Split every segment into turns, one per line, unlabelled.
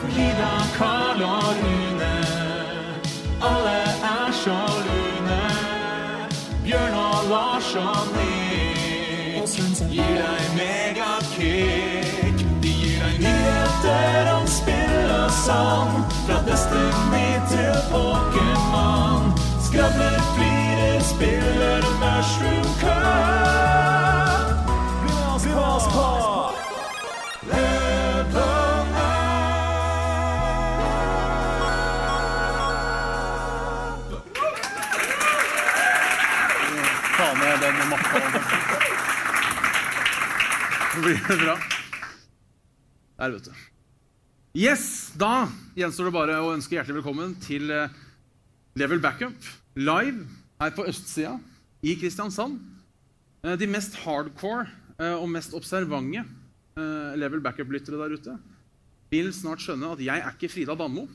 Frida, Karl og Rune. Alle er så lune. Bjørn og Lars og Nick gir deg megakick. De gir deg nyheter om spill og sang. Fra Destiny til Pokémon. Skravler, flirer, spiller Mushroom Cup. Bli med oss på- bli med oss på! Level Ta ned den mappa. Blir det bra? Der, vet du. Yes! Da gjenstår det bare å ønske hjertelig velkommen til eh, Level Backup live her på østsida i Kristiansand. Eh, De mest hardcore eh, og mest observante eh, Level Backup-lyttere der ute vil snart skjønne at jeg er ikke Frida Danmo.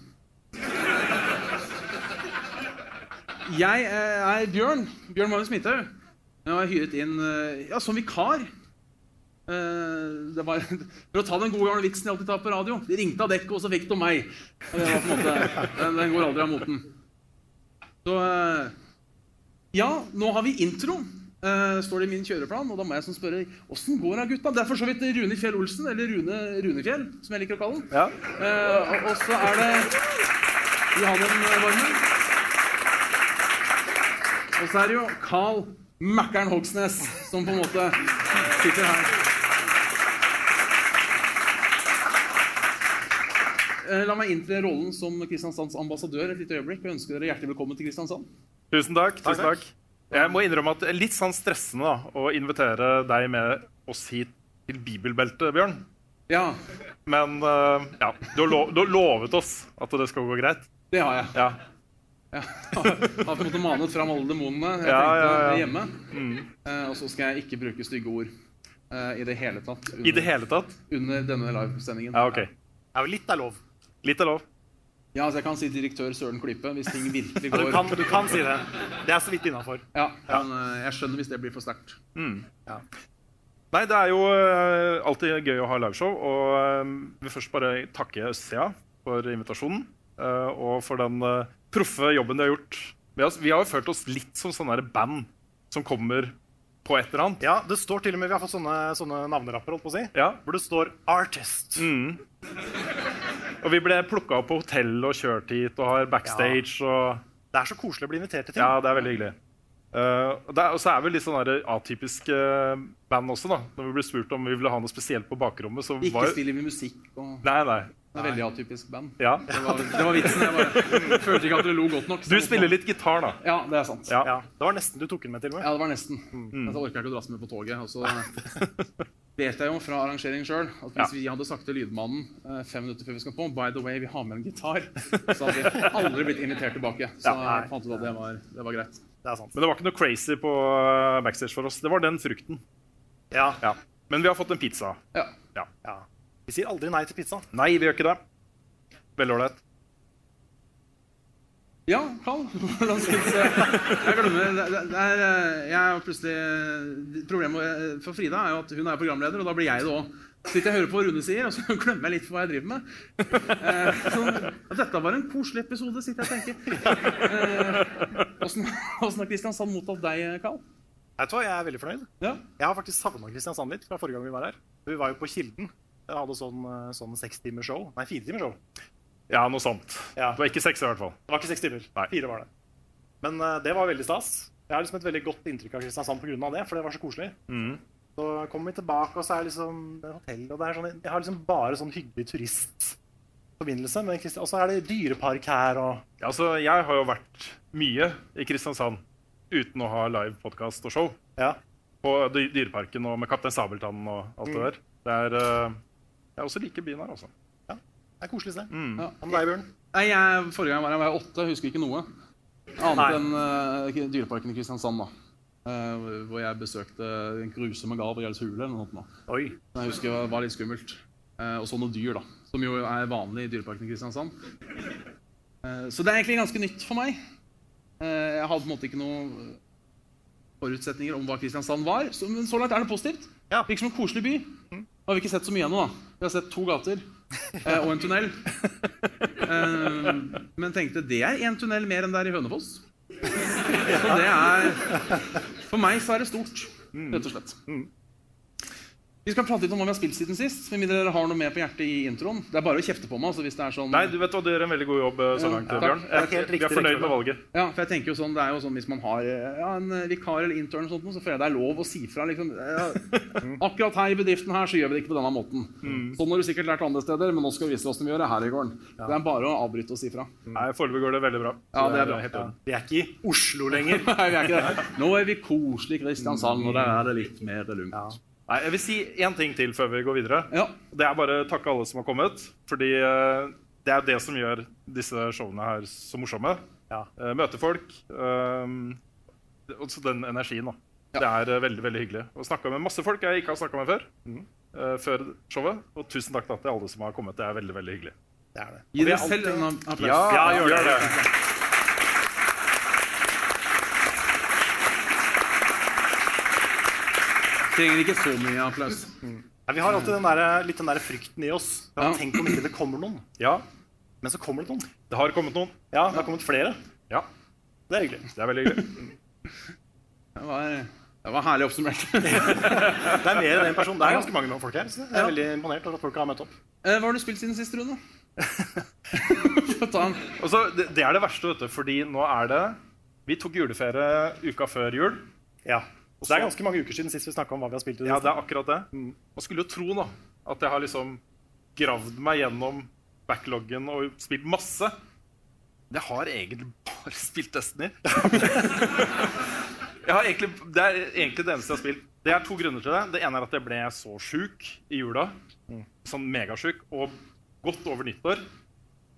Jeg eh, er Bjørn. Bjørn Magnus Midthaug. Jeg har hyret inn eh, ja, som vikar. Eh, Det var, for å ta den gode gamle vitsen jeg alltid tar på radio. De ringte av dekket, og så fikk de meg. Eh, Det var på en måte, den, den går aldri av moten. Så eh, Ja, nå har vi intro, eh, står det i min kjøreplan. Og da må jeg sånn spørre åssen går det, gutta? Det er for så vidt Rune Fjell Olsen, eller Rune Runefjell, som jeg liker å kalle den. Eh, og- Og så er det Johannen eh, Varmen. Og så er det jo Carl Mækkern Hogsnes som på en måte sitter her. Eh, La meg inntre rollen som Kristiansands ambassadør et lite øyeblikk og ønske dere hjertelig velkommen til Kristiansand.
Tusen takk. tusen takk. Jeg må innrømme at det er litt sånn stressende da, å invitere deg med oss hit til bibelbeltet, Bjørn.
Ja,
Men eh, ja, du har, lov, du har lovet oss at det skal gå greit.
det har jeg.
Ja.
Jeg har på en måte manet fram alle demonene jeg
Ja,
tenkte
ja, Mm. ja.
hjemme. Eh, Og så skal jeg ikke bruke stygge ord eh, i det hele tatt
I det
under,
hele tatt?
under denne livesendingen.
Ja, OK.
Ja, litt er lov.
Litt er lov.
Ja, altså jeg kan si direktør Søren Klype hvis ting virkelig
Ja, du,
går
kan, du kan si det. Det er så vidt innafor.
Ja, men eh, jeg skjønner hvis det blir for sterkt.
Nei, det er jo eh, alltid gøy å ha liveshow. Og eh, vil først bare takke Østsida for invitasjonen. eh, og for den eh, proffe jobben de har gjort. Vi har, vi har jo følt oss litt som sånne der band som kommer på et eller annet.
Ja, det står til og med, Vi har fått sånne, sånne navnerapper, holdt på å si,
Ja.
hvor det står 'artist'.
Mm. Og vi ble plukka opp på hotell og kjørt hit og har backstage og
Det er så koselig å bli invitert til ting.
Ja, det er veldig hyggelig. Eh, og det er- og så er vi litt sånn der atypiske band også, da. Når vi ble spurt om vi ville ha noe spesielt på bakrommet, så var
Ikke
jo
stiller vi musikk og
Nei, nei.
Det er veldig atypisk band. Det
Ja.
var, det var vitsen. Jeg bare følte ikke at dere lo godt nok. så jeg
Du
måtte-
spiller litt gitar, da.
Ja, det er sant.
Ja.
Ja, Det var nesten du tok den med, til og med.
Ja, det var nesten.
Mm.
Men så orker jeg ikke å dras med på toget. Og så vet jeg jo fra arrangering sjøl at hvis vi hadde sagt til lydmannen eh, fem minutter før vi skal på By the way, vi har med en gitar. Så hadde vi aldri blitt invitert tilbake. Så
Ja, nei.
fant vi ut at det var, det var greit.
Det er sant.
Men det var ikke noe crazy på eh, backstage for oss. Det var den frukten.
Ja,
Ja. Men vi har fått en pizza.
Ja.
ja. Vi sier aldri nei til pizza.
Nei, vi gjør ikke det. Veldig ålreit.
Ja, Karl. Hvordan synes jeg Jeg glemmer det, det, det er, eh, jeg er plutselig, Problemet eh, for Frida er jo at hun er programleder, og da blir jeg det òg. Så sitter jeg og hører på hva Rune sier, og så glemmer jeg litt hva jeg driver med. Eh, så, ja, dette var en koselig episode, sitter jeg og tenker. Åssen har Kristiansand mottatt deg, Karl?
Vet du hva, Jeg er veldig fornøyd.
Ja.
Jeg har faktisk savna Kristiansand litt fra forrige gang vi var her. Vi var jo på Kilden. Jeg hadde sånn, eh, sånn seks timers show. Nei, fire timers show.
Ja, noe sånt.
Ja.
Det var ikke seks i hvert fall.
Det var ikke seks timer.
Nei.
Fire var det. Men eh, det var veldig stas. Jeg har liksom et veldig godt inntrykk av Kristiansand pga. det, for det var så koselig.
Mm.
Så kommer vi tilbake, og så er det liksom det er hotell, og det er sånn Jeg har liksom bare sånn hyggelig turistforbindelse med Kristian... Og så er det dyrepark her, og
Ja, altså, jeg har jo vært mye i Kristiansand uten å ha live podkast og show.
Ja.
på dy- Dyreparken og med Kaptein Sabeltann og alt det der. Det er eh, Jeg også liker byen her, altså.
Det er koselig sted.
Mm.
Ja.
Hva med deg, Bjørn?
Nei, jeg, Forrige gang var jeg, var jeg åtte, jeg husker ikke noe.
Nei.
Annet enn eh, Dyreparken i Kristiansand, da. Eh, hvor jeg besøkte en grusom gal på Gjelds hule. eller noe sånt nå.
Oi.
Men Jeg husker det var litt skummelt. Eh, og så noen dyr, da. Som jo er vanlig i Dyreparken i Kristiansand. Eh, så det er egentlig ganske nytt for meg. Eh, jeg hadde på en måte ikke noen eh, forutsetninger om hva Kristiansand var. Så, men så langt er det positivt.
Ja.
Virker som en koselig by.
Mm.
Nå har vi ikke sett så mye ennå, da. Vi har sett to gater eh, og en tunnel. Eh, men tenkte det er én tunnel mer enn det er i Hønefoss. Og det er For meg så er det stort,
Mm.
rett og slett. Vi skal prate litt om hva vi har spilt siden sist. Med mindre dere har noe mer på hjertet i introen. Det er bare å kjefte på meg. Altså, hvis det er sånn...
Nei, du vet hva, du gjør en veldig god jobb eh, så langt,
takk.
Bjørn.
er helt
vi
riktig
er fornøyd
rekkefølge.
med valget.
Ja, for jeg tenker jo sånn, det er jo sånn Hvis man har eh, ja, en eh, vikar eller intern, og sånt, noe, så føler jeg det er lov å si fra. Liksom, eh, akkurat her i bedriften her, så gjør vi det ikke på denne måten. Sånn har du sikkert lært andre steder, men nå skal vi vise deg hvordan vi gjør det her i gården. Det er bare å avbryte og si fra.
Nei, Foreløpig går det veldig bra.
Ja, det er bra.
helt i orden.
Vi er ikke i Oslo lenger.
Nei, vi er ikke det. Nå er vi koselig i Kristiansand, og der er det litt mer lunt.
Nei, Jeg vil si én ting til før vi går videre.
Ja.
Det er bare å takke alle som har kommet. Fordi eh, det er det som gjør disse showene her så morsomme.
Ja.
Eh, Møte folk. eh, Og så den energien, da. Det er eh, veldig veldig hyggelig. Og snakka med masse folk jeg ikke har snakka med før. eh, Før showet. Og tusen takk da til alle som har kommet. Det er veldig veldig hyggelig.
Det er det.
Gi dere selv en applaus.
Ja, gjør det.
Trenger ikke så mye applaus.
Nei, vi har alltid den der, litt den der frykten i oss. Ja.
Ja.
Tenk om ikke det kommer noen.
Ja,
Men så kommer det noen.
det har kommet noen.
Ja, det har kommet flere.
Ja,
Det er hyggelig.
det er veldig hyggelig.
Det var, det var herlig oppsummert.
Det er mer enn én person. Det er ganske mange folk her. Så jeg er veldig imponert over at folk har møtt opp.
Eh, Hva har du spilt siden sist, Rune? Få ta en
Og så, det, det er det verste, vet du, fordi nå er det Vi tok juleferie uka før jul.
Ja. Så det er ganske mange uker siden sist vi snakka om hva vi har spilt. i det
Ja,
siste.
det er akkurat det. Man skulle jo tro da, at jeg har liksom gravd meg gjennom backloggen og spilt masse. Men jeg har egentlig bare spilt Destiny. jeg har egentlig, det er egentlig det eneste jeg har spilt. Det er to grunner til det. Det ene er at jeg ble så sjuk i jula. Sånn megasjuk. Og godt over nyttår.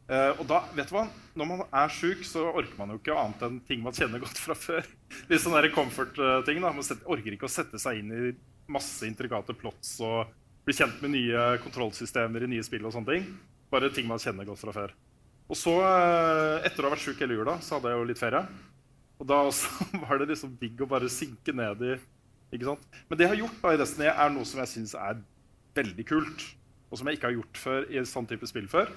Eh, og da, vet du hva? Når man er sjuk, så orker man jo ikke annet enn ting man kjenner godt fra før. Litt sånn der comfort-ting. da. Man set- orker ikke å sette seg inn i masse intrikate plots og bli kjent med nye kontrollsystemer i nye spill og sånne ting. Bare ting man kjenner godt fra før. Og så, eh, etter å ha vært sjuk hele jula, så hadde jeg jo litt ferie. Og da også var det liksom digg å bare sinke ned i ikke sant? Men det jeg har gjort da i Destiny, er noe som jeg syns er veldig kult. Og som jeg ikke har gjort før i sånn type spill før.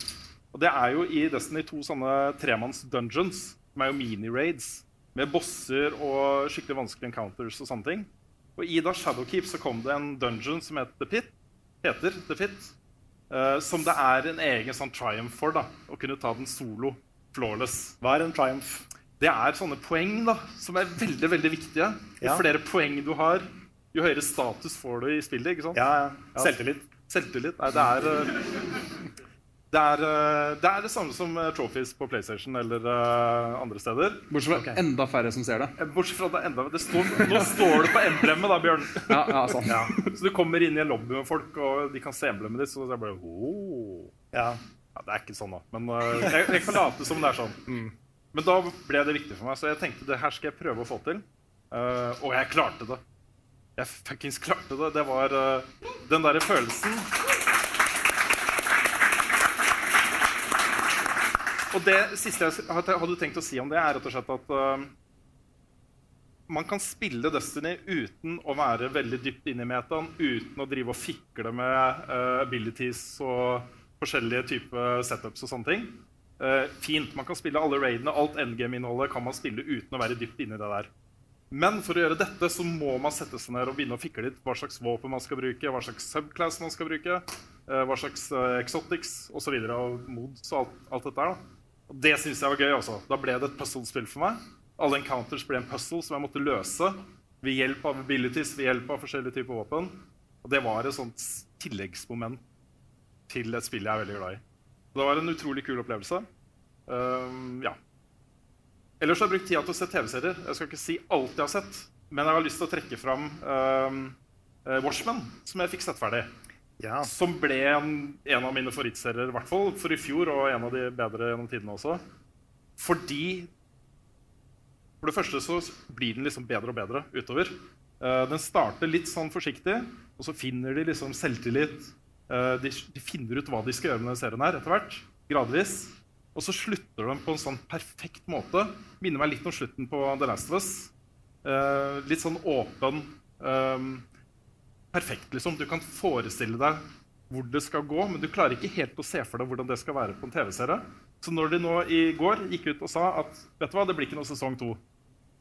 Og det er jo i Destiny to sånne tremanns dungeons, som er jo mini-raids, med bosser og skikkelig vanskelige encounters og sånne ting. Og i da Shadowkeep så kom det en dungeon som het The Pit, heter The Pit, eh, som det er en egen sånn triumph for, da, å kunne ta den solo, flawless.
Hva er en triumph?
Det er sånne poeng da, som er veldig, veldig viktige. Jo
Ja.
flere poeng du har, jo høyere status får du i spillet, ikke sant?
Ja, ja. Selvtillit.
Selvtillit. Nei, det er eh, det er, eh, det er det samme som eh, trophies på PlayStation eller eh, andre steder.
Bortsett fra enda færre som ser det.
Eh, Bortsett fra at det enda det står, Nå står det på emblemet, da, Bjørn.
Ja, ja, sant.
Så du kommer inn i en lobby med folk, og de kan se emblemet ditt. Så det er bare «Åh».
Ja.
ja, Det er ikke sånn, da. Men eh, jeg, jeg kan late som det er sånn. Men da ble det viktig for meg, så jeg tenkte det her skal jeg prøve å få til. Eh, og jeg klarte det. Jeg fuckings klarte det. Det var eh, den derre følelsen Og det siste jeg s- hadde hadde tenkt å si om det, er rett og slett at eh, man kan spille Destiny uten å være veldig dypt inne i metaen, uten å drive og fikle med eh, abilities og forskjellige typer setups og sånne ting. Eh, fint. Man kan spille alle raidene, alt endgame-innholdet kan man spille uten å være dypt inne i det der. Men for å gjøre dette så må man sette seg ned og begynne å fikle litt hva slags våpen man skal bruke, hva slags subclass man skal bruke, eh, hva slags eh, exotics osv. og mods og alt, alt dette her. da. Og det syns jeg var gøy. altså. Da ble det et puzzlespill for meg. Alle encounters ble en puzzle som jeg måtte løse ved hjelp av abilities, ved hjelp av forskjellige typer våpen. Og det var et sånt s- tilleggsmoment til et spill jeg er veldig glad i. Så Det var en utrolig kul opplevelse. Ehm, Um, ja. Ellers har jeg brukt tida til å se TV-serier. Jeg skal ikke si alt jeg har sett, Men jeg har lyst til å trekke fram eh, eh, Watchmen, som jeg fikk sett ferdig.
Ja.
Som ble en, en av mine favorittserier, i hvert fall for i fjor, og en av de bedre gjennom tidene også. Fordi For det første så blir den liksom bedre og bedre utover. Eh, den starter litt sånn forsiktig, og så finner de liksom selvtillit. Eh, de, de finner ut hva de skal gjøre med denne serien her etter hvert. Gradvis. Og så slutter de på en sånn perfekt måte. Minner meg litt om slutten på The Last of Us. Eh, litt sånn åpen. eh, perfekt, liksom. Du kan forestille deg hvor det skal gå, men du klarer ikke helt å se for deg hvordan det skal være på en TV-serie. Så når de nå i går gikk ut og sa at vet du hva, det blir ikke noe sesong to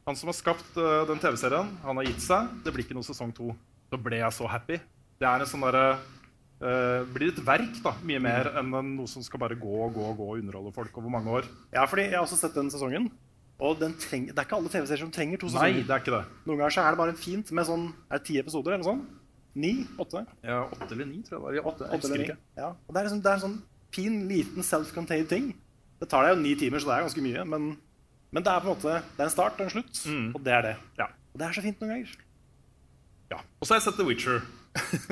Han som har skapt eh, den TV-serien, han har gitt seg. Det blir ikke noe sesong to. Da ble jeg så happy. Det er en sånn derre eh, blir et verk, da, mye mer enn en- noe som skal bare gå og gå og gå og underholde folk over mange år.
ja, fordi jeg har også sett den sesongen. Og den treng, det er ikke alle TV-serier som trenger to
Nei,
sesonger.
det er ikke det.
Noen ganger så er det bare fint med sånn Er det ti episoder eller noe sånt? Ni? Åtte?
Ja, åtte eller ni, tror jeg det var. Åtte, jeg
Åtte
husker
eller
ikke.
ni. Ja. Og det er, liksom, det er en sånn fin, liten self-contained ting. Det tar deg jo ni timer, så det er ganske mye. Men, men det er på en måte Det er en start og en slutt, og det er det.
Mm. Ja.
Og det er så fint noen ganger.
ja. Og så har jeg sett The Witcher.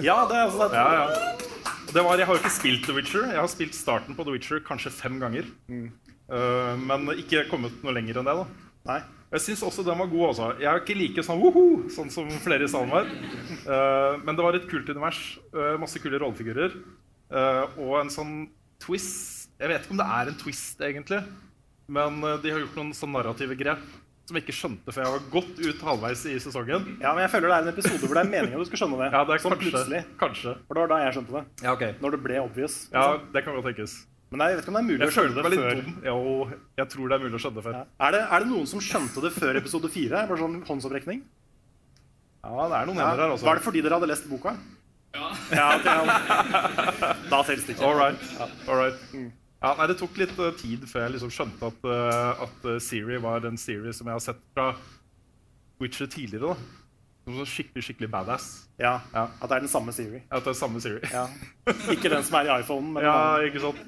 Ja, det er altså
Ja, ja. Og Det var, jeg har jo ikke spilt The Witcher. Jeg har spilt starten på The Witcher kanskje fem ganger. Eh, men ikke kommet noe lenger enn det. da.
Nei.
Jeg syns også den var god. altså. Jeg er ikke like sånn woho, sånn som flere i salen var. Eh, men det var et kult univers. eh, masse kule rollefigurer. eh, og en sånn twist Jeg vet ikke om det er en twist, egentlig. Men eh, de har gjort noen sånn narrative grep som jeg ikke skjønte før jeg var godt ut halvveis i sesongen.
Ja, men jeg føler det er en episode hvor det er meningen at du skal skjønne det.
Ja, det er
sånn
kanskje,
plutselig.
kanskje.
For det var da jeg skjønte det.
Ja, ok.
Når det ble obvious.
ja, det kan godt tenkes.
Men jeg vet ikke om det er mulig
Jeg
å
føler
skjønne
meg
det
litt
før.
dum. Jo, jeg tror det er mulig å skjønne det før.
Ja.
Ja.
Er, det, er det noen som skjønte det før episode fire? Bare sånn håndsopprekning?
det er noen
Ja.
hender her altså. også.
Var det fordi dere hadde lest boka? Ja. ok, ja. Da selges det ikke.
All right. All right. Mm. Ja, nei, det tok litt eh, tid før jeg liksom skjønte at, eh, at eh, Siri var den Siri som jeg har sett fra Witcher tidligere. da. Som sånn skikkelig skikkelig badass.
Ja,
Ja.
At det er den samme Siri.
At det er samme Siri.
Ja. Ikke den som er i iPhonen, men
Ja,
den-
ikke sant?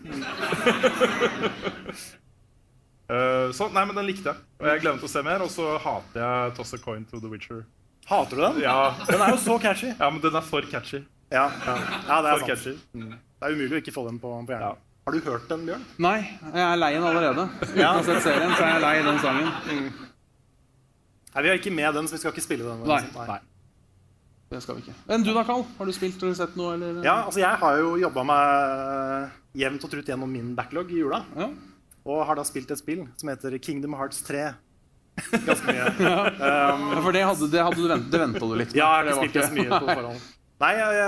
Eh, så, nei, men den likte jeg. Og jeg glemte å se mer, og så hater jeg Toss a coin to the Witcher.
Hater du den?
Ja,
Den er jo så catchy.
ja men den er for catchy.
Ja, ja. det
For
er sant. Mm.
catchy.
Det er umulig å ikke få den på, på hjernen.
Ja.
Har du hørt den, Bjørn?
Nei, jeg er lei den allerede. Uten å ha sett serien, så er jeg lei den sangen.
Nei, Vi er ikke med den, så vi skal ikke spille den.
Nei. Det skal vi ikke. Men du da, Carl? Har du spilt eller sett noe? Eller?
Ja, altså Jeg har jo jobba meg jevnt og trutt gjennom min backlog i jula.
Ja.
Og har da spilt et spill som heter Kingdom Hearts 3. Ganske mye.
Ja, For det hadde, det hadde du vent, det ventet du litt med.
Ja, jeg har
Det var
ikke spilt det så mye på forhånd. Nei, jeg, jeg,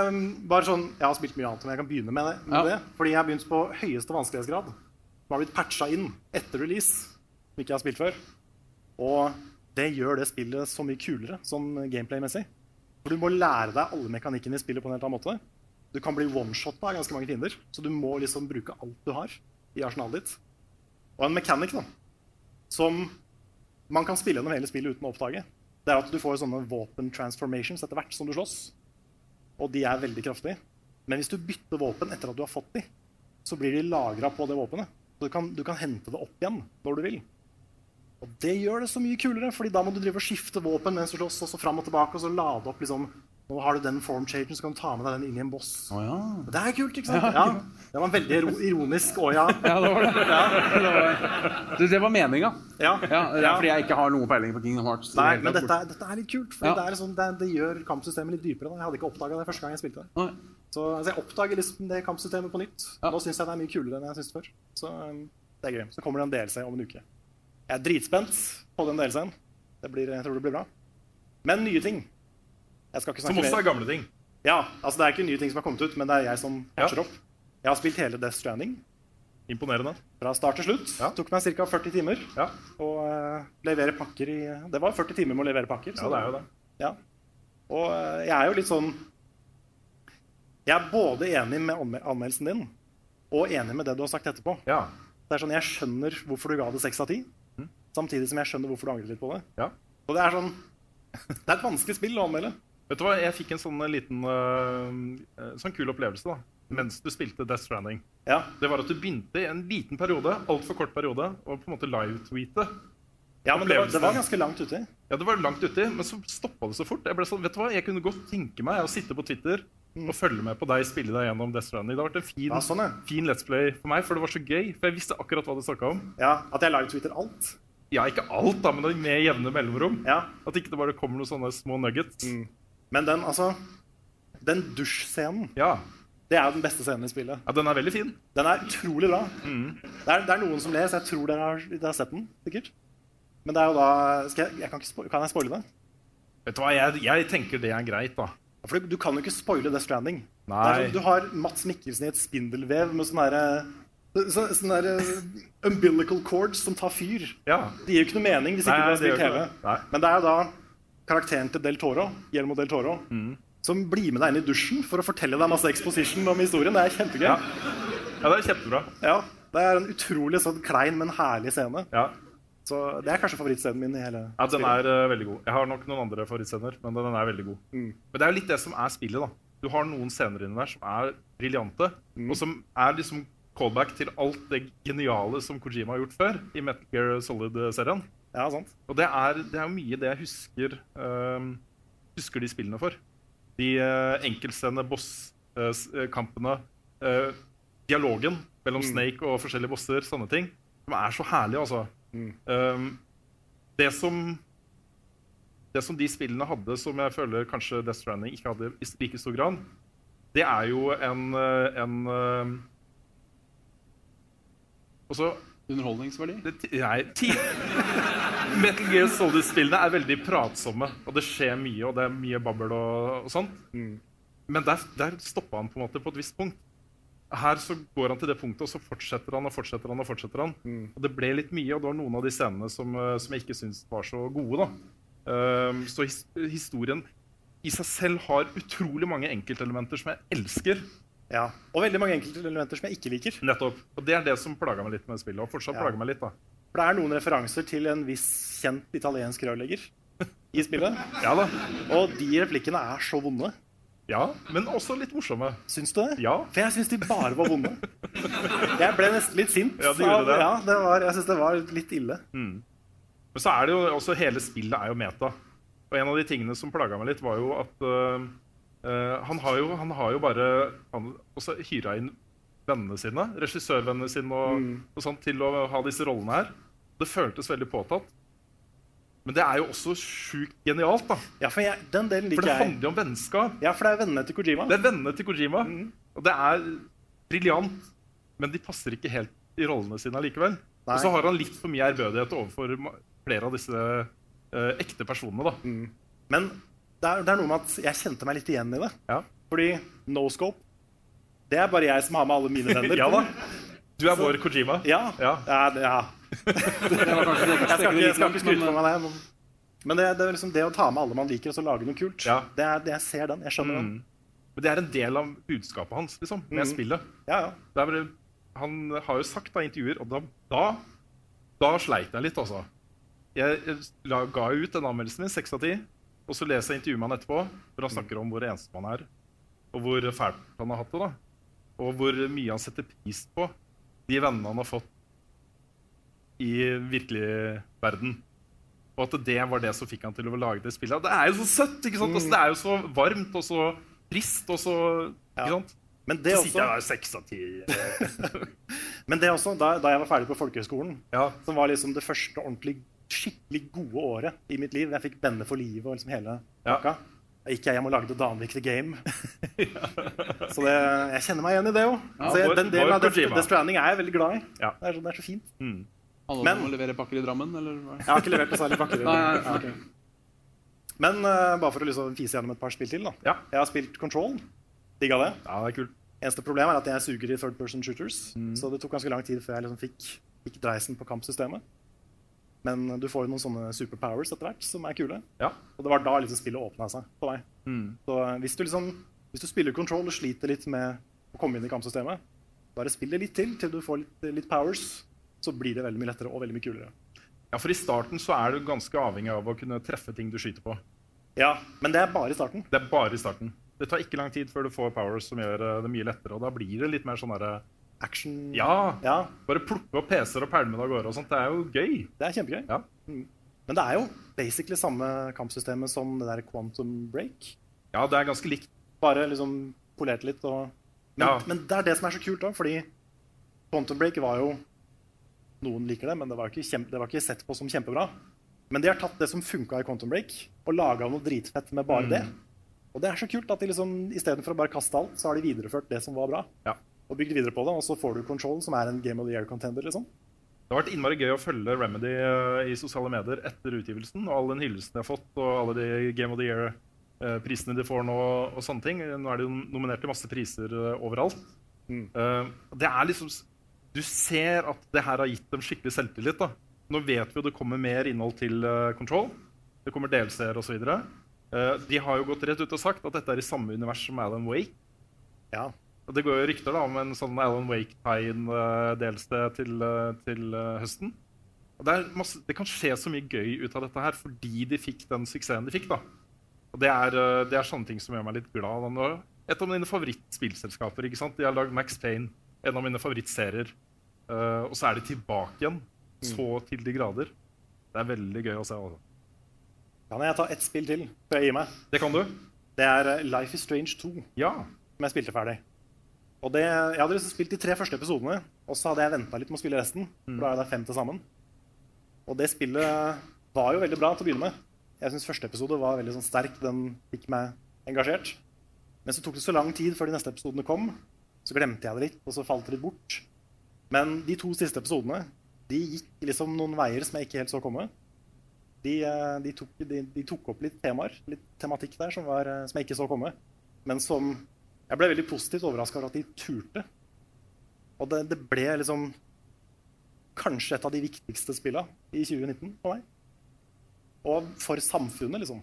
bare sånn, jeg har spilt mye annet, men jeg kan begynne med det. Med
Ja.
det fordi jeg har begynt på høyeste vanskelighetsgrad. Som har blitt patcha inn etter release. Som ikke jeg har spilt før. Og det gjør det spillet så mye kulere sånn gameplay-messig. For du må lære deg alle mekanikkene i spillet på en helt annen måte. Du kan bli one-shotta av ganske mange fiender, så du må liksom bruke alt du har i arsenalet ditt. Og en mechanic da, som man kan spille gjennom hele spillet uten å oppdage, det er at du får sånne våpen transformations etter hvert som du slåss. Og de er veldig kraftige. Men hvis du bytter våpen etter at du har fått de, så blir de lagra på det våpenet. Så du kan, du kan hente det opp igjen når du vil. Og det gjør det så mye kulere, fordi da må du drive og skifte våpen mens du slåss, og så fram og tilbake, og så lade opp liksom Nå har du den form changen, så kan du ta med deg den inn i en boss.
Å ja.
Det er kult, ikke sant? Ja. Det var en veldig iro- ironisk å ja.
ja, det var det. Det var- Det, det var meninga.
Ja,
Ja, det er
ja.
fordi jeg ikke har noe peiling på Kingdom Hearts.
Nei, men dette er, dette er litt kult,
Ja.
for det, er liksom, det, det gjør kampsystemet litt dypere. Da. Jeg hadde ikke oppdaga det første gang jeg spilte det.
Nei.
Så altså, jeg oppdager liksom det kampsystemet på nytt.
Ja.
Nå syns jeg det er mye kulere enn jeg syntes før. Så um, det er gøy. Så kommer det en DLC om en uke. Jeg er dritspent på den DLC-en. Det blir, jeg tror det blir bra. Men nye ting. Jeg skal ikke
Som
snakke
også er
mer.
gamle ting.
Ja, altså Det er ikke nye ting som har kommet ut, men det er jeg som
Ja.
catcher opp. Jeg har spilt hele Death Stranding
Imponerende.
fra start til slutt.
Ja.
Tok meg ca. 40 timer.
Ja,
Og eh, levere pakker i Det var 40 timer med å levere pakker.
ja det er jo det.
Ja. Og eh, jeg er jo litt sånn Jeg er både enig med anme- anmeldelsen din og enig med det du har sagt etterpå.
Ja.
Det er sånn, Jeg skjønner hvorfor du ga det 6 av 10, samtidig som jeg skjønner hvorfor du angrer litt på det.
Ja.
Og Det er sånn, det er et vanskelig spill å anmelde.
Vet du hva, jeg fikk en sånn eh, liten eh, eh, sånn kul opplevelse da, mens du spilte Death Stranding.
Ja,
Det var at du begynte i en liten periode, altfor kort periode, å på en måte live-tweete
Ja, men det var, det var
Opplevelse.
ganske langt uti.
Ja, det var langt uti, men så stoppa det så fort. Jeg ble sånn, vet du hva, jeg kunne godt tenke meg å sitte på Twitter og følge med på deg spille deg gjennom Death Stranding. Det har vært en fin,
Ja, sånn, ja.
fin Let's Play for meg, for det var så gøy. For jeg visste akkurat hva du snakka om.
Ja, At jeg live-tweeter alt.
Ja, ikke alt, da, men med jevne mellomrom.
Ja.
At ikke det bare kommer noen sånne små nuggets.
Men den, altså Den dusjscenen,
Ja.
det er jo den beste scenen i spillet.
ja, den er veldig fin.
Den er utrolig bra.
Mm.
Det, er, det er noen som ler, så jeg tror dere har, dere har sett den. sikkert. Men det er jo da skal jeg, jeg kan, ikke spo- kan jeg spoile det?
Vet du hva, jeg, jeg tenker det er greit, da.
Ja, For du, du kan jo ikke spoile Death Stranding.
Nei.
Det er sånn, du har Mats Mikkelsen i et spindelvev med sånne, her, så, sånne her, umbilical cords som tar fyr.
Ja.
Det gir jo ikke noe mening hvis
Nei,
ikke du har
det
spilt
gjør
TV.
ikke det. Nei.
Men det er jo da karakteren til Del Toro, Guillermo Del Toro,
Mm.
som blir med deg inn i dusjen for å fortelle deg masse exposition om historien. Det er kjempegøy.
Ja.
Ja.
ja, det er kjempebra.
det er en utrolig sånn klein, men herlig scene.
Ja.
Så det er kanskje favorittscenen min i hele
Ja, Den er eh, veldig god. Jeg har nok noen andre favorittscener, men den er veldig god.
Mm.
Men det er jo litt det som er spillet, da. Du har noen scener inni der som er briljante, og som er liksom callback til alt det geniale som Kojima har gjort før i Metal Gear Solid-serien.
Ja, sant.
Og det er, det er jo mye det jeg husker ehm, Husker de spillene for. De uh, enkeltstående eh, boss-kampene, eh, dialogen mellom Snake og forskjellige bosser, sånne ting, som er så herlig, altså. Ehm, det som det som de spillene hadde, som jeg føler kanskje Death Stranding ikke hadde i like stor grad, det er jo en, eh, en eh, altså, Også
Underholdningsverdi.
det, ti- nei, ti Metal Gear Solid-spillene er veldig pratsomme, og det skjer mye, og det er mye babbel og, og sånt. Men der, der stoppa han på en måte på et visst punkt. Her så går han til det punktet, og så fortsetter han og fortsetter han. Og fortsetter han. Og det ble litt mye, og det var noen av de scenene som, eh, som jeg ikke syns var så gode. da. Ehm, så his historien i seg selv har utrolig mange enkeltelementer som jeg elsker.
Ja. Og veldig mange enkelte elementer som jeg ikke liker.
Nettopp. Og det er det som plaga meg litt med spillet. og fortsatt
Ja.
plager meg litt da.
For det er noen referanser til en viss kjent italiensk rørlegger i spillet.
Ja da.
Og de replikkene er så vonde.
Ja, men også litt morsomme.
Syns du det?
Ja.
For jeg syns de bare var vonde. Jeg ble nesten litt sint.
Ja, du gjorde
av-
det.
Ja, det var, jeg syns det var litt ille.
Men så er det jo også hele spillet er jo meta. Og en av de tingene som plaga meg litt, var jo at øh, øh, han, har jo, han har jo bare han, også hyra inn vennene sine, regissørvennene sine og, og sånn, til å ha disse rollene her. Det føltes veldig påtatt. Men det er jo også sjukt genialt, da.
Ja, for jeg, den delen
For
liker
det
jeg.
handler jo om vennskap.
Ja, for det er vennene til Kojima. Mm.
Det er vennene til Kojima. Og det er briljant, men de passer ikke helt i rollene sine allikevel.
Nei.
Og så har han litt for mye ærbødighet overfor ma- flere av disse eh, ekte personene. da.
Mm. Men det er, det er noe med at jeg kjente meg litt igjen i det.
Ja.
Fordi no scope, det er bare jeg som har med alle mine venner.
Ja da. Du er vår Kojima.
Ja. ja.
Ja.
det- ja.
Det var kanskje det
Jeg skal ikke, jeg skal ikke skryte
men, eh,
på meg det. Men, men det, det er liksom det å ta med alle man liker, og så lage noe kult.
Ja.
Det er, det, jeg ser den. Jeg skjønner den.
Men det er en del av budskapet hans liksom, med
Mm.
spillet.
Ja, ja.
Det er bare, han har jo sagt da, i intervjuer, og da, da, da sleit jeg litt, altså. Jeg jeg la, ga jo ut den anmeldelsen min, 6 av 10, og så leser jeg intervjuet med han etterpå, hvor han snakker om hvor ensom han er, og hvor fælt han har hatt det, da. Og hvor mye han setter pris på de vennene han har fått i virkelig verden. Og at det var det som fikk han til å lage det spillet. Det er jo så søtt! ikke sant? Altså, det er jo så varmt og så trist og så Ikke
Ja.
sant?
Men det
Så sitter
også,
jeg der seks av ti.
men det også da, da jeg var ferdig på folkehøgskolen,
Ja.
som var liksom det første ordentlig skikkelig gode året i mitt liv Jeg fikk venner for livet og liksom hele
Ja.
pakka. Da gikk jeg hjem og lagde Danvik The Game. så det, jeg kjenner meg igjen i det òg.
vår-
den delen
vår
av Death,
Kojima.
Death Stranding er jeg veldig glad i.
Ja.
Det, er, så- det er så fint.
Alle
Men-
må levere pakker i Drammen, eller hva?
Jeg har ikke levert noe særlig pakker.
Nei, nei, nei.
Ja, ok. Men eh, bare for å liksom fise gjennom et par spill til, da.
Ja.
Jeg har spilt Control. Digga det.
ja, det er kult.
Eneste problem er at jeg suger i third person shooters.
Mm.
Så det tok ganske lang tid før jeg liksom fikk, fikk dreisen på kampsystemet. Men eh, du får jo noen sånne superpowers etter hvert som er kule.
Ja.
Og det var da liksom spillet åpna seg på deg.
Mm.
Så hvis du, liksom, hvis du spiller control og sliter litt med å komme inn i kampsystemet, bare spill det litt til til du får litt, litt powers. Så blir det veldig mye lettere og veldig mye kulere.
ja, for i starten så er du ganske avhengig av å kunne treffe ting du skyter på.
Ja, Men det er bare i starten.
Det er bare i starten. Det tar ikke lang tid før du får powers som gjør eh, det mye lettere, og da blir det litt mer sånn derre
Action
Ja!
ja,
Bare plukke opp PC-er og pælme det av gårde og sånt. Det er jo gøy.
det er kjempegøy.
Ja.
Men det er jo basically samme kampsystemet som det der Quantum Break.
Ja, det er ganske likt.
Bare liksom polert litt og men,
Ja.
men det er det som er så kult, da, fordi Quantum Break var jo Noen liker det, men det var ikke, kjempe, det var ikke sett på som kjempebra. Men de har tatt det som funka i Quantum Break, og laga noe dritfett med
Mm.
bare det. Og det er så kult at de liksom, istedenfor å bare kaste alt, så har de videreført det som var bra.
Ja.
Og bygd videre på det, og så får du Control, som er en Game of the Year-contender. liksom.
Det har vært innmari gøy å følge Remedy eh, i sosiale medier etter utgivelsen. Og all den hyllesten de har fått, og alle de Game of the Year-prisene de får nå. og sånne ting. Nå er de jo nominert til masse priser eh, overalt. Eh, det er liksom, s- Du ser at det her har gitt dem skikkelig selvtillit. da. Nå vet vi jo det kommer mer innhold til eh, Control. Det kommer delseere osv. Uh, de har jo gått rett ut og sagt at dette er i samme univers som Alan Wake.
Ja.
Og Det går jo rykter da om en sånn Alan Wake-tegn-delse til, eh, til eh, høsten. Og det, er masse, det kan skje så mye gøy ut av dette her fordi de fikk den suksessen de fikk. da. Og Det er, eh, det er sånne ting som gjør meg litt glad. da. Nå- Et av mine favorittspillselskaper. ikke sant? De har lagd Max Payne, en av mine favorittserier. Eh, og så er de tilbake igjen, så til de grader. Det er veldig gøy å se. altså.
Kan jeg ta ett spill til før jeg gir meg?
Det kan du?
Det er eh, Life is Strange 2,
Ja.
som jeg spilte ferdig. Og det, Jeg hadde liksom spilt de tre første episodene, og så hadde jeg venta litt med å spille resten. For da er det fem til sammen. Og det spillet var jo veldig bra til å begynne med. Jeg syns første episode var veldig sånn sterk. Den fikk meg engasjert. Men så tok det så lang tid før de neste episodene kom. Så glemte jeg det litt, og så falt det litt bort. Men de to siste episodene de gikk liksom noen veier som jeg ikke helt så komme. De, eh, de, tok, de, de tok opp litt temaer, litt tematikk der som, var, eh, som jeg ikke så komme. Men som Jeg ble veldig positivt overraska over at de turte. Og det, det ble liksom kanskje et av de viktigste spilla i 2019 for meg. Og for samfunnet, liksom.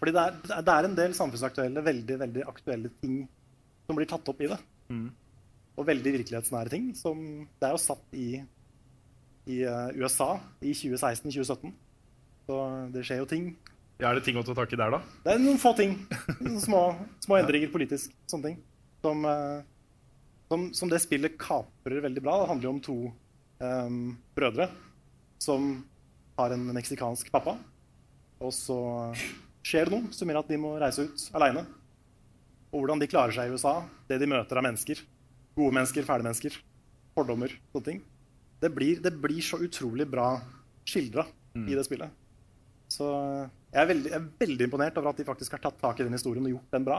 Fordi det er, det er en del samfunnsaktuelle, veldig veldig aktuelle ting som blir tatt opp i det. Og veldig virkelighetsnære ting. Som det er jo satt i, i eh, USA i 2016-2017. Så det skjer jo ting.
Ja, Er det ting å ta tak i der, da?
Det er noen få ting. Noen Små, små endringer politisk. Sånne ting. Som, eh, som, som det spillet kaprer veldig bra. Det handler jo om to eh, brødre som har en meksikansk pappa. Og så skjer det noe som gjør at de må reise ut aleine. Og hvordan de klarer seg i USA. Det de møter av mennesker. Gode mennesker, fæle mennesker. Fordommer. Sånne ting. Det blir, det blir så utrolig bra skildra i det spillet. Så jeg er, veldig, jeg er veldig imponert over at de faktisk har tatt tak i den historien og gjort den bra.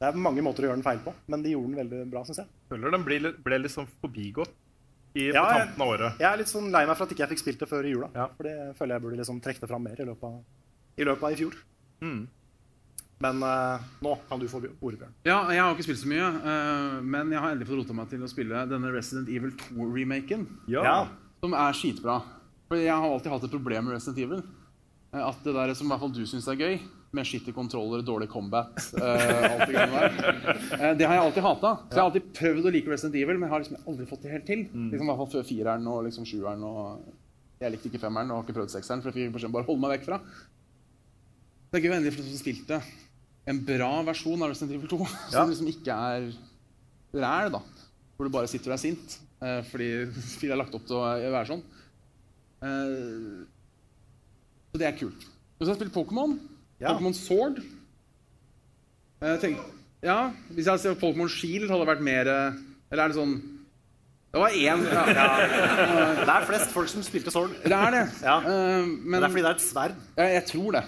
Det er mange måter å gjøre den feil på, men de gjorde den veldig bra, syns jeg.
Føler den ble, ble litt sånn forbigått i,
Ja,
på
jeg-
tampen av året.
Jeg er litt sånn lei meg for at ikke jeg fikk spilt det før i jula.
Ja.
For det føler jeg burde liksom trekke det fram mer i løpet av i, løpet av i fjor. Mm. Men eh, nå kan du få ordet, Bjørn.
Ja, jeg har ikke spilt så mye, eh, men jeg har endelig fått rota meg til å spille denne Resident Evil 2-remaken,
Ja.
som er skitbra. For jeg har alltid hatt et problem med Resident Evil. eh, At det der som i hvert fall du syns er gøy, med skittige kontroller, dårlig combat eh, alt Det greiene der, eh, det har jeg alltid hata. Så jeg har alltid prøvd å like Resident Evil, men jeg har liksom aldri fått det helt til. Liksom, I hvert fall før fireren og liksom sjueren og Jeg likte ikke femmeren og har ikke prøvd sekseren, for jeg fikk beskjed om bare å holde meg vekk fra. Det er gøy å endelig få spilt det. En bra versjon av Resident Evil 2.
Ja.
Som liksom ikke er ræl, da. Hvor du bare sitter og er sint eh, fordi spillet er lagt opp til å være sånn. Eh, så det er kult. Og så har jeg spilt Pokémon.
Ja.
Pokémon Sword. Eh, tenk, ja, hvis jeg hadde sett Pokémon Shield, hadde det vært mer eh, Eller er det sånn Det var én. Ja,
Det er flest folk som spilte Sword.
Det er det.
Ja.
Eh, men
Det er fordi det er et sverd.
ja, jeg tror det.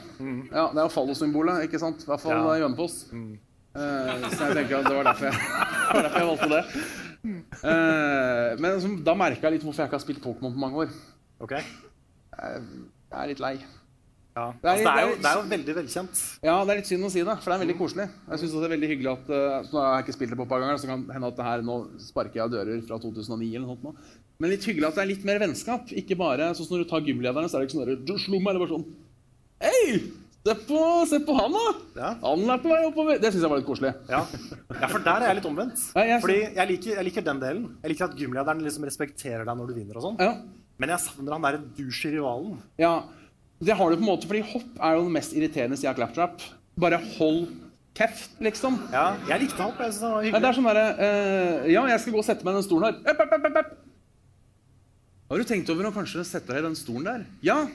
Ja, det er jo fallosymbolet, ikke sant? I hvert fall
Ja.
eh, Hønefoss. Eh, så jeg tenker at det var derfor jeg, det var derfor jeg valgte det. Eh, men som- da merka jeg litt hvorfor jeg ikke har spilt Pokémon på mange år.
Ok.
Jeg er litt lei.
Ja.
Det er-
Altså, det, er
det
jo,
er-
det er jo veldig velkjent.
Ja, det er litt synd å si det, for det er veldig koselig. Jeg synes også det er veldig hyggelig at, eh, så Nå har jeg ikke spilt det på et par ganger, så kan det hende at det her nå sparker jeg dører fra 2009 eller noe sånt. nå. Men litt hyggelig at det er litt mer vennskap. Ikke bare sånn som når du tar gymlederne, så er det ikke sånn der, Du slo meg, eller bare sånn Hei! Se på, se på han, da!
Ja.
Han er på vei oppover! Det syns jeg var litt koselig.
Ja. ja, for der er jeg litt omvendt.
Ja, jeg-
Fordi jeg liker, jeg liker den delen. Jeg liker at gymlederen liksom respekterer deg når du vinner og sånn.
Ja.
Men jeg savner han derre douche rivalen.
Ja, det har du på en måte, fordi hopp er jo det mest irriterende siden av claptrap. Bare hold kjeft, liksom.
Ja, jeg likte hopp. Jeg synes han var
Nei, det
hyggelig.
er sånn derre eh, Ja, jeg skal gå og sette meg i den stolen her. Epp, epp, epp, epp, epp. Har du tenkt over å kanskje sette deg i den stolen der? Ja!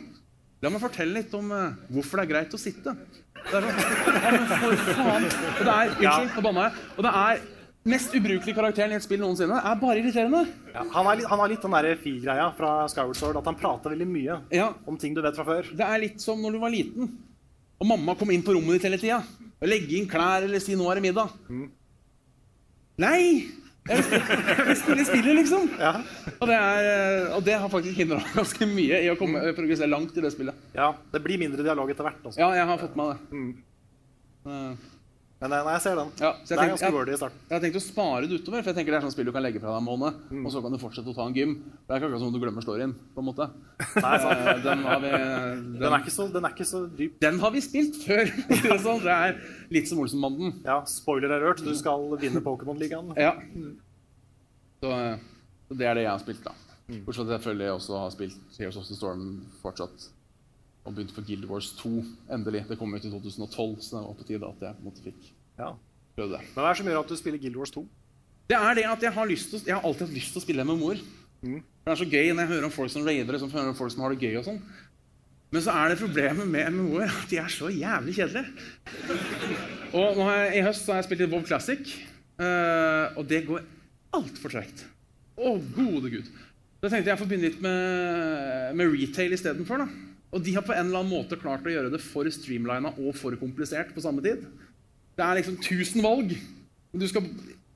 La meg fortelle litt om eh, hvorfor det er greit å sitte. Det er sånn, ja, men for faen. Og det er, unnskyld, nå banna jeg. Og det er mest ubrukelige karakteren i et spill noensinne. er bare irriterende.
Ja, han, er, litt- han har litt den der fi-greia fra Skyward Sword, at han prater veldig mye
Ja,
om ting du vet fra før.
Det er litt som når du var liten, og mamma kom inn på rommet ditt hele tida. Og legge inn klær eller si 'nå er det middag'.
Mm.
Nei! Jeg vil spille- jeg vil spille spillet, liksom.
Ja.
Og det, er, eh, og det har faktisk hindra ganske mye i å komme
Mm.
eh, progressere langt i det spillet.
Ja, det blir mindre dialog etter hvert. Også.
Ja, jeg har fått med meg
Mm.
det. Eh,
Men eh, nei, jeg ser den.
Ja, så jeg
det er
tenker-
ganske wordy i starten.
Jeg har tenkt å spare det utover, for jeg tenker det er sånn spill du kan legge fra deg en måned,
Mm.
og så kan du fortsette å ta en gym. Det er ikke akkurat som om du glemmer storyen, på en måte.
Nei, sant.
Eh, Den har vi,
Den er
den,
ikke så, den er ikke så dyp.
den har vi spilt før. for å si Det sånn. Det er litt som Olsenbanden.
Ja, spoiler alert, du skal vinne Pokémon-ligaen.
Ja. Så, eh, så det er det jeg har spilt, da. Bortsett fra at jeg selvfølgelig også har spilt Heroes of the Storm fortsatt. Og begynte på Guild Wars 2, endelig. Det kom ut i 2012, så det var på tide at jeg på en måte fikk
Ja.
prøvd det.
Men hva er det som gjør at du spiller Guild Wars 2?
Det er det at jeg har, lyst til, å- jeg har alltid hatt lyst til å spille MMO-er. For Det er så gøy når jeg hører om folk som raider, som hører om folk som har det gøy og sånn. Men så er det problemet med MMO-er at de er så jævlig kjedelige. Og nå har jeg, I høst så har jeg spilt litt WoW Classic, eh, og det går altfor tregt. Å, gode gud. Da tenkte jeg jeg får begynne litt med, med retail istedenfor. da. Og de har på en eller annen måte klart å gjøre det for streamlina og for komplisert på samme tid. Det er liksom 1000 valg. Men du skal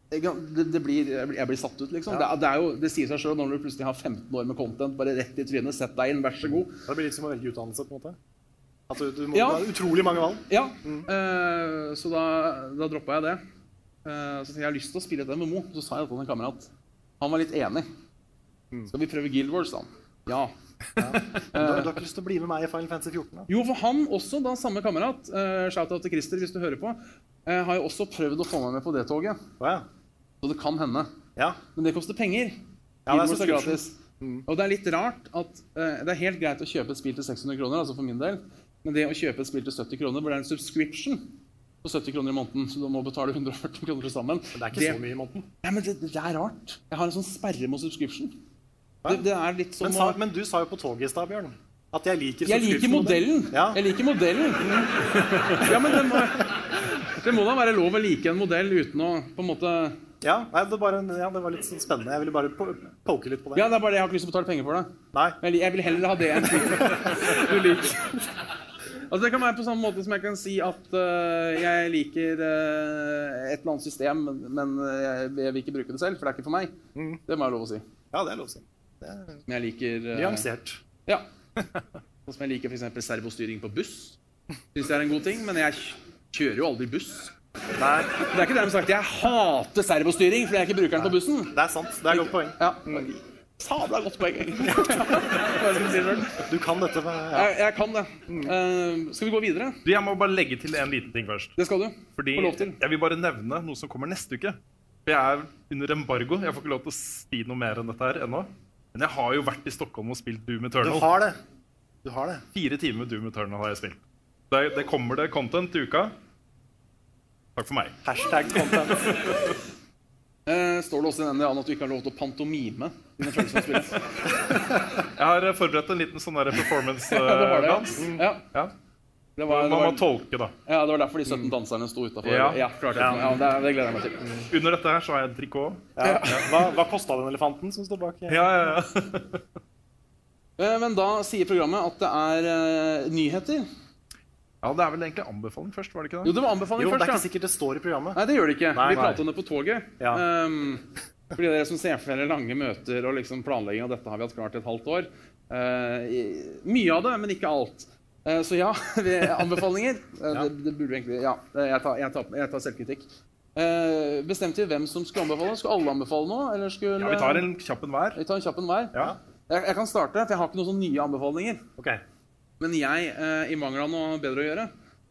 det, det blir, jeg blir- jeg blir satt ut, liksom. Det, er- det, er jo, det sier seg sjøl når du plutselig har 15 år med content. Bare rett i trynet, sett deg inn, vær så god.
Det blir litt som å velge utdannelse, på en måte. Altså, du må
Ja.
ha utrolig mange valg.
Ja, eh, Så da, da droppa jeg det. Eh, så tenkte jeg jeg har lyst til å spille et MMO. Så sa jeg det til en kamerat. Han var litt enig. Skal vi prøve Guild Wars, da? Ja.
Du, har- du har ikke lyst til å bli med meg i Final Fantasy 14? da?
Jo, for han også, da samme kamerat, uh, shout-out til Christer hvis du hører på, eh, har jo også prøvd å få meg med på det toget.
Å, ja.
Så det kan hende.
ja.
Men det koster penger.
Ja, det er Mm.
Guild Wars er
subscription.
gratis. Og det er litt rart at eh, det er helt greit å kjøpe et spill til 600 kroner, altså for min del, men det å kjøpe et spill til 70 kroner, hvor det er en subscription på 70 kroner i måneden, så du må betale 140 kroner til sammen
Det er ikke så mye i måneden.
Nei, men det, det er rart. Jeg har en sånn sperre mot subscription. Det, det er litt som
Men, sa,
å
men du sa jo på toget i stad, Bjørn, at jeg liker
jeg liker
subscription-modellen.
modellen.
Ja.
Jeg liker modellen. Ja, men det må, det må da være lov å like en modell uten å på en måte
Ja, nei, det, bare, ja, det var litt sånn spennende. Jeg ville bare po poke litt på det.
Ja, det er bare det jeg har ikke lyst til å betale penger for det.
Nei,
Jeg, li- jeg vil heller ha det enn du liker. Altså, det kan være på samme måte som jeg kan si at øh, jeg liker øh, et eller annet system, men, men øh, jeg, jeg vil ikke bruke det selv, for det er ikke for meg. Det må jeg ha lov å si.
ja, det er lov å si. Det er
Men jeg liker øh,
Nyansert.
Ja. Sånn som jeg liker f.eks. servostyring på buss. Syns jeg er en god ting, men jeg kj- kjører jo aldri buss.
Nei,
Det er ikke dermed sagt at jeg hater servostyring fordi jeg ikke bruker den på bussen.
det er sant. Det er et godt poeng.
Ja. Sabla godt poeng. egentlig. Hva skal jeg si selv?
Du kan dette med ja.
Jeg, jeg kan det. Eh, skal vi gå videre?
Du, jeg må bare legge til en liten ting først.
Det skal du.
Fordi
Få lov til.
jeg vil bare nevne noe som kommer neste uke. For jeg er under embargo. Jeg får ikke lov til å si noe mer enn dette her ennå. Men jeg har jo vært i Stockholm og spilt Doom
Du
Eternal.
har det. Du har det.
Fire timer Doom Eternal har jeg spilt. Det, det kommer det content til uka. Takk for meg.
Hashtag content.
Eh, står det også i den NDA-en at du ikke har lov til å pantomime dine følelser av spillet?
Jeg har eh, forberedt en liten sånn
Ja, det var det,
performance-dans.
ja. ja.
ja.
Det var, det,
Man må
var,
tolke, da.
ja, det var derfor de 17 danserne sto utafor. Ja,
Ja.
klart det. ja, det, det gleder jeg meg til.
Under dette her så har jeg en trikot.
Ja. Hva, hva kosta den elefanten som står bak?
Ja, ja, ja.
Eh, men da sier programmet at det er eh, nyheter.
ja, det er vel egentlig anbefaling først, var det ikke det?
Jo, det var anbefaling
Jo, men det er ikke
først, da.
sikkert det står i programmet.
Nei, det gjør det ikke.
Nei,
Vi
nei.
prater om det på toget.
Ja.
Ehm, fordi dere som ser for dere lange møter og liksom planlegging av dette har vi hatt klart i et halvt år. Eh, i- mye av det, men ikke alt. Eh, så ja, vi, anbefalinger. Eh, Det, det burde egentlig Ja, eh, jeg tar, jeg tar, jeg tar selvkritikk. Eh, bestemte vi hvem som skulle anbefale? Skulle alle anbefale noe? Eller skulle eh,
Ja, vi tar en kjapp en hver.
Vi tar en kjapp en hver?
Ja.
Jeg, jeg kan starte, for jeg har ikke noen sånne nye anbefalinger.
Ok.
Men jeg, eh, i mangel av noe bedre å gjøre,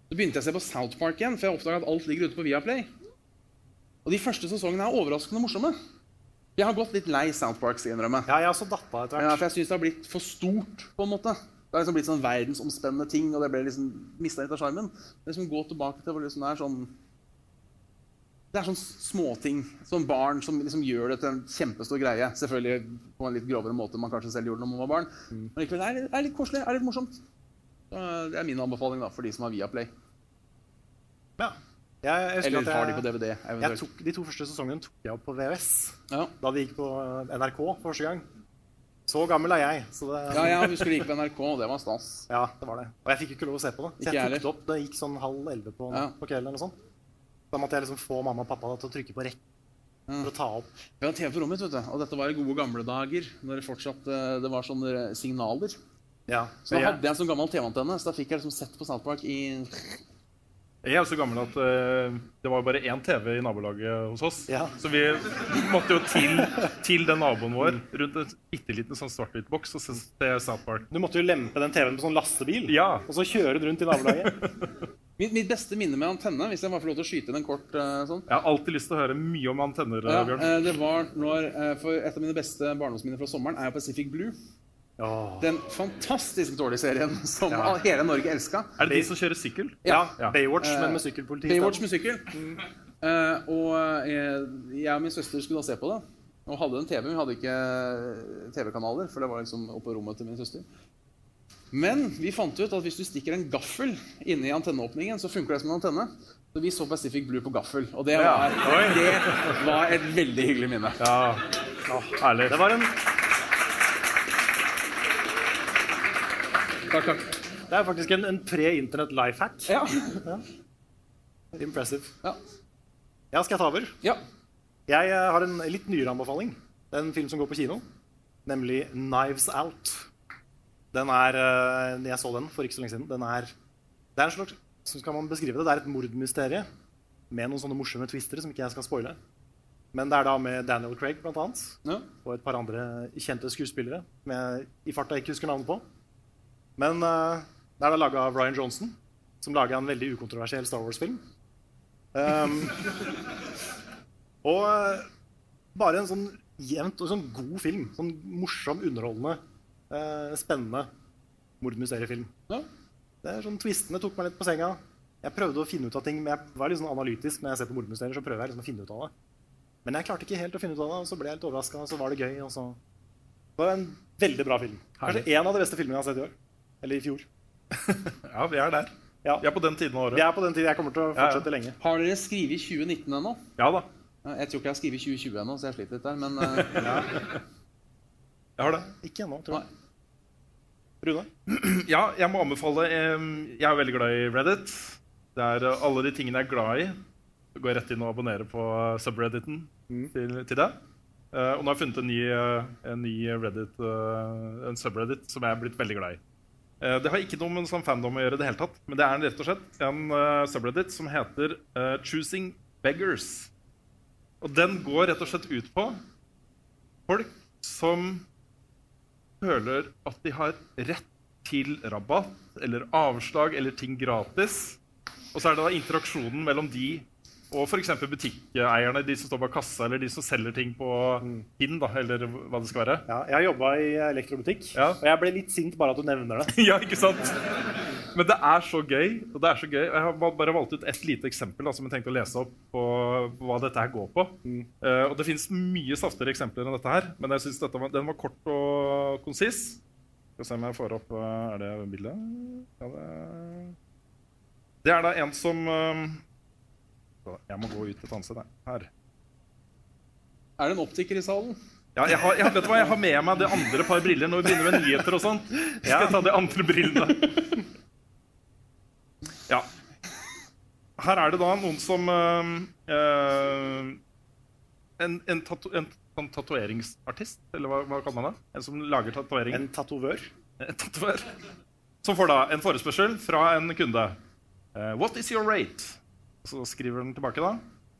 så begynte jeg å se på South Park igjen, for jeg oppdaga at alt ligger ute på Viaplay. Og de første sesongene er overraskende morsomme. Jeg har gått litt lei South Park, skal jeg innrømme.
Ja, jeg er også datta etter
Ja,
hvert.
for jeg syns det har blitt for stort, på en måte. Det har liksom blitt sånn verdensomspennende ting, og det ble liksom mista litt av sjarmen. Men Liksom gå tilbake til hvor liksom det er sånn Det er sånn småting som barn som liksom gjør det til en kjempestor greie.
Mm.
Selvfølgelig på en litt grovere måte enn man kanskje selv gjorde når man var barn. Men likevel, det er litt, det er litt koselig, det er litt morsomt. Eh, Det er min anbefaling da, for de som har Viaplay.
Ja. Jeg, jeg husker
Eller
at
har de
jeg-
på DVD,
Jeg
eventuelt.
tok, de to første sesongene tok jeg opp på VHS.
Ja.
Da de gikk på eh, NRK for første gang. Så gammel er jeg. Så det,
Ja, jeg husker det gikk på NRK, og det var stas.
Ja, det var det. Og jeg fikk jo ikke lov å se på det. Så
Ikke jeg
jeg tok det opp. Det gikk sånn halv elleve på,
Ja.
på kvelden. eller noe sånt. Da måtte jeg liksom få mamma og pappa til å trykke på rekk for å ta opp.
Vi hadde TV på rommet, vet du. og dette var i gode gamle dager. Når det fortsatt eh, det var sånne signaler.
Ja,
Så da
Ja.
hadde jeg en sånn gammel TV-antenne, så da fikk jeg liksom sett på South Park i
Jeg er jo så gammel at eh, det var bare én TV i nabolaget hos oss.
Ja.
Så vi måtte jo til, til den naboen vår rundt en bitte liten sånn svart-hvit boks og se se South Park.
Du måtte jo lempe den TV-en på sånn lastebil,
Ja.
og så kjøre den rundt i nabolaget.
Mitt, mitt beste minne med antenne, hvis jeg bare får lov til å skyte inn en kort eh, sånn
Jeg har alltid lyst til å høre mye om antenner, eh,
ja,
Bjørn.
eh, Det var når eh, For et av mine beste barndomsminner fra sommeren er jo Pacific Blue.
Åh.
Den fantastisk dårlige serien som
Ja.
hele Norge elska.
Er det de som kjører sykkel?
Ja,
Ja.
Baywatch,
Eh,
men med sykkelpoliti.
Baywatch med sykkel. Eh, og eh, jeg og min søster skulle da se på det. Og hadde en TV. men Vi hadde ikke TV-kanaler, for det var liksom oppå rommet til min søster. Men vi fant ut at hvis du stikker en gaffel inni antenneåpningen, så funker det som en antenne. Så vi så Pacific Blue på gaffel. Og det var,
Oi.
det var et veldig hyggelig minne.
Ja. Herlig.
Det var en,
Takk, takk.
det er faktisk en, en pre-internett life hack.
Ja.
Impressive.
Ja.
Ja, skal jeg ta over?
ja.
Jeg eh, har en litt nyere anbefaling. Det er en film som går på kino, nemlig 'Knives Out'. Den er, eh, Jeg så den for ikke så lenge siden. Den er, det er en slags, så skal man beskrive det, det er et mordmysterium med noen sånne morsomme twistere som ikke jeg skal spoile. Men det er da med Daniel Craig blant annet,
Ja.
og et par andre kjente skuespillere som jeg i farta ikke husker navnet på. Men eh, det er da laga av Ryan Johnson, som laga en veldig ukontroversiell Star Wars-film. Um, og eh, bare en sånn jevnt og sånn god film. Sånn morsom, underholdende, eh, spennende mordmysteriefilm.
Ja.
Det er sånn Twistene tok meg litt på senga. Jeg prøvde å finne ut av ting, men jeg var litt sånn analytisk når jeg ser på mordmysterier. så prøver jeg liksom å finne ut av det. Men jeg klarte ikke helt å finne ut av det, og så ble jeg litt overraska, og så var det gøy. og så... Det var en veldig bra film. Kanskje en av de beste filmene jeg har sett i år. Eller i fjor.
Ja, vi er der.
Ja.
Vi er på den tiden av
Vi
året.
er på den tiden jeg kommer til å
Ja, ja.
fortsette lenge.
Har dere skrevet 2019 ennå?
Ja da.
Eh, Jeg tror ikke jeg har skrevet 2020 ennå, så jeg sliter litt der. Men eh,
Jeg har det.
Ikke ennå, tror jeg. Rune?
Ja, jeg må anbefale em, Jeg er veldig glad i Reddit. Det er eh, alle de tingene jeg er glad i. Så går jeg rett inn og abonnerer på eh, subredditen til, til det. Eh, og nå har jeg funnet en ny, eh, en ny Reddit, eh, en subreddit som jeg er blitt veldig glad i. Eh, det har ikke noe med sånn fandom å gjøre, i det hele tatt, men det er en- rett og slett en eh, subreddit som heter eh, Choosing Beggars. Og den går rett og slett ut på folk som føler at de har rett til rabatt eller avslag eller ting gratis. Og så er det da interaksjonen mellom de og f.eks. butikkeierne, de som står bak kassa, eller de som selger ting på Finn, da, eller hva det skal være.
Ja, jeg har jobba i elektrobutikk,
Ja.
og jeg ble litt sint bare at du nevner det.
ja, ikke sant? Men det er så gøy. og det er så gøy. Jeg har ba- bare valgt ut ett lite eksempel da, som jeg tenkte å lese opp på hva dette her går på. Eh, og Det fins mye saftigere eksempler enn dette her, men jeg synes dette var, den var kort og konsis. Skal se om jeg får opp eh, Er det bildet? Ja, det er Det er da en som eh, Jeg må gå ut et annet sted. nei. Her.
er det en optiker i salen?
Ja, jeg har, jeg, vet du hva, jeg har med meg det andre par briller når vi begynner med nyheter og sånt. Så skal jeg ta de andre brillene. Ja. Her er det da noen som eh, eh, En, en, tato, en, sånn tatoveringsartist, eller hva, hva kaller man det? En som lager tatovering.
En tatovør.
En tatover. Som får da en forespørsel fra en kunde. Eh, What is your rate? Så skriver den tilbake, da.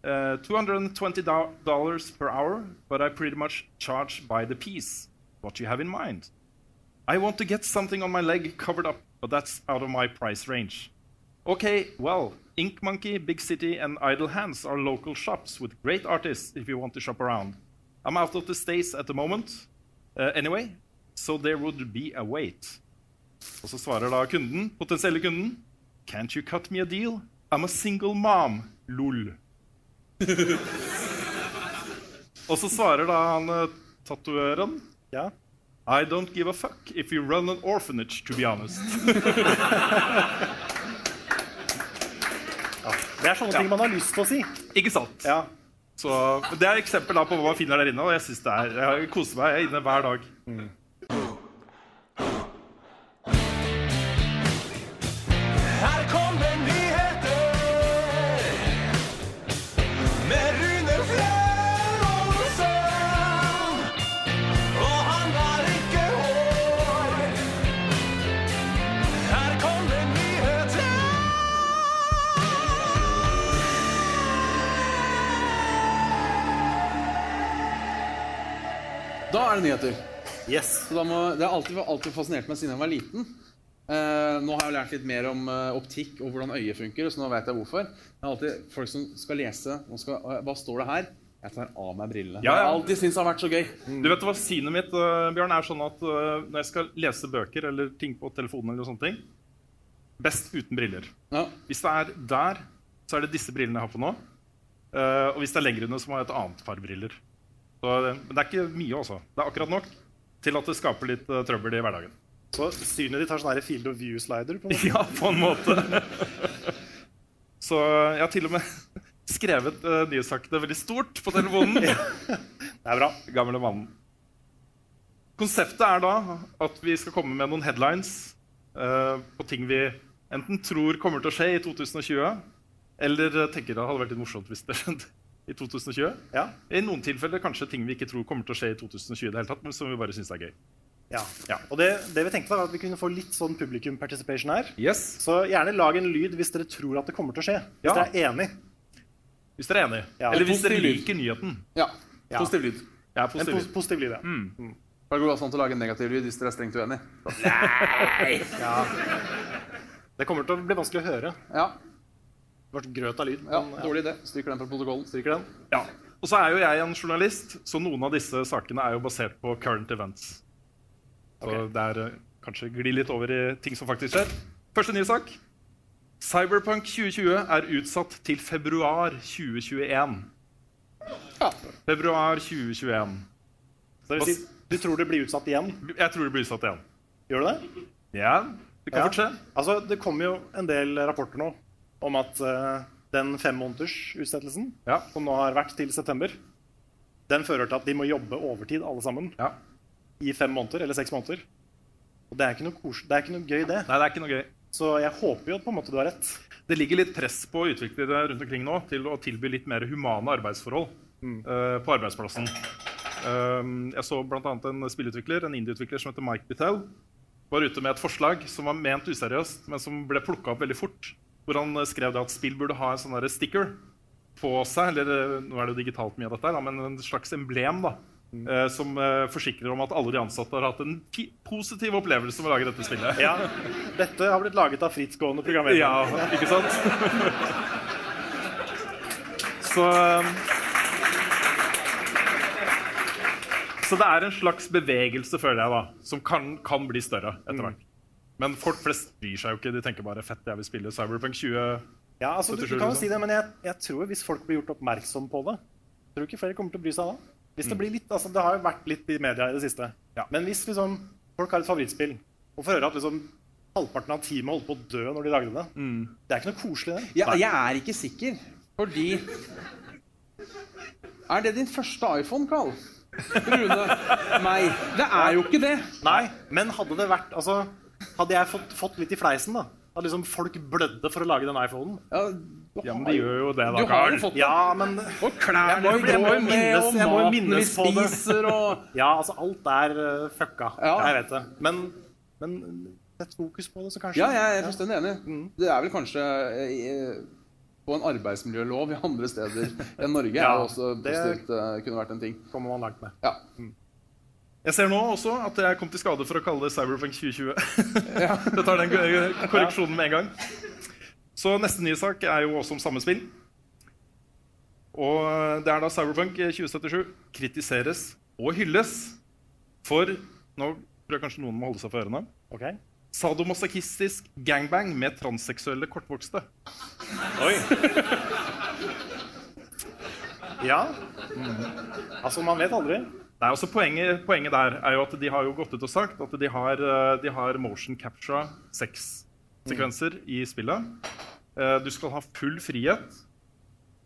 eh, 220 do- dollars per hour, but I pretty much charge by the piece. What you have in mind? I want to get something on my leg covered up, but that's out of my price range. Okay, well, Ink Monkey, Big City, and Idle Hands are local shops with great artists if you want to shop around. I'm out of the States at the moment. Uh, anyway, so there would be a wait. Og så svarer da kunden, potensielle kunden Can't you cut me a deal? I'm a single mom. Lol. og så svarer da han eh, tatoøren
Ja.
I don't give a fuck if you run an orphanage, to be honest.
Det er sånne ting man har lyst til å si.
Ikke sant?
Ja.
Så, men det er et eksempel da på hva man finner der inne, og jeg synes det er, jeg koser meg inne hver dag.
Her kommer nyheter med Rune Flevoldsen. Og han har ikke hår. Her kommer nyheter.
Da er det nyheter.
Yes.
Så da må, det har alltid, alltid fascinert meg siden jeg var liten. Eh, nå har jeg jo lært litt mer om eh, optikk og hvordan øyet funker. så nå vet jeg hvorfor. Det er alltid folk som skal lese og skal, «Å, Hva står det her? Jeg tar av meg brillene.
Ja, ja.
Jeg har alltid syntes det har vært så gøy.
Mm.
Du vet hva synet mitt, eh, Bjørn, er sånn at eh, når jeg skal lese bøker eller ting på telefonen, eller sånne ting, best uten briller.
Ja.
Hvis det er der, så er det disse brillene jeg har på nå. Eh, og hvis det er lenger unna, så må jeg ha et annet par briller. Så, eh, men det er ikke mye, altså. Det er akkurat nok til at det skaper litt eh, trøbbel i hverdagen.
Så synet ditt har sånn her field of view-slider. på en måte.
Ja, på en måte. Så jeg har til og med skrevet uh, nyhetssakene veldig stort på telefonen.
Det er bra.
Gamle mannen. Konseptet er da at vi skal komme med noen headlines eh, på ting vi enten tror kommer til å skje i 2020, eller eh, tenker det hadde vært litt morsomt hvis det skjedde i 2020.
Ja.
I noen tilfeller kanskje ting vi ikke tror kommer til å skje i 2020, i det hele tatt, men som vi bare syns er gøy.
ja.
Ja.
Og det, det vi tenkte, var at vi kunne få litt sånn publikum participation her.
Yes.
Så gjerne lag en lyd hvis dere tror at det kommer til å skje. Hvis
Ja.
dere er enig.
Hvis dere er enig.
Ja.
eller hvis dere
Positiv lyd.
liker nyheten.
ja.
Ja.
Positiv lyd.
Jeg er
En
positiv.
pos positiv lyd, ja.
Mm.
Da går det også an til å lage en negativ lyd hvis dere er strengt uenig.
Det kommer til å bli vanskelig å høre.
Ja,
Det var grøt av lyd.
ja,
men, Sånn, ja.
Dårlig idé. Stryker den fra protokollen.
Stryker den.
Ja. Og så er jo jeg en journalist, så noen av disse sakene er jo basert på current events. Så det er eh, kanskje gli litt over i ting som faktisk skjer. Første nye sak. Cyberpunk 2020 er utsatt til februar 2021.
Ja.
Februar 2021.
Så det vil si, du tror det blir utsatt igjen?
Jeg tror det blir utsatt igjen.
Gjør du det?
Ja, det kan
Ja.
fort skje.
Altså, det kommer jo en del rapporter nå om at eh, den femmånedersutsettelsen
Ja.
som nå har vært til september, den fører til at de må jobbe overtid alle sammen
Ja.
i fem måneder eller seks måneder. Og det er ikke noe, kos det er ikke noe gøy, det.
Nei, det er ikke noe gøy.
Så jeg håper jo på en måte du har rett.
det ligger litt press på utviklere rundt omkring nå til å tilby litt mer humane arbeidsforhold eh, på arbeidsplassen. Um, jeg så bl.a. en spillutvikler, en indieutvikler som heter Mike Bittel, var ute med et forslag som var ment useriøst, men som ble plukka opp veldig fort. Hvor han eh, skrev det at spill burde ha en sånn der sticker på seg, eller eh, nå er det jo digitalt mye av dette, her, da, men en slags emblem da, eh, som eh, forsikrer om at alle de ansatte har hatt en pi- positiv opplevelse med å lage dette spillet.
Ja, Dette har blitt laget av frittgående programmerere.
Ja, ikke sant? Så um, Så det er en slags bevegelse, føler jeg, da, som kan, kan bli større etter hvert. Men folk flest bryr seg jo ikke. De tenker bare 'fett, jeg vil spille Cyberpunk 20'.
Ja, altså, du, du
77,
kan jo
liksom.
si det, men jeg, jeg tror hvis folk blir gjort oppmerksom på det, tror du ikke flere kommer til å bry seg da? Hvis det, blir litt, altså, det har jo vært litt i media i det siste.
Mm. Ja.
Men hvis liksom, folk har et favorittspill, og får høre at liksom, halvparten av teamet holdt på å dø når de lagde det,
Mm.
det er ikke noe koselig det.
Ja, jeg er ikke sikker, fordi Er det din første iPhone, Carl? Rune? Nei. Det er jo ikke det.
Nei, men hadde det vært, altså, hadde jeg fått, fått litt i fleisen da, at liksom folk blødde for å lage den iPhonen.
Ja,
Ja, men de gjør jo det, da,
du har jo
Karl.
fått det.
Ja, men
Og klærne
Jeg må jo- jeg må jo
går med,
minnes-
og
jeg må jo
maten vi
minnes på det.
spiser, og
ja, altså, alt er eh, fucka. Ja.
Ja.
Jeg vet det. Men, men sett fokus på det, så kanskje...
Ja, jeg er fullstendig enig.
Mm.
Det er vel kanskje eh, på en arbeidsmiljølov i andre steder enn Norge
Ja,
er det også
det-
positivt eh, kunne vært en ting.
Ja, kommer man langt med.
Ja.
Jeg ser nå også at jeg kom til skade for å kalle det Cyberpunk 2020. jeg tar den korreksjonen med en gang. Så neste nye sak er jo også om samme spill. Og det er da Cyberpunk 2077 kritiseres og hylles for Nå tror jeg kanskje noen må holde seg for ørene.
Ok.
Sadomasochistisk gangbang med transseksuelle kortvokste.
Ja. Altså, man vet aldri.
Nei, også poenget, poenget der er jo at de har jo gått ut og sagt at de har, eh, de har motion capture sexsekvenser i spillet. Eh, Du skal ha full frihet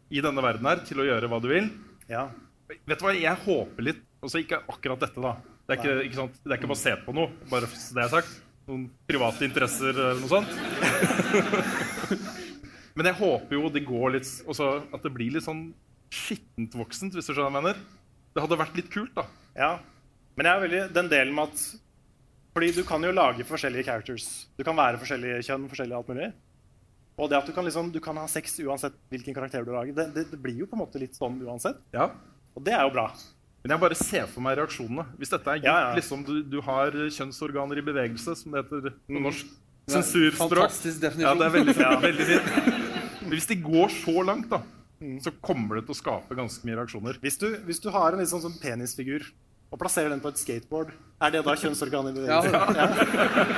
i denne verden her til å gjøre hva du vil.
Ja.
Vet du hva, jeg håper litt Altså ikke akkurat dette, da. Det er ikke, ikke, sant? Det er ikke basert på noe, bare så det er sagt. Noen private interesser eller noe sånt. Men jeg håper jo det går litt også At det blir litt sånn skittent voksent, hvis du skjønner hva jeg mener. Det hadde vært litt kult, da.
Ja. Men jeg er veldig den delen med at Fordi du kan jo lage forskjellige characters. Du kan være forskjellige kjønn, forskjellig alt mulig. Og det at du kan, liksom, du kan ha sex uansett hvilken karakter du lager, det, det, det blir jo på en måte litt sånn uansett.
Ja.
Og det er jo bra.
Men jeg bare ser for meg reaksjonene. Hvis dette er gjort,
Ja, ja.
liksom du, du har kjønnsorganer i bevegelse, som det heter på norsk.
Det er
Sensurspråk.
fantastisk definisjon.
Ja, det er veldig,
Ja.
veldig fint. Men hvis de går så langt, da, så kommer det til å skape ganske mye reaksjoner.
Hvis du, hvis du har en litt sånn, sånn penisfigur og plasserer den på et skateboard, er det da kjønnsorganet i bevegelse?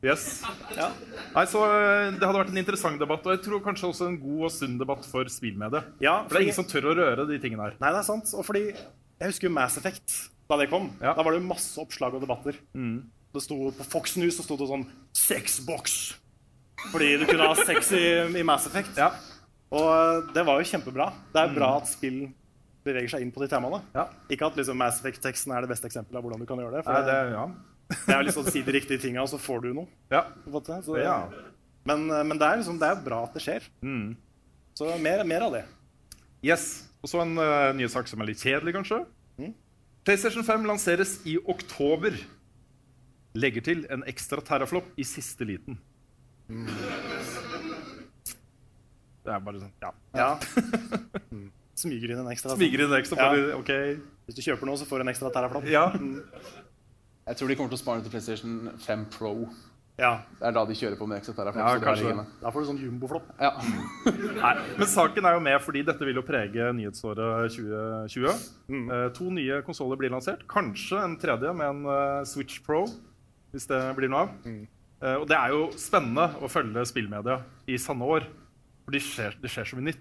Yes.
Ja.
Nei, så eh, Det hadde vært en interessant debatt, og jeg tror kanskje også en god og sunn debatt for spillmediet.
Ja,
for det
fordi-
er ingen som tør å røre de tingene her.
Nei, det er sant. Og fordi jeg husker jo Mass Effect da det kom. Da var det jo masse oppslag og debatter. Det sto På Fox News så sto det sånn 'sexbox'. Fordi du kunne ha sex i, i Mass Effect. Og eh, det var jo kjempebra. Det er bra at spill beveger seg inn på de temaene. Ikke at liksom Mass Effect-teksten er det beste eksempelet av hvordan du kan gjøre det. For
Nei, det, ja.
det er jo liksom å si de riktige tinga, og så får du noe.
Ja.
På en måte. Så,
Ja.
Men, men det er liksom, det er jo bra at det skjer. Så mer, mer av det.
Yes. Og så en uh, ny sak som er litt kjedelig, kanskje.
Mm.
PlayStation 5 lanseres i oktober. Legger til en ekstra terraflop i siste liten.
Mm.
Det er bare sånn Ja.
Ja. Mm. Smyger inn en ekstra. altså.
Smiger inn ekstra.
Ja.
Bare, ok.
Hvis du kjøper noe, så får du en ekstra terraflop.
Ja.
Jeg tror de kommer til å spare det til PlayStation 5 Pro.
Ja.
Det er da de kjører på med ekstra teraflop.
Ja,
så det har de
kanskje.
hjemme.
Da får du sånn jumboflop.
Ja.
Nei, men saken er jo med fordi dette vil jo prege nyhetsåret 2020. Eh, to nye konsoller blir lansert. Kanskje en tredje med en eh, Switch Pro, hvis det blir noe av. Eh, og det er jo spennende å følge spillmedia i sanne år, for det skjer, det skjer så mye nytt.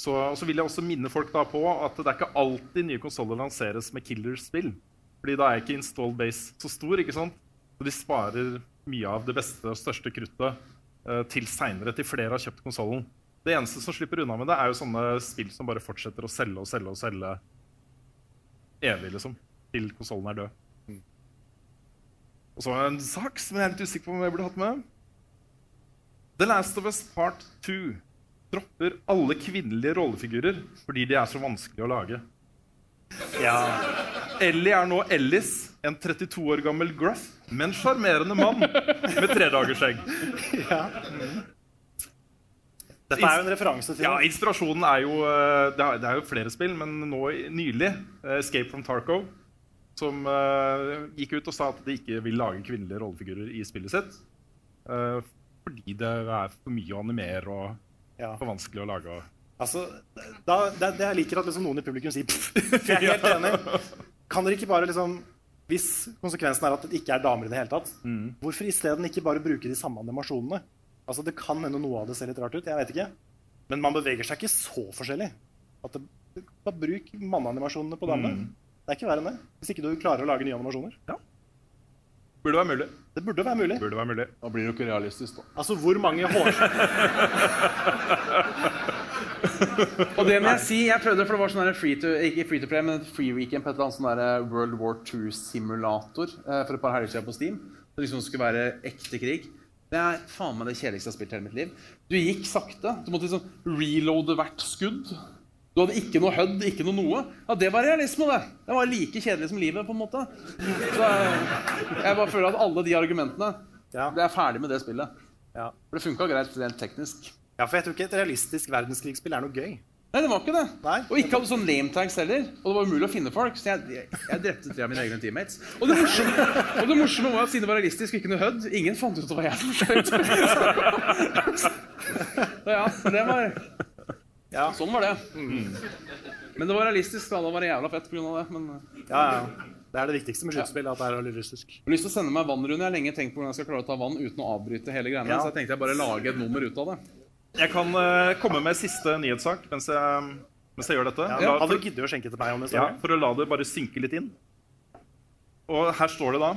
Så, og så vil jeg også minne folk da på at det er ikke alltid nye konsoller lanseres med killer-spill. Fordi da er ikke install base så stor, ikke sant? Så de sparer mye av det beste og største kruttet eh, til seinere, til flere har kjøpt konsollen. Det eneste som slipper unna med det, er jo sånne spill som bare fortsetter å selge og selge og selge evig, liksom. Til konsollen er død. Og så har jeg en sak som jeg er litt usikker på om jeg burde hatt med. The Last of Us Part 2 dropper alle kvinnelige rollefigurer fordi de er så vanskelig å lage.
Ja.
Ellie er nå Ellis, en 32 år gammel gruff, men sjarmerende mann med tredagersskjegg.
Dette er jo en referanse til
Ja, inspirasjonen er jo eh, Det er, det er jo flere spill, men nå i- nylig eh, Escape from Tarco, som eh, gikk ut og sa at de ikke vil lage kvinnelige rollefigurer i spillet sitt. eh, fordi det er for mye å animere og
Ja.
for vanskelig å lage. og-
Altså, da, det, det jeg liker at liksom noen i publikum sier pff, for jeg er helt enig. Kan dere ikke bare liksom Hvis konsekvensen er at det ikke er damer i det hele tatt,
Mm.
hvorfor isteden ikke bare bruke de samme animasjonene? Altså, Det kan hende noe av det ser litt rart ut, jeg vet ikke. Men man beveger seg ikke så forskjellig. At det, bare bruk manneanimasjonene på
Mm.
damene. Det er ikke verre enn det. Hvis ikke du klarer å lage nye animasjoner.
Burde være mulig.
Det burde være mulig.
Burde være mulig.
Da blir det jo ikke realistisk, da.
Altså, hvor mange hår...
Og det må jeg si, jeg prøvde, for det var sånn der free to, ikke free to play, men free weekend på et eller annet sånn der World War II-simulator eh, for et par helger siden på Steam. Det liksom skulle være ekte krig. Det er faen meg det kjedeligste jeg har spilt i hele mitt liv. Du gikk sakte. Du måtte liksom reloade hvert skudd. Du hadde ikke noe HUD, ikke noe noe. Ja, Det var realisme, det. Det var like kjedelig som livet, på en måte. Så eh, jeg bare føler at alle de argumentene
Ja.
Det er ferdig med det spillet.
Ja.
For det funka greit rent teknisk.
Ja, for jeg tror ikke et realistisk verdenskrigsspill er noe gøy.
Nei, det var ikke det.
Nei.
Og ikke hadde sånn lame tags heller. Og det var umulig å finne folk. Så jeg, jeg, jeg drepte tre av mine egne teammates. Og det morsomme, og det morsomme var at siden det var realistisk og ikke noe HUD, ingen fant ut at det var jeg som skjøt. Så ja, det var
Ja.
Sånn var det. Men det var realistisk. Da. Det var jævla fett pga. det. Men jeg
Ja, ja. Det er det viktigste med skytespill, at det er realistisk.
har lyst til å sende meg vann, Rune. Jeg har lenge tenkt på hvordan jeg skal klare å ta vann uten å avbryte hele greiene.
Ja.
Så jeg tenkte jeg bare lage et nummer ut av det.
Jeg kan eh, komme med siste nyhetssak mens jeg, mens jeg gjør dette.
Ja,
La-
han hadde giddet å skjenke til meg om det
Ja,
står.
for å la det bare synke litt inn. Og her står det da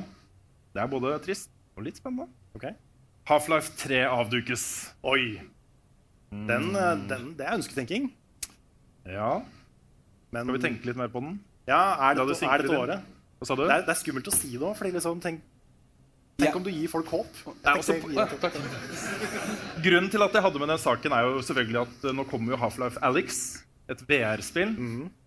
Det er både trist og litt spennende.
Ok.
Half-Life 3 avdukes.
Oi. Den, eh, den, det er ønsketenking.
Ja,
Men
Skal vi tenke litt mer på den?
ja,
La
er
det
det, er det
synke
til
litt inn.
året?
Hva sa du?
Det er, det er skummelt å si det òg, fordi liksom Tenk, tenk om du gir folk håp.
er
Jeg tenkte-
også- Grunnen til at jeg hadde med den saken, er jo selvfølgelig at eh, nå kommer jo Half-Life Alyx, et VR-spill.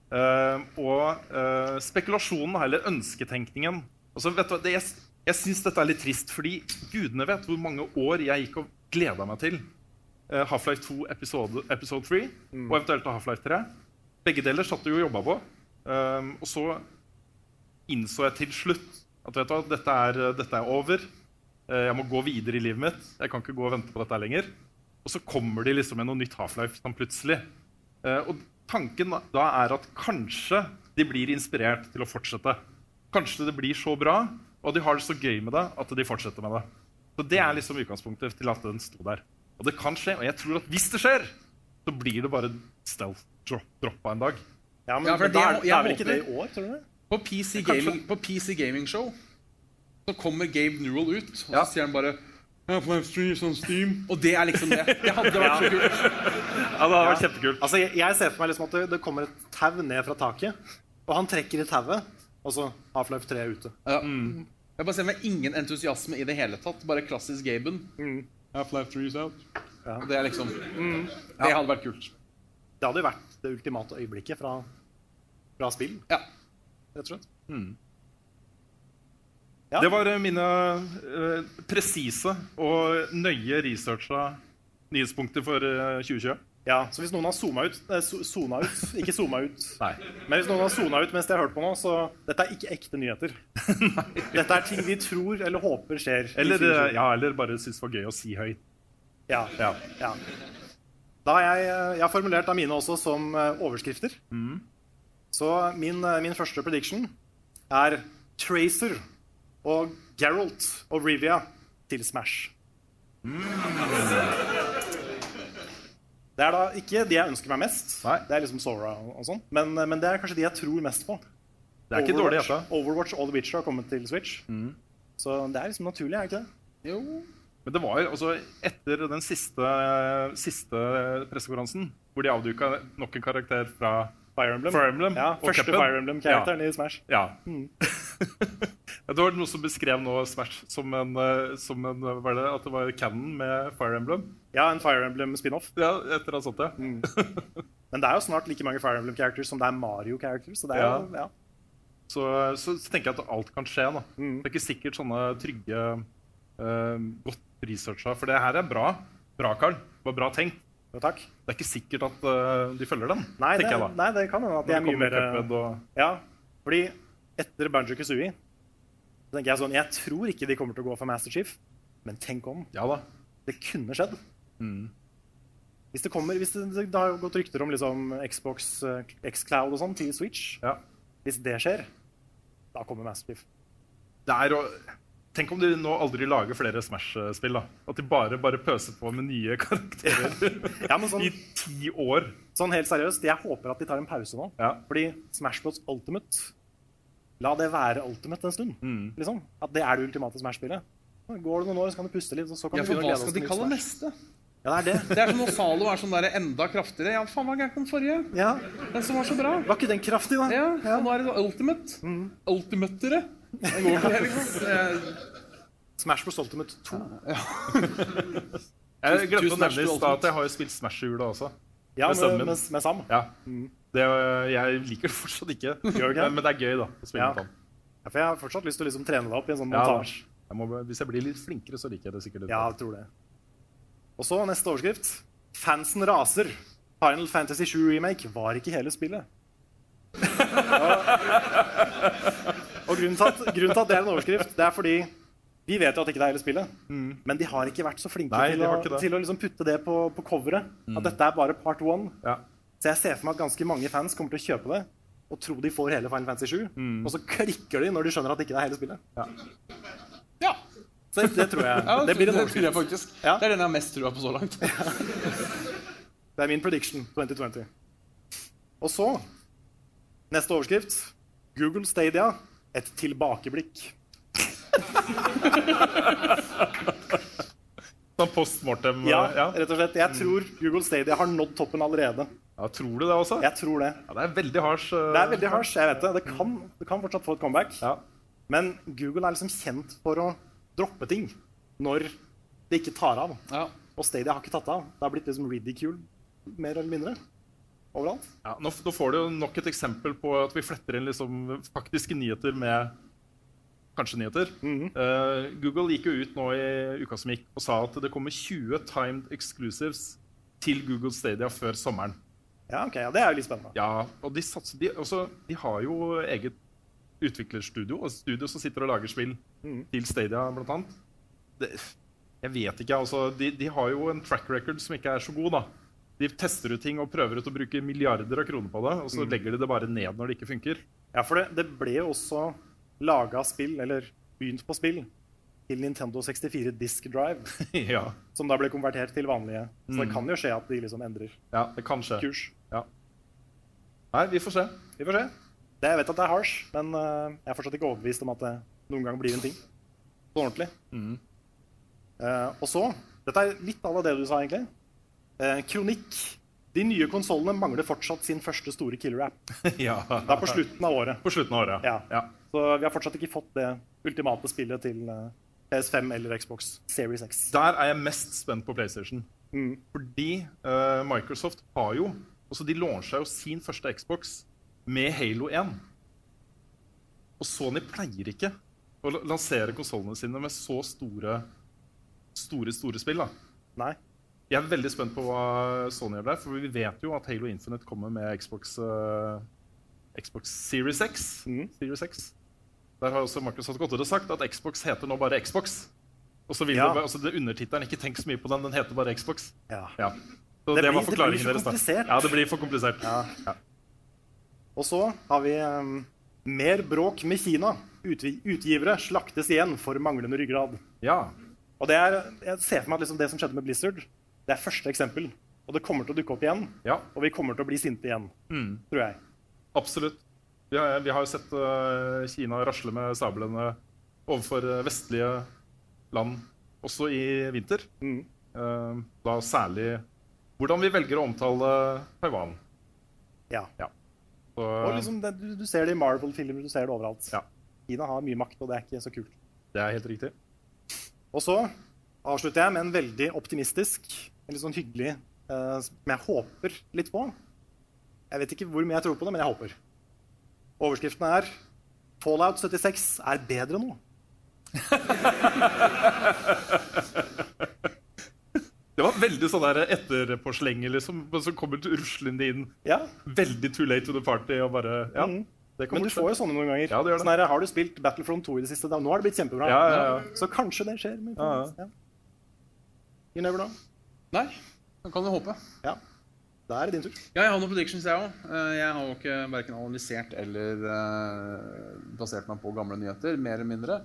Eh, og eh, spekulasjonen, eller ønsketenkningen altså, vet du, hva, det, Jeg, jeg syns dette er litt trist, fordi gudene vet hvor mange år jeg gikk og gleda meg til eh, Half-Life 2 episode, episode 3 og eventuelt Half-Life 3. Begge deler satt du og jobba på. Eh, og så innså jeg til slutt at vet du hva, dette er, dette er over. Eh, Jeg må gå videre i livet mitt. Jeg kan ikke gå og vente på dette her lenger. Og så kommer de liksom med noe nytt Half-Life sånn plutselig. Eh, Og tanken da- da er at kanskje de blir inspirert til å fortsette. Kanskje det blir så bra, og de har det så gøy med det at de fortsetter med det. Så det er liksom utgangspunktet til at den sto der. Og det kan skje, og jeg tror at hvis det skjer, så blir det bare stealth-droppa en dag.
Ja, men
Ja, for
men
det-
da er,
jeg
da er vel ikke det
håper-
i år, tror du? det?
På PC,
Kanskje-
gaming, på PC Gaming Show så kommer Gabe Newell ut, og
Ja.
så sier han bare «Ja, på Streams on Steam. Og det er liksom det. Det hadde vært så kult.
Ja, det hadde vært kjempekult.
Altså, jeg, jeg ser for meg liksom at det, det kommer et tau ned fra taket, og han trekker i tauet, og så Half-Life 3 er ute.
Ja. Jeg bare ser meg ingen entusiasme i det hele tatt. Bare klassisk Gaben. Half-Life 3 is out. Og Det er liksom Det hadde vært kult.
Det hadde jo vært det ultimate øyeblikket fra, fra spill,
Ja.
rett og slett.
Det var eh, mine eh, presise og nøye researcha nyhetspunkter for eh, 2020.
Ja, så hvis noen har zooma ut, eh, so- sona ut, ikke zooma ut,
Nei.
men hvis noen har sona ut mens de har hørt på nå, så dette er ikke ekte nyheter. Dette er ting vi tror eller håper skjer. i
Eller, eh,
2020.
ja, eller bare syns det var gøy å si høyt.
Ja.
Ja.
ja. Da har jeg, jeg har formulert da mine også som eh, overskrifter.
Mm.
Så min, eh, min første prediction er Tracer og Geralt og Rivia til Smash. Det er da ikke de jeg ønsker meg mest.
Nei.
Det er liksom Sora og, og sånn. Men, eh, men det er kanskje de jeg tror mest på.
Det er ikke dårlig altså. Mm. gjetta.
Overwatch og The Witcher har kommet til Switch. Så det er liksom naturlig, er det ikke det?
Jo.
Men det var jo altså etter den siste, siste pressekonferansen, hvor de avduka nok en karakter fra
Fire Emblem.
Fire Emblem
Ja,
og
første
Cuphead.
Fire Emblem-karakteren i Smash.
Ja. det var noe som beskrev nå Smash som en, eh, som en eh, Hva er det? At det var canon med Fire Emblem?
Ja, en Fire Emblem spin-off.
Ja, etter at han satt det.
Men det er jo snart like mange Fire Emblem characters som det er Mario characters. Så det er
Ja.
jo, ja.
så, så, så tenker jeg at alt kan skje. Da.
Mm.
Det er ikke sikkert sånne trygge, eh, godt researcha For det her er bra. Bra, Karl. Det var bra tenkt.
Jo, takk.
Det er ikke sikkert at eh, de følger den.
Nei, det,
tenker jeg da.
nei, det kan hende
Når
at det
det
er mye
kommer
mer
Cuphead og...
Ja, fordi etter Banjo Kazooie så tenker jeg sånn Jeg tror ikke de kommer til å gå for Master Chief, men tenk om.
Ja da.
Det kunne skjedd.
Mm.
Hvis det kommer hvis det, det har jo gått rykter om liksom Xbox, eh, Xcloud og sånn til Switch.
Ja.
Hvis det skjer, da kommer Master Chief.
Det er å Tenk om de nå aldri lager flere Smash-spill. da. At de bare, bare pøser på med nye karakterer
Ja, men sånn-
i ti år.
Sånn helt seriøst, jeg håper at de tar en pause nå.
Ja.
Fordi Smash Bros. Ultimate La det være Ultimate en stund.
Mm.
Liksom. At det er det ultimate Smash-spillet. Så Går det noen år, så kan du puste litt. og Så kan
Ja,
du
for
begynne
hva
å glede
skal
oss
de
til
kalle
nytt
neste?
Smash. Ja, det er det.
Det er som når Zalo er sånn der enda kraftigere. Ja, faen, hva er gærent med den forrige?
Ja.
Den som var så bra.
Var ikke den kraftig, da?
Ja, Mm. og nå er det Ultimate. Ultimatere. Det går ikke, liksom. Det-
Smash Bros. Ultimate 2.
Jeg glemte å
tusen Smash
nevne i
til
stad
Ultimate.
at jeg har jo spilt Smash i jula også.
Ja,
Med
med,
sømmen.
med, med Sam.
Ja. Det, jeg liker det fortsatt ikke,
Mm. Gjør du ikke?
men det er gøy, da. å spille
Ja.
med han.
Ja, for jeg har fortsatt lyst til å liksom trene deg opp i en sånn
Ja, da.
montasje.
Jeg må, hvis jeg blir litt flinkere, så liker jeg det sikkert. litt
Ja, jeg tror det. Og så neste overskrift. Fansen raser. Final Fantasy 7 Remake var ikke hele spillet. Og, og grunnen, til at, grunnen til at det er en overskrift, det er fordi vi vet jo at ikke det er hele spillet. Men de har ikke vært så flinke
Nei, de
til,
har ikke
å,
det.
til å liksom putte det på, på coveret. At dette er bare part one.
Ja.
Så jeg ser for meg at ganske mange fans kommer til å kjøpe det og tro de får hele Final Fantasy 7.
Mm.
Og så klikker de når de skjønner at ikke det er hele spillet.
Ja.
Så det, det tror jeg.
ja,
Det blir en
det tror jeg
overskrift.
faktisk.
Ja.
Det er den jeg har mest trua på så langt.
Det er min prediction 2020. Og så, neste overskrift, Google Stadia, et tilbakeblikk.
Sånn postmortem
Ja, Mm.
eh, ja.
rett og slett. Jeg tror Google Stadia har nådd toppen allerede.
ja, Tror du det også?
Jeg tror det.
Ja, det er veldig hards. eh,
Det er veldig harsh, jeg vet det. Det kan, det kan fortsatt få et comeback.
Ja.
Men Google er liksom kjent for å droppe ting når det ikke tar av.
Ja.
Og Stadia har ikke tatt av. Det har blitt liksom ridicule, mer eller mindre, overalt.
Ja, nå, f- nå får du jo nok et eksempel på at vi fletter inn liksom faktiske nyheter med kanskje nyheter.
Mhm.
Eh, Google gikk jo ut nå i uka som gikk og sa at det kommer 20 timed exclusives til Google Stadia før sommeren.
Ja, ok, ja, Det er jo litt spennende.
Ja, og de, satser, de, også, de har jo eget utviklerstudio, og studio som sitter og lager spill
Mm.
til Stadia blant annet. Det, jeg vet ikke, altså. De, de har jo en track record som ikke er så god, da. De tester ut ting og prøver ut å bruke milliarder av kroner på det, og så
Mm.
legger de det bare ned når det ikke funker.
Ja, for det, det ble jo også laga spill, eller begynt på spill, til Nintendo 64 Disk Drive,
ja.
som da ble konvertert til vanlige. Så det kan jo skje at de liksom endrer
ja, det kan skje.
kurs.
Ja. Nei, vi får se.
Vi får se. Det, jeg vet at det er harsh, men eh, jeg er fortsatt ikke overbevist om at det noen gang blir en ting. Sånn ordentlig. Eh, og så Dette er litt av det du sa, egentlig. Eh, kronikk. De nye konsollene mangler fortsatt sin første store killer-app.
ja.
Det er på slutten av året.
På slutten av året.
Ja.
Ja.
Så vi har fortsatt ikke fått det ultimate spillet til eh, PS5 eller Xbox Series X.
Der er jeg mest spent på PlayStation. Fordi eh, Microsoft har jo altså De launcha jo sin første Xbox med Halo 1. Og Sony pleier ikke å la- lansere konsollene sine med så store, store, store spill. da.
Nei.
Jeg er veldig spent på hva Sony gjør der, for vi vet jo at Halo Infinite kommer med Xbox, eh, Xbox Series X.
Mm.
Series X. Der har også Microsoft gått ut og sagt at Xbox heter nå bare Xbox. Og så vil
Ja.
det være- altså det undertittelen ikke tenk så mye på den, den heter bare Xbox.
Ja.
Ja. Så
Det
det,
blir-
var
det
forklaringen
blir for
deres. da.
komplisert.
Ja, det blir for komplisert. Ja.
Og så har vi eh, mer bråk med Kina. Utvi utgivere slaktes igjen for manglende ryggrad.
ja.
Og det er, jeg ser for meg at liksom det som skjedde med Blizzard, det er første eksempel. Og det kommer til å dukke opp igjen,
Ja.
og vi kommer til å bli sinte igjen.
Mm.
Tror jeg.
Absolutt. Vi har, vi har jo sett øh, Kina rasle med sablene overfor øh, vestlige land også i vinter. Eh, da særlig hvordan vi velger å omtale Taiwan.
Ja.
Ja. Så,
Og liksom det, du, du ser det i Marvel-filmer, du ser det overalt.
ja,
Kina har mye makt, og det er ikke så kult.
det er helt riktig.
Og så avslutter jeg med en veldig optimistisk, en litt sånn hyggelig, eh, som jeg håper litt på. Jeg vet ikke hvor mye jeg tror på det, men jeg håper. Overskriften er Fallout 76 er bedre nå.
Det var veldig sånn der etterpåslenger liksom, som kommer ruslende inn.
Ja,
Veldig too late to the party og bare Ja.
Mhm.
Det
Men du får jo sånne noen ganger.
Ja, det gjør det.
Sånn her, har du spilt Battlefront 2 i det siste? Da, nå har det blitt kjempebra.
Ja, ja, ja.
Så kanskje det skjer. Med
Ja,
ja. You never know.
Nei, da kan du håpe.
Ja. Da er det din tur.
Ja, jeg har noen predictions, jeg òg. Jeg har jo ikke verken analysert eller eh, basert meg på gamle nyheter, mer eller mindre.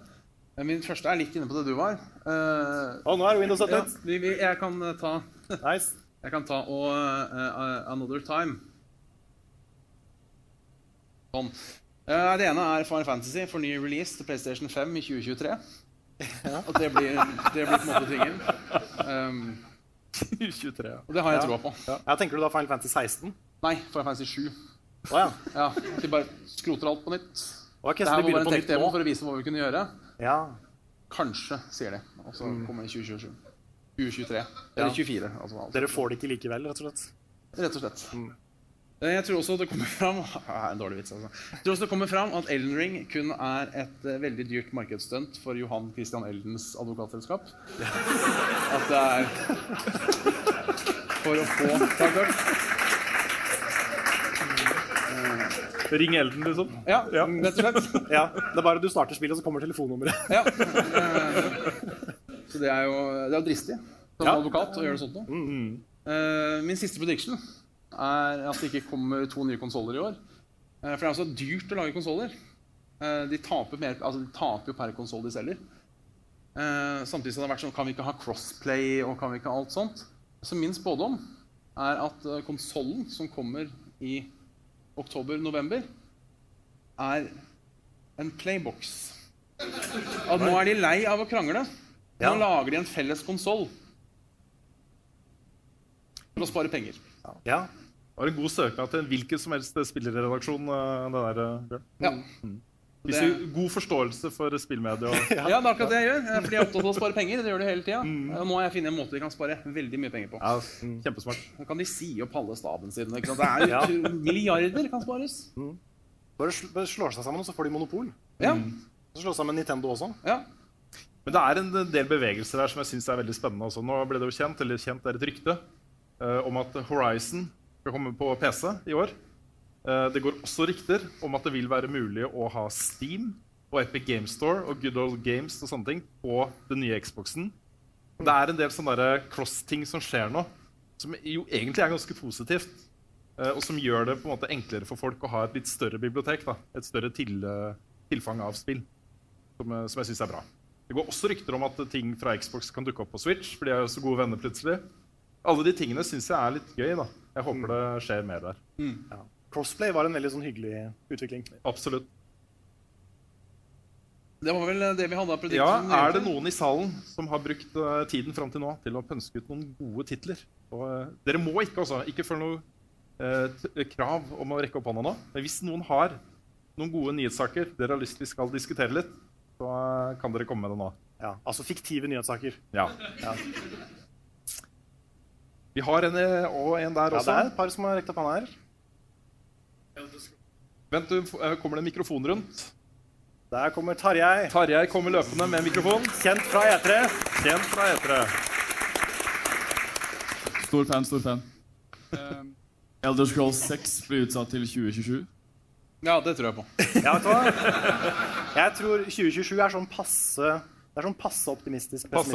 Eh, Min første er litt inne på det du var. Eh,
Og nå er det Windows
ja,
8.
vi, vi, jeg kan eh, ta
Nice.
Jeg kan ta og eh, eh, Another Time. Sånn. Eh, det ene er Final Fantasy for ny release til PlayStation 5 i 2023. At det blir, det blir på en måte tingen. Um,
23, ja.
og det har jeg troa på.
Ja, tenker du da Final Fantasy 16?
Nei, Final Fantasy 7.
Å ja.
Ja, at de bare skroter alt på nytt.
Ok,
Det
så
her var bare
vi begynner
en
på nytt
tech-demo
nå?
for å vise hva vi kunne gjøre.
Ja.
Kanskje, sier de. Og så
Mm.
kommer det i 2027. 2023. Eller 24. Altså, alt.
Dere får det ikke likevel, rett og slett.
Rett og slett. Eh, Jeg tror også det kommer fram Ah, En dårlig vits, altså. Jeg tror også det kommer fram at Elden Ring kun er et eh, veldig dyrt markedsstunt for Johan Christian Eldens advokatselskap. At det er for å få Takk, takk.
Ring Elden, liksom.
Ja, rett og slett.
Ja, Det er bare du starter spillet, og så kommer telefonnummeret.
Ja. Eh, Så det er jo det er jo dristig som
Ja.
advokat å gjøre sånt noe. Eh, Min siste prediction er at det ikke kommer to nye konsoller i år. Eh, For det er også dyrt å lage konsoller. De taper, mer, altså de taper jo per konsoll de selger. Eh, Samtidig som det har vært sånn Kan vi ikke ha crossplay og kan vi eh, ikke ha alt sånt? Så min spådom er at konsollen som kommer i oktober-november, er en playbox. At nå er de lei av å krangle. Nå
Ja.
lager de en felles konsoll for å spare penger.
Ja.
Det var en god søknad til en hvilken som helst spillerredaksjon. eh, Det der, eh, Bjørn.
Ja.
Viser jo god forståelse for spillmedia. og-
Ja, det er akkurat det jeg gjør. For de er opptatt av å spare penger. Det gjør de hele tida. Og nå har jeg funnet en måte de kan spare veldig mye penger på.
Mm. Ja, kjempesmart.
Da kan de si opp halve staben sin. Ikke sant? Det er
Ja.
jo Milliarder kan spares.
Bare sl- bare slår seg sammen, og så får de monopol.
Ja.
Mm.
Så slår sammen Nintendo også.
ja.
Men det er en del bevegelser her som jeg synes er veldig spennende. Også. Nå ble det jo kjent, eller kjent er et rykte, eh, om at Horizon skal komme på PC i år. Eh, det går også rykter om at det vil være mulig å ha Steam og Epic Game Store og Good Old Games og sånne ting på den nye Xboxen. Det er en del sånne der eh, cross-ting som skjer nå, som jo egentlig er ganske positivt. eh, og som gjør det på en måte enklere for folk å ha et litt større bibliotek. Da. Et større til, tilfang av spill som, eh, som jeg syns er bra. Det går også rykter om at ting fra Xbox kan dukke opp på Switch. for de er jo så gode venner plutselig. Alle de tingene syns jeg er litt gøy. da. Jeg håper det skjer mer der.
Crossplay var en veldig sånn hyggelig utvikling.
Absolutt.
Det var vel det vi hadde av
Ja,
prediction.
Er det noen i salen som har brukt eh, tiden fram til nå til å pønske ut noen gode titler? Og, eh, dere må ikke, altså. Ikke følg noe eh, t- krav om å rekke opp hånda nå. Men hvis noen har noen gode nyhetssaker dere har lyst til vi skal diskutere litt, så eh, kan dere komme med det nå.
Ja, altså fiktive nyhetssaker.
Ja. Vi har en eh, og en der
Ja, det
også.
er et par som har rekt opp hånda her.
Vent, du, f- eh, kommer det en mikrofon rundt?
Der kommer Tarjei,
Tarjei kommer løpende med en mikrofon.
kjent fra E E3.
Kjent fra Etere.
Stor fan, stor fan. Ehm, Elder Scrolls 6 ble utsatt til 2027.
Ja, det tror jeg på.
Ja, vet du hva? Jeg tror 2027 er sånn passe Det er sånn passe optimistisk.
Passe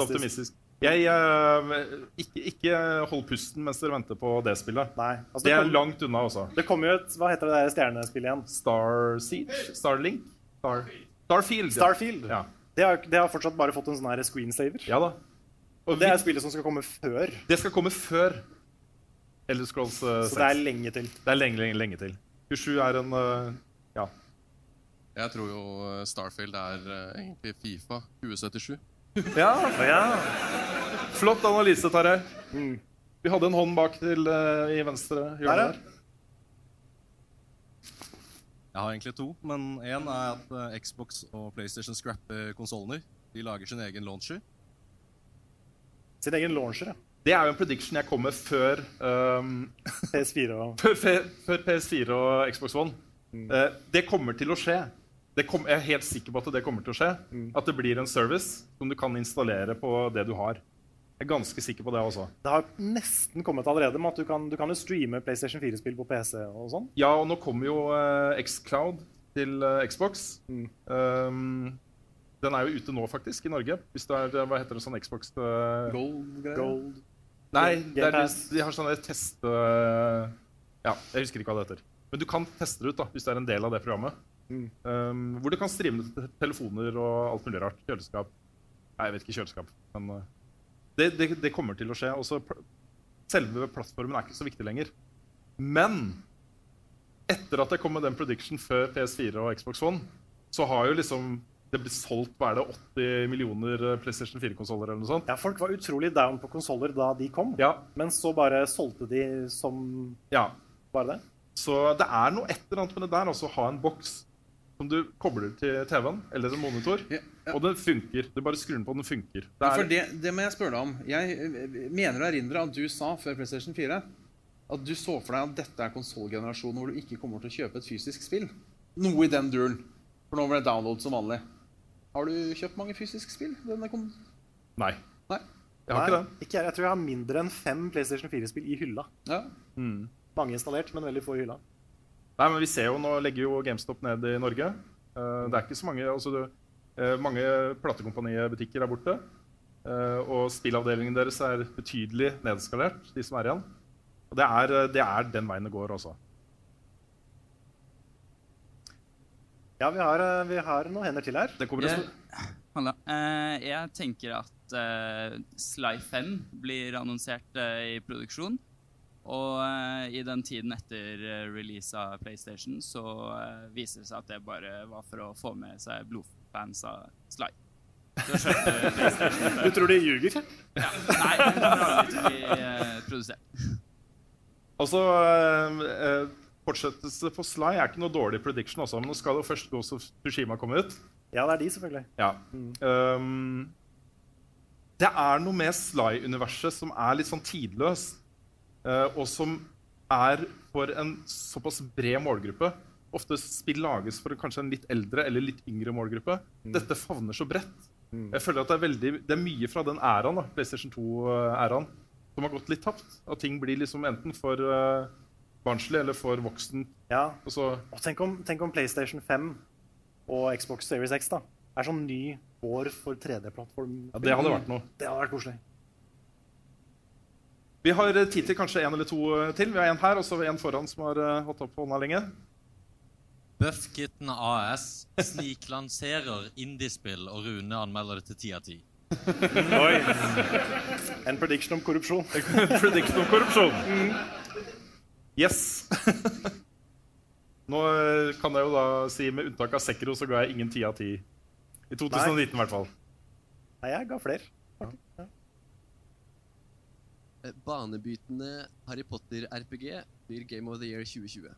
optimistisk.
pessimistisk.
Jeg, eh, ikke, ikke hold pusten mens dere venter på det spillet.
Nei.
Det
Altså, det,
er
kom,
langt unna, altså.
det kommer jo et Hva heter det der stjernespillet igjen?
Star Siege? Starlink? Star... Starfield. ja.
Starfield.
Ja.
Det, har, det har fortsatt bare fått en sånn her screensaver.
ja da. Og vi,
Det er spillet som skal komme før,
det skal komme før Elder Scrolls eh, 6.
så det er lenge til.
Det er lenge, lenge, lenge til. 27 er en eh, Ja.
Jeg tror jo eh, Starfield er eh, egentlig Fifa 2077.
Ja,
Å ja.
Flott analyse, Tarjei. Vi hadde en hånd bak til eh, i venstre
Mm. Der,
hjørne
ja.
der.
Jeg har egentlig to, men én er at eh, Xbox og PlayStation scrapper konsoller. De lager sin egen launcher.
Sin egen launcher, ja.
Det er jo en prediction jeg kom med før, ehm,
PS4 og
før, fe- før PS4 og Xbox One. Eh, det kommer til å skje. Det kom, jeg er helt sikker på at det kommer til å skje. At det blir en service som du kan installere på det du har. Jeg er ganske sikker på det også.
Det har nesten kommet allerede med at du kan, du kan jo streame PlayStation 4-spill på PC og sånn.
Ja, og nå kommer jo eh, xCloud til eh, Xbox. Ehm, den er jo ute nå, faktisk, i Norge. Hvis det er, hva heter det, sånn Xbox eh,
Gold.
Nei,
Game
det er,
Pass.
de har sånne test... øh, Ja, jeg husker ikke hva det heter. Men du kan teste det ut da, hvis du er en del av det programmet. Um, hvor du kan streame det til telefoner og alt mulig rart. Kjøleskap. Nei, jeg vet ikke kjøleskap, men øh, det, det, det kommer til å skje. Også, pl- selve plattformen er ikke så viktig lenger. Men etter at jeg kom med den prediction før PS4 og Xbox One, så har jo liksom det blitt solgt hva er det, 80 millioner øh, PlayStation 4-konsoller eller noe sånt.
Ja, folk var utrolig down på konsoller da de kom,
Ja,
men så bare solgte de som
ja.
bare det.
Så det er noe et eller annet med det der. Altså ha en boks som du kobler til TV-en eller en monitor,
Ja, ja.
og den funker. Du bare skrur den på, og den funker. Det
Ja, for
er,
det, det må jeg spørre deg om. Jeg eh, mener å erindre at du sa før PlayStation 4 at du så for deg at dette er konsollgenerasjonen hvor du ikke kommer til å kjøpe et fysisk spill. Noe i den duren. For nå ble det download som vanlig. Har du kjøpt mange fysiske spill? Denne kom...
Nei.
Nei?
Jeg har ikke
Nei,
det.
ikke jeg. Jeg tror jeg har mindre enn fem PlayStation 4-spill i hylla.
Ja.
Mange installert, men veldig få i hylla.
Nei, men vi ser jo, Nå legger jo GameStop ned i Norge. Eh, det er ikke så mange altså, det, eh, Mange platekompaniebutikker er borte. Eh, og spillavdelingen deres er betydelig nedskalert, de som er igjen. Og det er, eh, det er den veien det går, altså.
Ja, vi har, eh, vi har noen hender til her.
Det kommer en
Jeg,
stor-
Halla. Eh, jeg tenker at eh, Sly 5 blir annonsert eh, i produksjon. Og eh,
i den tiden etter eh, release av PlayStation så eh, viser det seg at det bare var for å få med seg blodfans av Sly. Så skjønte PlayStation
Du tror de ljuger?
Ja. Nei, det kommer aldri til å bli eh, produsert.
Og så Altså, eh, eh, Fortsettelse på Sly er ikke noe dårlig prediction, også, men nå skal jo først Ghost of Tushima komme ut.
Ja, det er de, selvfølgelig.
Ja. Um, det er noe med Sly-universet som er litt sånn tidløst, eh, og som er for en såpass bred målgruppe. Ofte spill lages for kanskje en litt eldre eller litt yngre målgruppe. Dette favner så bredt.
Mm.
Jeg føler at det er, veldig, det er mye fra den æraen, da, PlayStation 2-æraen, som har gått litt tapt. At ting blir liksom enten for eh, barnslig eller for voksen.
Ja.
Og så,
Og tenk, om, tenk om PlayStation 5 og Xbox Series X da, er sånn ny vår for 3D-plattform.
Ja, det hadde vært noe.
Det hadde vært koselig.
Vi har eh, tid til kanskje en eller to eh, til. Vi har en her og så har vi en foran som har eh, hatt opp hånda lenge.
Buffkitten AS sniklanserer indiespill, og Rune anmelder det til ti av ti.
Oi. En prediction om korrupsjon.
prediction om korrupsjon. Mm. Yes. Nå eh, kan jeg jo da si med unntak av Sekro så ga jeg ingen ti av ti. I 2019 i hvert fall.
Nei, jeg ga flere.
Eh, Banebrytende Harry Potter-RPG blir Game of the Year 2020.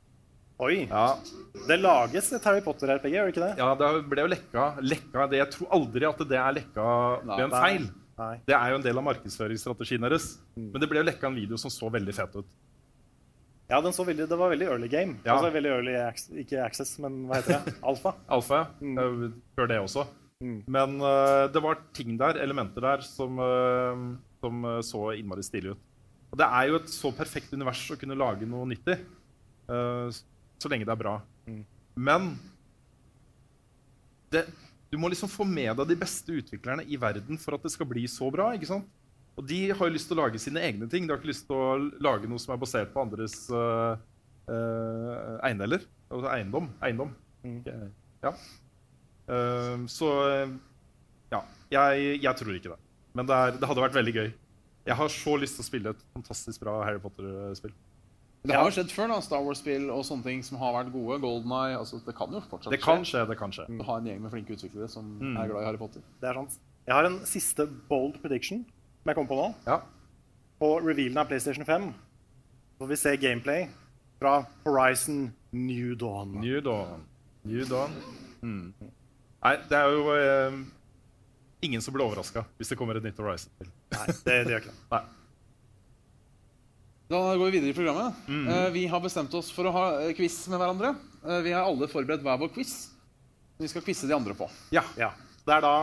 Oi. Det lages et Harry Potter-RPG, gjør det ikke det?
Ja, det ble jo lekka. lekka det, jeg tror aldri at det er lekka ved en
Nei.
feil.
Nei.
Det er jo en del av markedsføringsstrategien deres. Men det ble jo lekka en video som så veldig fet ut.
Ja, den så veldig, det var veldig early game.
Ja.
Altså veldig early, acc- Ikke access, men hva heter det? Alfa.
Alfa, ja. Eh, Før det også. Men eh, det var ting der, elementer der, som, eh, som eh, så innmari stilig ut. Og det er jo et så perfekt univers å kunne lage noe nytt i. eh, s- så lenge det er bra. Men det, du må liksom få med deg de beste utviklerne i verden for at det skal bli så bra. ikke sant? Og de har jo lyst til å lage sine egne ting. De har ikke lyst til å lage noe som er basert på andres eh, eh, eiendeler. Altså eiendom. eiendom. Ikke- Ja. Eh, så eh, ja. Jeg, jeg tror ikke det. Men det, er, det hadde vært veldig gøy. Jeg har så lyst til å spille et fantastisk bra Harry Potter-spill.
Det har jo skjedd før, da. Star Wars-spill og sånne ting som har vært gode. GoldenEye, altså Det kan jo fortsatt
Det kan skje, det kan skje.
Du har en gjeng med flinke utviklere som
Mm.
er glad i Harry Potter.
Det er sant. Jeg har en siste bold prediction som jeg kom på nå. På revealen av PlayStation 5 får vi se gameplay fra Horizon New Dawn.
New Dawn. New Dawn. Mm. Nei, det er jo eh, ingen som blir overraska hvis det kommer et nytt Horizon-spill.
Nei, det, gjør ikke
Nei.
Da går vi videre i programmet. Eh, vi har bestemt oss for å ha eh, quiz med hverandre. Eh, vi har alle forberedt hver vår quiz. Vi skal quize de andre på.
Ja.
Det er da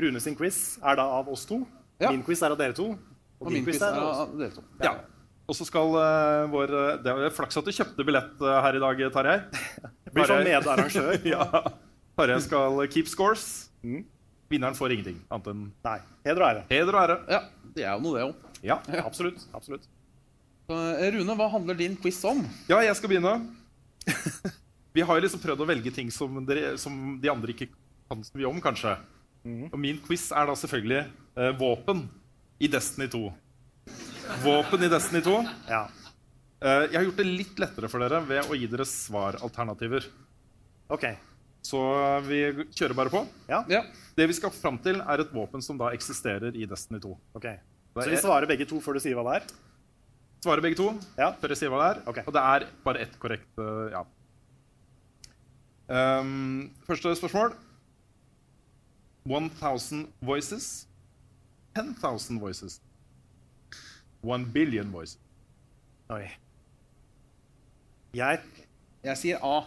Rune sin quiz er da av oss to. Min quiz er av dere to. Og,
min quiz er av dere to.
Ja. Og så skal eh, vår eh, Det er flaks at du kjøpte billett eh, her i dag, Tarjei.
Blir sånn
Tarjei-
medarrangør.
ja. Tarjei skal keep scores.
Mm.
Vinneren får ingenting annet enn
Nei. Heder og ære.
Heder og ære.
Ja, det er jo noe, det òg.
Ja,
absolutt. absolutt.
Rune, hva handler din quiz om?
Ja, jeg skal begynne. Vi har jo liksom prøvd å velge ting som, dere, som de andre ikke kan så mye om, kanskje.
Mm.
Og min quiz er da selvfølgelig eh, våpen i Destiny 2. Våpen i Destiny 2. Eh, jeg har gjort det litt lettere for dere ved å gi dere svaralternativer.
Ok.
Så vi kjører bare på.
Ja.
Det vi skal fram til, er et våpen som da eksisterer i Destiny 2.
Ok.
Det
Så
er-
vi svarer begge to før du sier hva det er?
Svarer begge to før jeg sier hva det er. Og det er bare ett korrekt eh, ja. Ehm, første spørsmål. 1000 voices. 10,000 voices. 1 billion voices.
Oi. Jeg
Jeg sier A.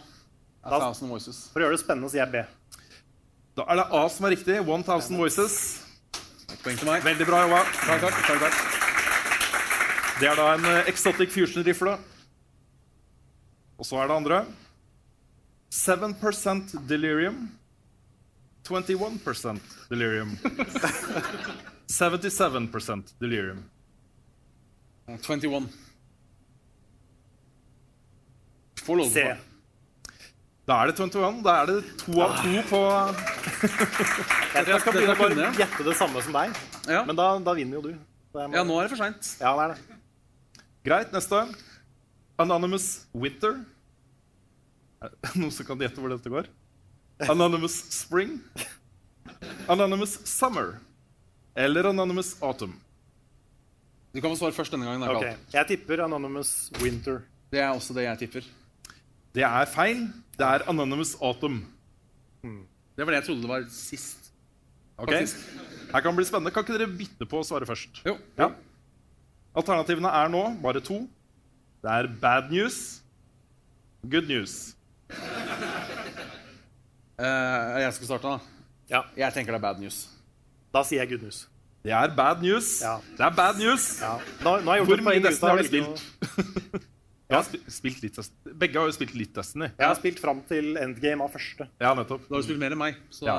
Da-
For å gjøre det spennende sier jeg B.
Da er det A som er riktig. 1000 voices. Veldig bra jobba. Takk, takk. Det er da en eh, Exotic Fusion-rifle. Og så er det andre. 7 delirium. 21 delirium. 77 delirium.
Eh, 21.
Se. Da er det 21. Da er det to av to på
Jeg, jeg skal
Dette
begynne å
kunne
bare
jeg.
gjette det samme som deg. Men da, da vinner jo du.
Ja, nå
er det for seint.
Ja, det er det.
Greit, neste. Anonymous Winter. Er det Noen som kan gjette hvor dette går? Anonymous Spring. Anonymous Summer. Eller Anonymous Autumn.
Du kan få svare først denne gangen.
Ok, Jeg tipper Anonymous Winter.
Det er også det jeg tipper.
Det er feil. Det er Anonymous Autumn.
Det var det jeg trodde det var sist.
Ok,
Faktisk.
Her kan det bli spennende. Kan ikke dere bytte på å svare først?
Jo.
Ja. Alternativene er nå bare to. Det er bad news, good news.
Eh, jeg skal starte, da. Jeg tenker det er bad news.
Da sier jeg good news.
Det er bad news. Det er bad news.
Nå, nå har jeg gjort
Hvor
et
mye
poeng ut
Destiny
av
har du
å velge
spilt? Jeg har spi- spilt litt Destiny. Begge har jo spilt litt Destiny.
Jeg har spilt fram til endgame av første.
Ja, nettopp.
Da har du spilt mer enn meg, så
ja.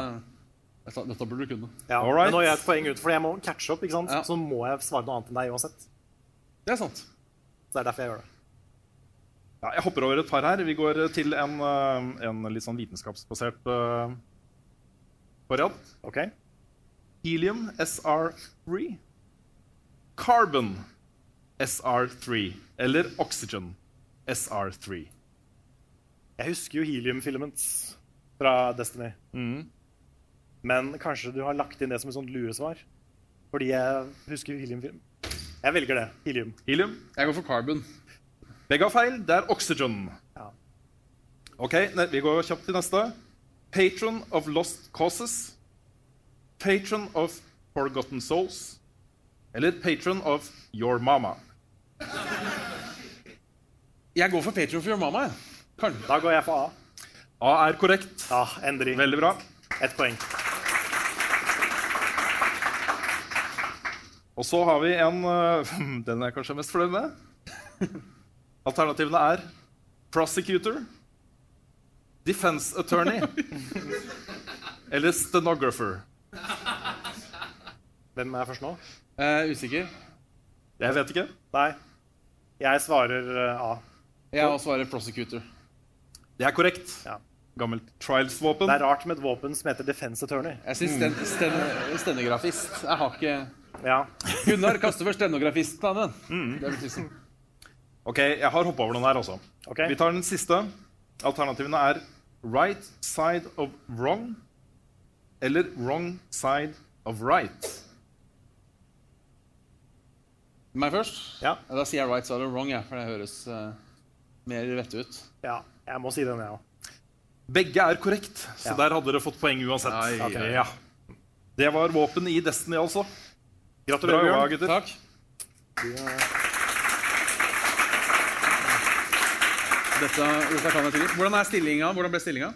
dette, dette burde du kunne.
Ja,
All right.
Men nå gjør jeg et poeng ut, for jeg må catche opp, ikke sant? så må jeg svare noe annet enn deg uansett.
Det er sant.
Så det er derfor jeg gjør det.
Ja, jeg hopper over et par her. Vi går eh, til en, eh, en litt sånn vitenskapsbasert eh, variant. Helium SR3. Carbon SR3. Eller oxygen SR3.
Jeg husker jo Helium Filaments fra Destiny.
Mm.
Men kanskje du har lagt inn det som et sånt luresvar? Fordi jeg husker Helium Film. Jeg velger det. Helium.
Helium.
Jeg går for carbon.
Begge har feil. Det er oxygen. OK, ne vi går kjapt til neste. Patron of lost causes. Patron of forgotten souls. Eller patron of your mama.
Jeg går for Patron for your mama.
Da går jeg for A.
A er korrekt.
Ja, endring.
Veldig bra.
Ett poeng.
Og så har vi en eh, Den er jeg kanskje mest fornøyd med. Alternativene er prosecutor, defense attorney eller stenographer.
Hvem er først nå?
usikker.
Jeg vet ikke.
Nei. Jeg svarer eh, A.
Jeg svarer prosecutor.
Det er korrekt. Gammelt trials-våpen.
Det er rart med et våpen som heter defense attorney.
Jeg syns sten, sten, stenografist Jeg har ikke
Ja.
Gunnar kaster for stenografisten av den. Det er betydelsen.
Ok, jeg har hoppa over noen her, altså. Vi tar den siste. Alternativene er right side of wrong eller wrong side of right.
Meg først?
Ja.
Da sier jeg right side or wrong, jeg, for det høres eh, mer vettet ut.
Ja, jeg må si den, jeg òg.
Begge er korrekt, så
Ja.
der hadde dere fått poeng uansett.
Ai,
Ok,
ai.
Ja. Det var våpen i Destiny, altså. Bra
Gratulerer,
jobba,
Bjørn.
gutter.
Takk. Dette, dette kan jeg sikkert. Hvordan er stillinga? Hvordan ble stillinga?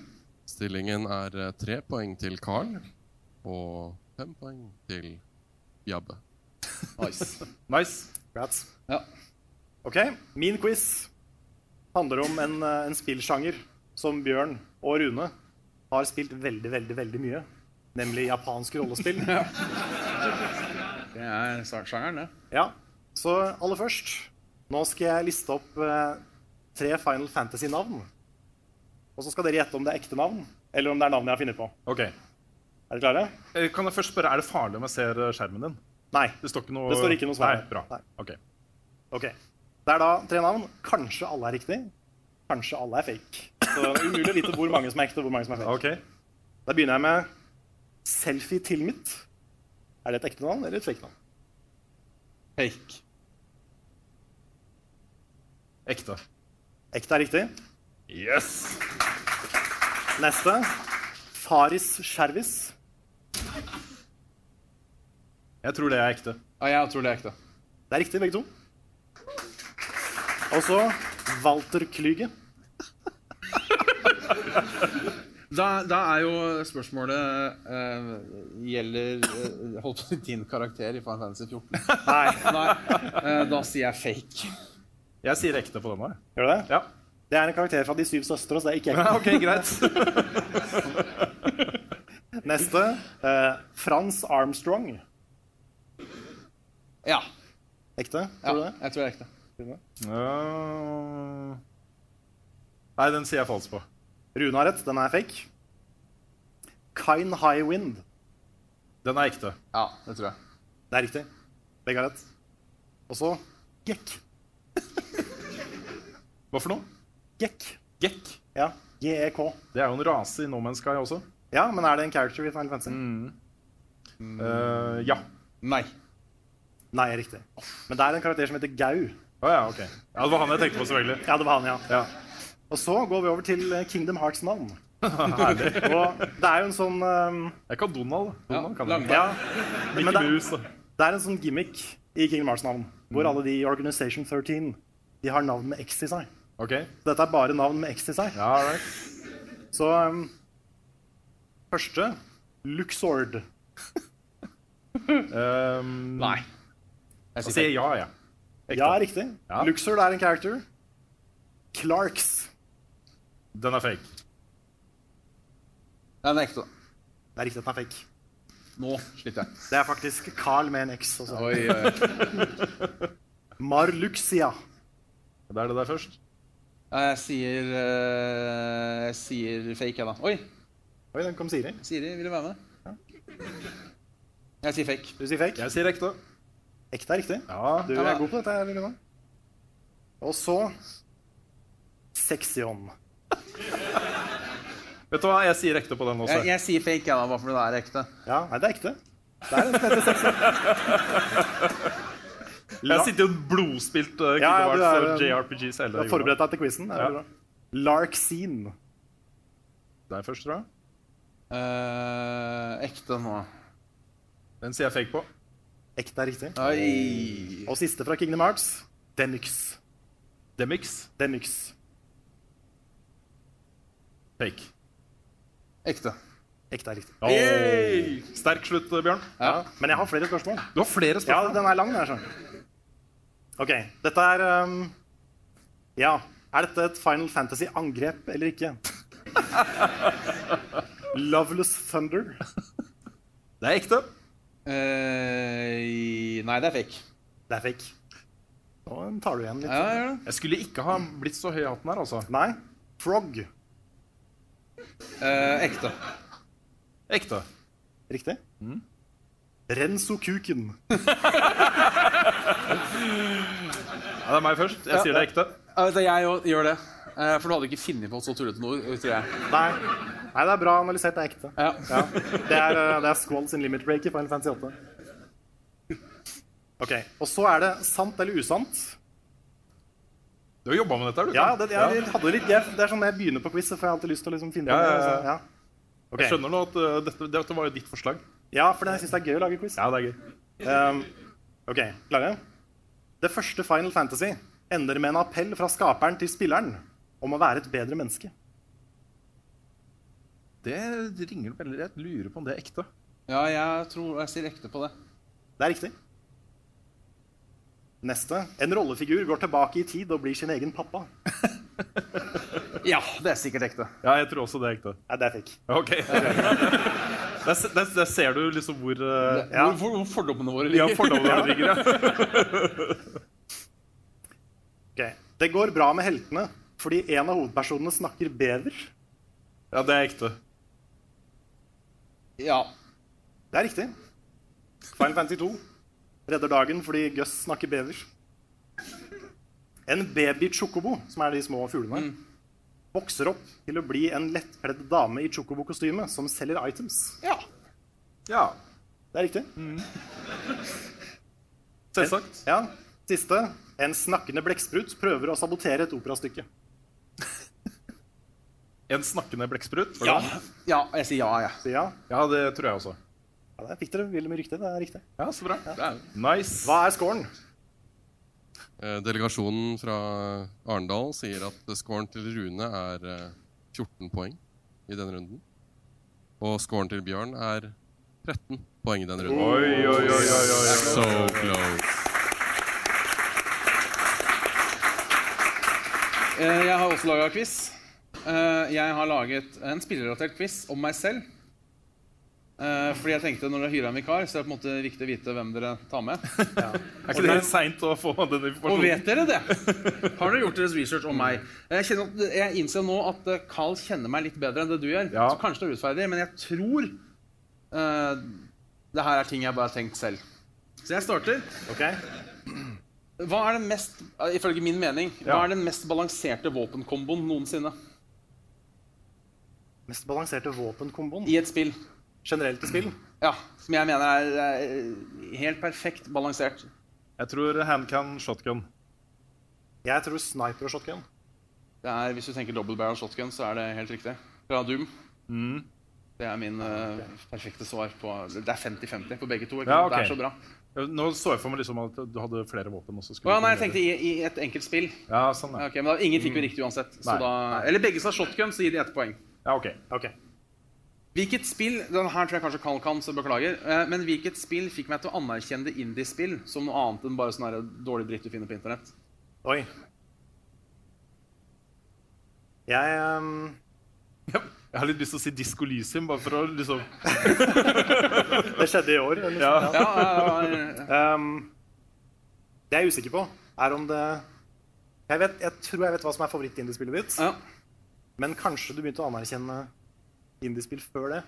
Stillingen er eh, tre poeng til Carl og fem poeng til Jabbe.
Nice.
nice.
Grats.
Ja.
OK. Min quiz handler om en, eh, en spillsjanger som Bjørn og Rune har spilt veldig, veldig, veldig mye. Nemlig japansk rollespill.
Det er sjangeren, det.
Ja, så aller først Nå skal jeg liste opp eh, tre Final Fantasy-navn. Og så skal dere gjette om det er ekte navn, eller om det er navn jeg har funnet på.
Ok.
Er dere klare?
Eh, Kan jeg først spørre, Er det farlig om jeg ser eh, skjermen din?
Nei.
Det står ikke noe,
Det står ikke noe svar.
Nei, bra. Ok.
Ok. Det er da tre navn. Kanskje alle er riktig. Kanskje alle er fake. Så det er umulig å vite hvor mange som er ekte, og hvor mange som er fake. Da begynner jeg med selfie til mitt. Er det et ekte navn eller et fake navn?
Fake.
Ekte.
Ekte er riktig.
Yes!
Neste. Faris Skjervis.
Jeg tror det er ekte.
Ja, jeg tror det er ekte.
Det er riktig, begge to. Og så Walter Klyge.
Da, da er jo spørsmålet eh, Gjelder eh, holdt på å si din karakter i Final Fantasy 14?
Nei.
Eh, da sier jeg fake.
Jeg sier ekte på denne.
Gjør du det?
Ja.
Det er en karakter fra De syv søstre, så det er ikke
Ja, ok, greit.
Neste. eh, Frans Armstrong.
Ja.
Ekte?
Ja,
Tror
jeg tror det er ekte.
du det?
Ja. Nei, den sier jeg falsk på.
Rune har rett, den er fake. Kine High Wind.
Den er ekte.
Ja, det tror jeg.
Det er riktig. Begge har rett. Og så Gekk.
Hva for noe?
Gekk.
Gekk.
Ja, GEK.
Det er jo en rase i No Man's Sky også.
Ja, men er det en character i Final Fantasy?
Mm. Eh, ja.
Nei. Nei, riktig. Men det er en karakter som heter Gau.
Å ja, ok. Ja, det var han jeg tenkte på, selvfølgelig.
Ja, det var han, ja. Og så går vi over til eh, Kingdom Hearts navn.
Herlig.
Og det er jo en sånn eh,
Jeg kan Donald. Donald kan jeg.
Ja.
Mickey
Men det,
Mouse, da.
det er en sånn gimmick i Kingdom Hearts navn, hvor
Mm.
alle de i Organization 13 de har navn med X i seg.
Ok.
Så dette er bare navn med X i seg. Så um, første Luxord.
Nei. Ehm, Jeg sier, ja, ja.
Ja, riktig. Luxord er en character. Clarks.
Den er fake.
Den er ekte. Det er riktig at den er fake.
Nå sliter jeg.
Det er faktisk Carl med en X også.
Oi, oi.
Marluxia.
Det er det der først.
Ja, jeg sier eh, Jeg sier fake, jeg, da. Oi!
Oi, den kom Siri.
Siri, vil du være med?
Jeg sier fake. Du sier fake?
Jeg sier ekte.
Ekte er riktig. Du
Ja, da.
er god på dette. her, Lillemann. Og så Sexion.
Vet du hva, jeg sier ekte på den også.
Jeg, jeg sier fake, jeg, da, bare fordi det er ekte.
Ja, nei, det er ekte. Det er en spennende
Jeg sitter jo blodspilt uh,
Ja, ja,
Kingdom Hearts
du er,
og JRPGs
Du
hele
har forberedt deg til quizen. Det er veldig bra. Larkscene.
Der først, tror jeg.
Eh, ekte nå.
Den sier jeg fake på.
Ekte er riktig.
Oi.
Og siste fra Kingdom Hearts. Demix.
Demix?
Demix.
Fake.
Ekte.
Ekte er riktig.
Oi. Sterk slutt, eh, Bjørn.
Ja. Men jeg har flere spørsmål.
Du har flere spørsmål?
Ja, den er lang. Den er sånn. OK. Dette er um, Ja. Er dette et Final Fantasy-angrep eller ikke? Loveless Thunder.
Det er ekte.
nei, det er fake.
Det er fake. Nå tar du igjen litt.
Jeg skulle ikke ha blitt så høy i hatten her, altså.
Nei. Frog.
ekte.
Ekte.
Riktig. Renso kuken.
Ja, det er meg først. Jeg sier det er ekte.
Ja, vet du, jeg òg gjør det. Eh, for du hadde ikke funnet på et så tullete ord. Tror jeg.
Nei. Nei, det er bra analysert. Det er ekte.
Ja.
Ja. Det er, eh, det er Squall sin limit break i Final Fantasy 8. Ok, Og så er det sant eller usant.
Du har jobba med dette, har du?
Ja, det, jeg, hadde litt jeg, Det er sånn jeg begynner på quiz, så får jeg alltid lyst til å liksom finne
Ja,
på
ja,
det,
ja.
liksom. ja. Ok.
Jeg skjønner nå at uh, dette, dette var jo ditt forslag.
Ja, for jeg syns det er gøy å lage quiz.
Ja, det er gøy.
Um, ok, klare? Det første Final Fantasy ender med en appell fra skaperen til spilleren om å være et bedre menneske.
Det ringer opp veldig. Jeg lurer på om det er ekte.
ja, jeg tror jeg sier ekte på det.
Det er riktig. Neste. En rollefigur går tilbake i tid og blir sin egen pappa.
Ja, det er sikkert ekte.
Ja, jeg tror også det er ekte.
Nei, det er fake.
Ok. Der, se- der, der ser du liksom hvor uh,
Hvor, hvor, hvor fordommene våre
Ja,
ligger.
fordommene våre ligger, ja.
Ok. Det går bra med heltene fordi en av hovedpersonene snakker bever.
Ja, det er ekte.
Ja.
Det er riktig. Final Fantasy 2 redder dagen fordi Gus snakker bever. En baby chocobo, som er de små
Mm.
fuglene, vokser opp til å bli en lettkledd dame i chocobo-kostyme som selger items.
Ja.
Ja.
Det er riktig.
Mm. Selvsagt.
Ja. Siste. En snakkende blekksprut prøver å sabotere et operastykke.
En snakkende blekksprut? var det
Ja.
det?
ja. Jeg sier ja, jeg.
Sier ja.
ja, det tror jeg også.
ja der fikk dere veldig mye riktig. Det er riktig.
Ja, så bra. Nice.
Hva er scoren?
Eh, Delegasjonen fra Arendal sier at scoren til Rune er eh, 14 poeng i denne runden. Og scoren til Bjørn er 13 poeng i denne runden.
Oi, oi, oi, oi, oi, oi.
So close.
Eh, Jeg har også laga quiz. Eh, Jeg har laget en spillerelatert quiz om meg selv. Eh, Fordi jeg tenkte når dere hyrer en vikar, så er det på en måte viktig å vite hvem dere tar med.
Er ikke det helt seint å få den informasjonen?
Og vet dere det? Har dere gjort deres research om meg? Eh, Jeg, kjenner at, jeg innser nå at eh, Carl kjenner meg litt bedre enn det du gjør. Så kanskje det er urettferdig, men jeg tror eh, det her er ting jeg bare har tenkt selv. Så jeg starter.
Ok.
Hva er den mest, eh, ifølge min mening, hva
Ja.
er den mest balanserte våpenkomboen noensinne?
Mest balanserte våpenkomboen?
I et spill.
Generelt i spill?
Ja. Som jeg mener er, eh, helt perfekt balansert.
Jeg tror handcan shotgun.
Jeg tror sniper og shotgun.
Det er, hvis du tenker double barrel shotgun, så er det helt riktig. Fra Doom.
Mm.
Det er min eh, perfekte svar på Det er 50-50 på begge to. Ikke? sant? Det er så bra.
Eh, Nå så jeg for meg liksom at du hadde flere våpen. Også,
Å ja, nei, jeg tenkte i, i et enkelt spill.
Ja, sånn
Ok, men da, ingen fikk jo riktig uansett. Så
Nei.
da, eller begge sa shotgun, så gir de ett poeng.
Ja, ok.
Hvilket spill den her tror jeg kanskje Kall kan, så beklager. eh, Men hvilket spill fikk meg til å anerkjenne det indie-spill som noe annet enn bare sånn her dårlig dritt du finner på internett?
Oi. Jeg ehm,
Jeg har litt lyst til å si Disco Lysium, bare for å liksom
Det skjedde i år. eller?
Ja.
Um, det jeg er usikker på, er om det Jeg, vet, jeg tror jeg vet hva som er favoritt-indiespillet ditt. Men kanskje du begynte å anerkjenne indiespill før det.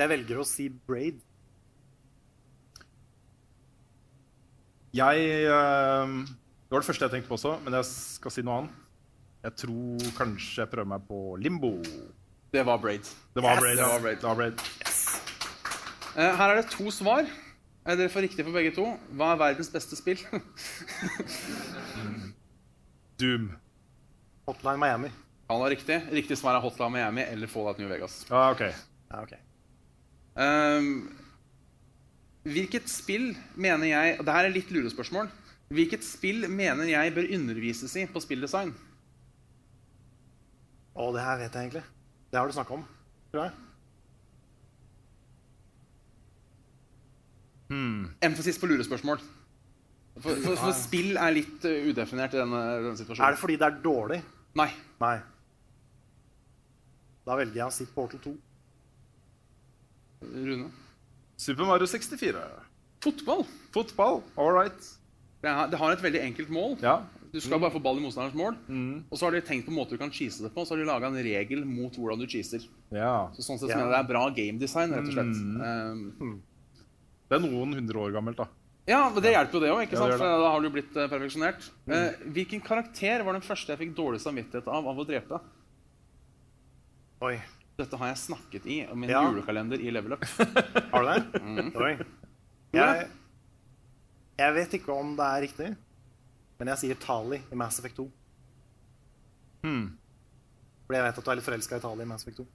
Jeg velger å si Braid.
Jeg eh, Det var det første jeg tenkte på også, men jeg skal si noe annet. Jeg tror kanskje jeg prøver meg på Limbo.
Det var Braid.
Det var
Yes!
Braid,
Det
ja.
var
Det var Braid.
Eh, Her er det to svar. Eh, Dere får riktig for begge to. Hva er verdens beste spill?
Doom.
Hotline Miami.
Han har riktig. Riktig svar er Hotline Miami eller Fallout New Vegas.
Ja, ok.
Ehm, hvilket spill mener jeg og Det her er litt lurespørsmål. Hvilket spill mener jeg bør undervises i på spilldesign?
Å, det her vet jeg egentlig. Det har du snakka om, tror jeg.
Emfasis på lurespørsmål. For, for,
Ja, ja.
for spill er litt eh, udefinert i denne, denne situasjonen.
Er det fordi det er dårlig?
Nei.
Nei. Da velger jeg å si Portal 2.
Rune?
Super Mario 64.
Fotball.
Fotball, all right.
Det, har, det har et veldig enkelt mål. Du skal
Mm.
bare få ball i motstanderens mål. Og så har de tenkt på måter du kan cheese det på, og så har de laga en regel mot hvordan du cheeser.
Ja. Mm.
Så sånn sett mener jeg det er bra gamedesign, rett og slett. Ehm,
Det er noen hundre år gammelt, da.
Ja, men Det hjelper jo det òg, ikke
Ja,
sant?
det gjør
For
det.
da har du blitt eh, perfeksjonert.
Mm.
Eh, hvilken karakter var den første jeg fikk dårlig samvittighet av av å drepe?
Oi.
Dette har jeg snakket i om min
Ja.
julekalender i Level Up.
Har du det?
Mm.
Oi. Jeg, jeg vet ikke om det er riktig, men jeg sier Tali i Mass Effect 2. Hmm. Fordi jeg vet at du er litt forelska i Tali i Mass Effect 2.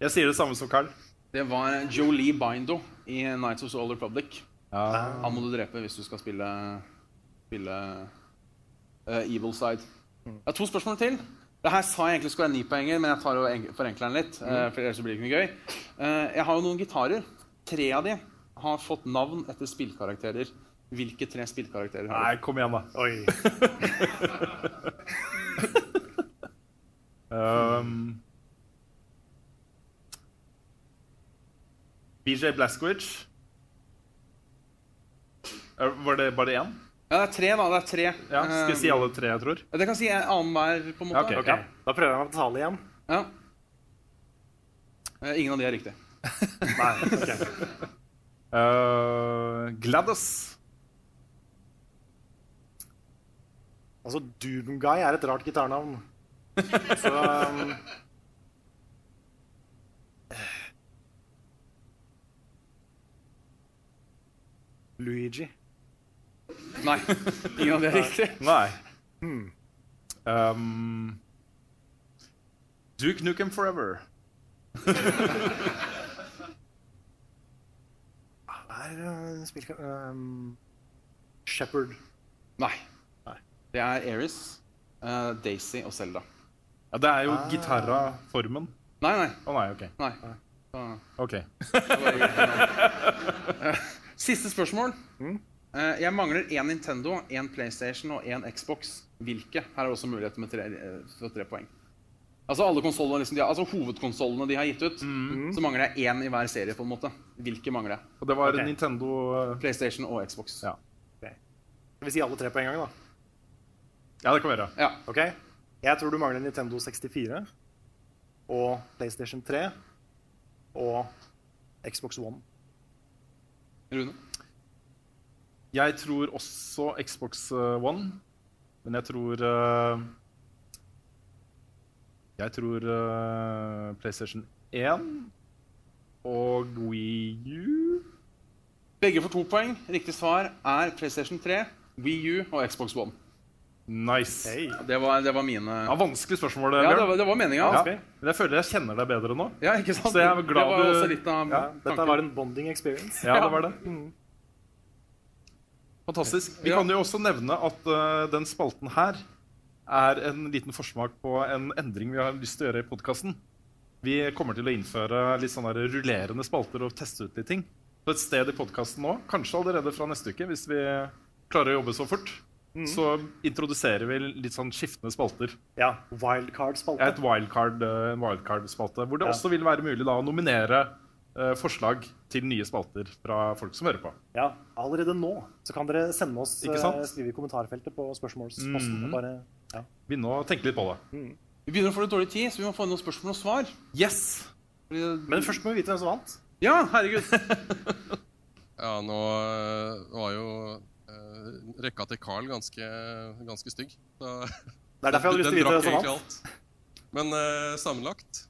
Jeg sier det samme som Carl.
Det var Jolie Bindo i Nights of the Old Republic.
Ja.
Han må du drepe hvis du skal spille, spille eh, Evil Side.
Mm.
Jeg har to spørsmål til. Det her sa jeg egentlig skulle være ni poenger, men jeg tar og enk- forenkler den litt.
Mm.
eh, for ellers så blir det ikke noe gøy. Eh, jeg har jo noen gitarer. Tre av de har fått navn etter spillkarakterer. Hvilke tre spillkarakterer har
Nei,
de?
kom igjen, da. um, BJ Blazkowicz. Er- Uh, Var det bare én?
Ja, det er tre, da. Det er tre.
Ja, skal jeg si alle tre, jeg tror?
Eh, Det kan si en annen hver, på en måte.
Ja, ok, ok. Ja.
Da prøver jeg meg på Tali igjen.
Ja. Eh, ingen av de er riktig.
Nei, ok.
Uh, Gladys.
Altså, Doomguy er et rart gitarnavn. Så um, Luigi.
Nei. Ingen av de er riktig.
Nei. Hmm. Um, Duke Nukem Forever.
Er uh, spillka... Um, Shepherd.
Nei. Det er Eris, eh, Daisy og Selda.
Ja, det er jo gitarra-formen.
Nei, nei.
Å nei, ok.
Nei. Så-
Ok.
Eh, Siste spørsmål. Eh, Jeg mangler én Nintendo, én PlayStation og én Xbox. Hvilke? Her er det også muligheter med tre, eh, for tre poeng. Altså alle konsolene, liksom, de har, altså Hovedkonsollene de har gitt ut, så mangler jeg én i hver serie. på en måte. Hvilke mangler jeg?
Og det var
Ok.
Nintendo uh,
PlayStation og Xbox.
Ja.
Skal vi si alle tre på en gang, da?
ja, det kan vi gjøre.
Ja.
Ok. Jeg tror du mangler Nintendo 64 og PlayStation 3 og Xbox One.
Rune?
Jeg tror også Xbox eh, One. Men jeg tror eh, Jeg tror eh, PlayStation 1 og Wii U.
Begge får to poeng. Riktig svar er PlayStation 3, Wii U og Xbox One.
Nice.
Det, var, det var mine
Ja, Vanskelig spørsmål.
Ja,
Bjørn.
det var- det var meningen,
Ja.
vanskelig.
Men jeg føler jeg kjenner deg bedre nå.
Ja, ikke sant?
Så jeg er
det
glad
var jo
du-
også litt av
ja,
Dette var en bonding experience.
Ja, det var det.
Mm.
Fantastisk. Vi kan jo også nevne at eh, den spalten her er en liten forsmak på en endring vi har lyst til å gjøre i podkasten. Vi kommer til å innføre litt sånne her rullerende spalter og teste ut litt ting. Så et sted i podkasten nå, kanskje allerede fra neste uke, hvis vi klarer å jobbe så fort, så introduserer vi litt sånn skiftende spalter.
Ja, wildcard-spalte.
Et wildcard, eh, en wildcard-spalte, Hvor det
Ja.
også vil være mulig da å nominere eh, forslag til nye spalter fra folk som hører på.
Ja, allerede nå så kan dere sende oss
Ikke sant?
eh, skrive i kommentarfeltet på spørsmålsposten.
Mhm.
Bare, ja.
Begynne å tenke litt på det.
Vi begynner å få litt dårlig tid, så vi må få inn noen spørsmål og svar.
Yes!
Men først må vi vite hvem som vant.
Ja, herregud.
Ja, nå øh, var jo øh, rekka til Carl ganske, ganske stygg. Så-
Det er derfor jeg hadde lyst
Den
til å vite sånn. hvem
drakk
som
egentlig
vant.
alt. Men øh, sammenlagt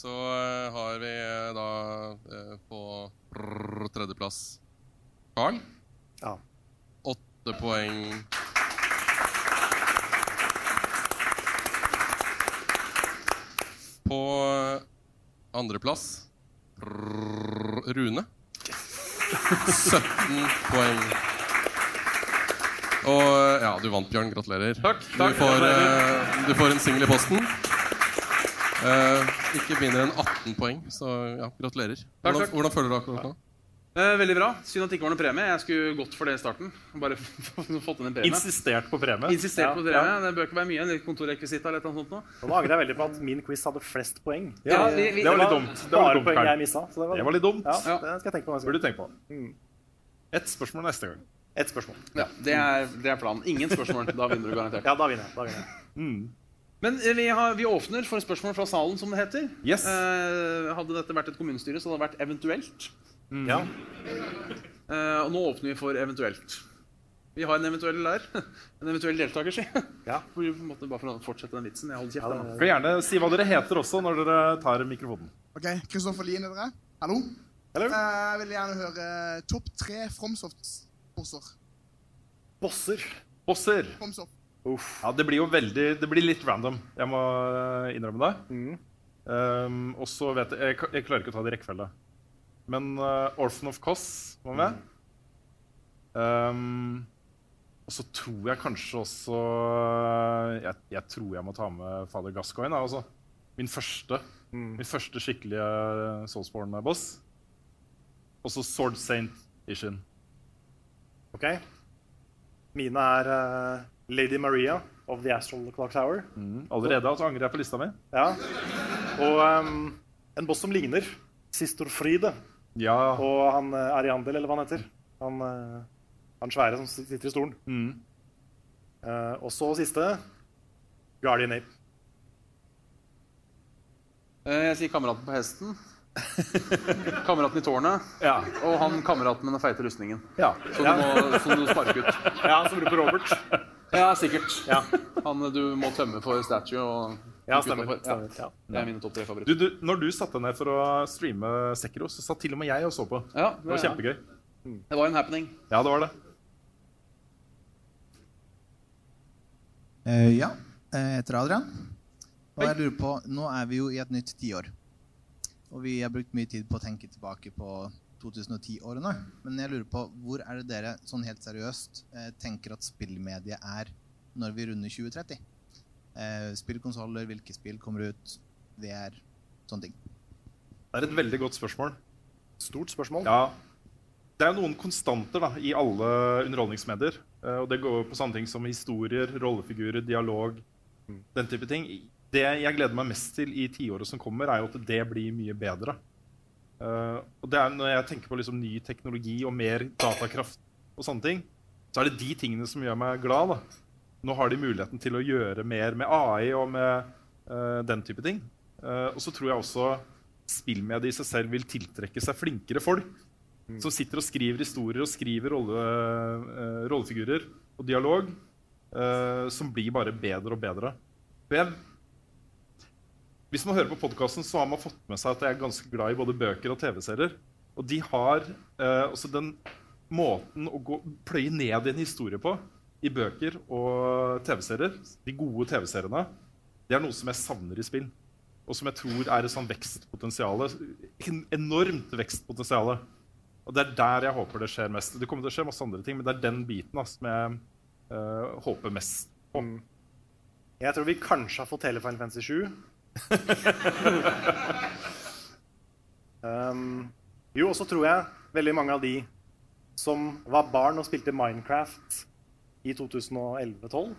så øh, har vi øh, da øh, på prrr, tredjeplass Carl.
Ja.
Åtte poeng. På øh, andreplass prrr, Rune. 17 poeng. Og ja, du vant, Bjørn. Gratulerer.
takk.
Takk, Du får,
Gratulerer.
eh, du får en singel i posten. Eh, ikke mindre enn 18 poeng, så ja, gratulerer.
Takk,
Hvordan,
takk.
hvordan føler du deg akkurat nå?
Eh, veldig bra. Synd at det ikke var noen premie. Jeg skulle gått for det i starten. Bare fått inn en premie.
Insistert på premie.
Insistert
Ja,
på premie.
ja.
Det bør ikke være mye. En litt kontorrekvisitt eller et eller annet sånt nå.
Og nå angrer jeg veldig på at min quiz hadde flest poeng.
Ja, vi- vi- Det var litt dumt. Det var litt
bare
dumt,
poeng
Karl.
jeg misset, så
Det var litt dumt.
Ja, det skal jeg tenke på neste gang.
Burde du tenke på.
Mm.
Ett spørsmål neste gang.
Ett spørsmål.
Ja, det er, det er planen. Ingen spørsmål. Da vinner du garantert.
Ja, da vinner jeg. Da vinner jeg.
Men eh, vi, har, vi åpner for spørsmål fra salen, som det heter.
Yes.
Eh, hadde dette vært et kommunestyre, så hadde det vært eventuelt.
Mm.
Ja.
Eh, og nå åpner vi for eventuelt. Vi har en eventuell der. En eventuell deltaker, si.
Ja.
På en måte bare for å fortsette den vitsen. Jeg holder kjeft.
Du
da.
kan gjerne si hva dere heter også når dere tar mikrofonen.
Ok, Kristoffer Lien er dere. Hallo. Eh, jeg vil gjerne høre eh, topp tre Fromsoft-bosser.
Bosser.
Bosser.
Fromsoft.
Ja, det blir jo veldig Det blir litt random. Jeg må eh, innrømme det. Um, og så vet jeg, jeg k- Jeg klarer ikke å ta det i rekkefølge. Men eh, Orphan of Koss var med. Um, og så tror jeg kanskje også eh, jeg, jeg tror jeg må ta med Fader Gascoigne. ja, Altså. Min første Min første skikkelige eh, Soulsborne-boss. Og så Sword Saint Ishin.
Ok. Mine er eh, Lady Maria of the Astral Clock Tower.
Allerede altså, angrer jeg på lista mi.
Ja. Og ehm, en boss som ligner. Sistor Fride.
Ja.
Og han eh, Ariandel, eller hva han heter. Han, eh, han svære som sitter i stolen. Eh, og så siste Guardian Ape.
Eh, jeg sier kameraten på hesten. Kameraten i tårnet. Og han kameraten med den feite rustningen.
Ja.
Som
Ja.
du må som du sparke ut.
Ja, som roper Robert.
Ja, sikkert. Han eh, du må tømme for statue og
Ja,
og gutta
stemmer.
for-
Stemmer.
Ja.
Det er mine topp tre favoritter.
Du, du, når du satte deg ned for å streame Sekiro, så satt til og med jeg og så på.
Ja,
det var
ja.
kjempegøy.
Det var en happening.
Ja, det var det.
Eh, ja, eh, jeg heter Adrian. Og jeg lurer på, Nå er vi jo i et nytt tiår. Og vi har brukt mye tid på å tenke tilbake på 2010-årene. Men jeg lurer på, hvor er det dere sånn helt seriøst eh, tenker at spillmediet er når vi runder 2030? Eh, Spillkonsoller, hvilke spill kommer ut, VR, sånne ting.
Det er et veldig godt spørsmål.
Stort spørsmål.
Ja. Det er jo noen konstanter da, i alle underholdningsmedier. eh, Og det går på sånne ting som historier, rollefigurer, dialog, den type ting. Det jeg gleder meg mest til i tiåret som kommer, er jo at det blir mye bedre. Eh, og det er jo Når jeg tenker på liksom ny teknologi og mer datakraft, og sånne ting, så er det de tingene som gjør meg glad. da. Nå har de muligheten til å gjøre mer med AI og med eh, den type ting. Eh, og så tror jeg også spillmediet i seg selv vil tiltrekke seg flinkere folk. Som sitter og skriver historier og skriver rolle, eh, rollefigurer og dialog eh, som blir bare bedre og bedre. Og jeg, hvis man hører på podkasten, så har man fått med seg at jeg er ganske glad i både bøker og TV-serier. Og de har eh, også den måten å gå, pløye ned i en historie på i bøker og TV-serier, de gode TV-seriene, det er noe som jeg savner i spill. Og som jeg tror er et sånn vekstpotensial. En enormt vekstpotensial. Og det er der jeg håper det skjer mest. Det kommer til å skje masse andre ting, men det er den biten da, som jeg eh, håper mest på.
Jeg tror vi kanskje har fått hele Final Fantasy 7. um, jo, og så tror jeg veldig mange av de som var barn og spilte Minecraft i 2011-12,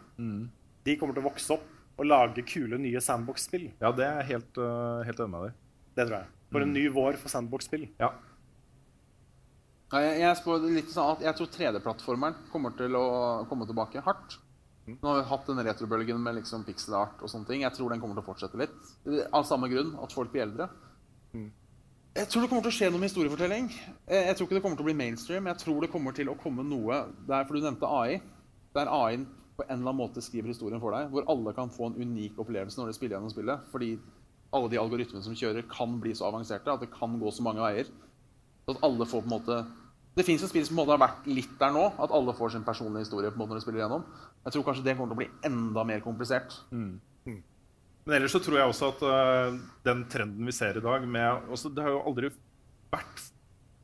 de kommer til å vokse opp og lage kule nye sandbox-spill.
Ja, det er jeg helt, eh, helt enig med deg i.
Det tror jeg. For en ny vår for sandbox-spill.
Ja.
Ja, Jeg, jeg, spår litt sånn at jeg tror 3D-plattformeren kommer til å komme tilbake hardt. Nå har vi hatt den retrobølgen med liksom pixel art og sånne ting. Jeg tror den kommer til å fortsette litt. Av samme grunn, at folk blir eldre. Jeg tror det kommer til å skje noe med historiefortelling. Eh, Jeg tror ikke det kommer til å bli mainstream. Jeg tror det kommer til å komme noe der, for du nevnte AI. Der AI-en på en eller annen måte skriver historien for deg, hvor alle kan få en unik opplevelse når de spiller gjennom spillet. Fordi alle de algoritmene som kjører, kan bli så avanserte at det kan gå så mange veier. Så at alle får på en måte Det fins jo spill som på en måte har vært litt der nå, at alle får sin personlige historie på en måte når de spiller gjennom. Jeg tror kanskje det kommer til å bli enda mer komplisert.
Men ellers så tror jeg også at øh, den trenden vi ser i dag med også, Det har jo aldri vært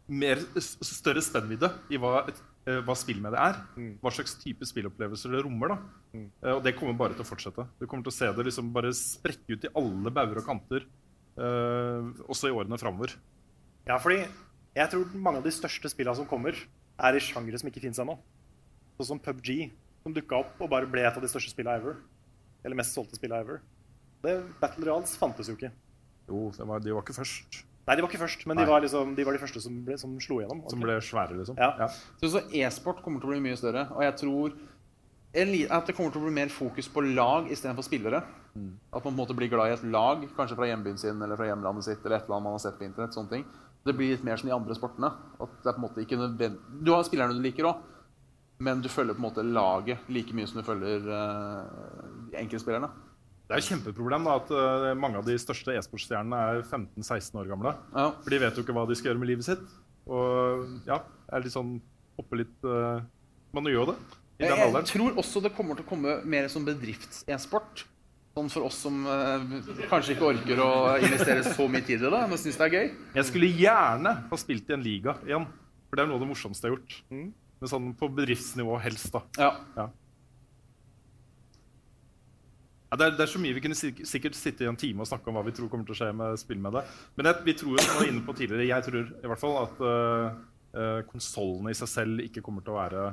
mer, s- større spennvidde i hva, et, øh, hva spillmediet er. Hva slags type spillopplevelser det rommer. da. Eh, og det kommer bare til å fortsette. Du kommer til å se det liksom bare sprekke ut i alle bauger og kanter. øh, også i årene framover.
Ja, fordi jeg tror mange av de største spillene som kommer, er i sjangere som ikke fins ennå. Sånn som PubG, som dukka opp og bare ble et av de største spillene ever. Eller mest solgte spillene ever. Det, Battle Royals fantes jo ikke.
Jo, det var, de var ikke først.
Nei, de var ikke først, men de
Nei.
var, liksom, de var de første som, ble, som slo gjennom.
Som ble svære, liksom.
Ja.
Så, så e-sport kommer til å bli mye større. Og jeg tror en li- at det kommer til å bli mer fokus på lag istedenfor spillere. At man på en måte blir glad i et lag, kanskje fra hjembyen sin eller fra hjemlandet sitt. eller et eller annet man har sett på internett, sånne ting. Det blir litt mer som de andre sportene. at det er på en måte ikke nødvend... Du har spillerne du liker òg, men du følger på en måte laget like mye som du følger eh, de enkeltspillerne.
Det er jo et kjempeproblem da, at øh, mange av de største e-sportstjernene er 15-16 år gamle. For de vet jo ikke hva de skal gjøre med livet sitt. Og ja, er litt sånn hoppe litt øh, Man gjør jo det i
Jeg,
den
jeg
alderen.
tror også det kommer til å komme mer som bedrifts-e-sport. Sånn for oss som eh, kanskje ikke orker å investere så mye tid i det, men syns det er gøy.
Jeg skulle gjerne ha spilt i en liga igjen. For det er noe av det morsomste jeg har gjort.
Mm.
Men sånn på bedriftsnivå helst, da.
Ja.
Ja. Ja, det, er, det er så mye vi kunne sik- sikkert sitte i en time og snakke om hva vi tror kommer til å skje med spill med det. Men jeg, vi tror jo, som vi var inne på tidligere, jeg tror i hvert fall at uh, konsollene i seg selv ikke kommer til å være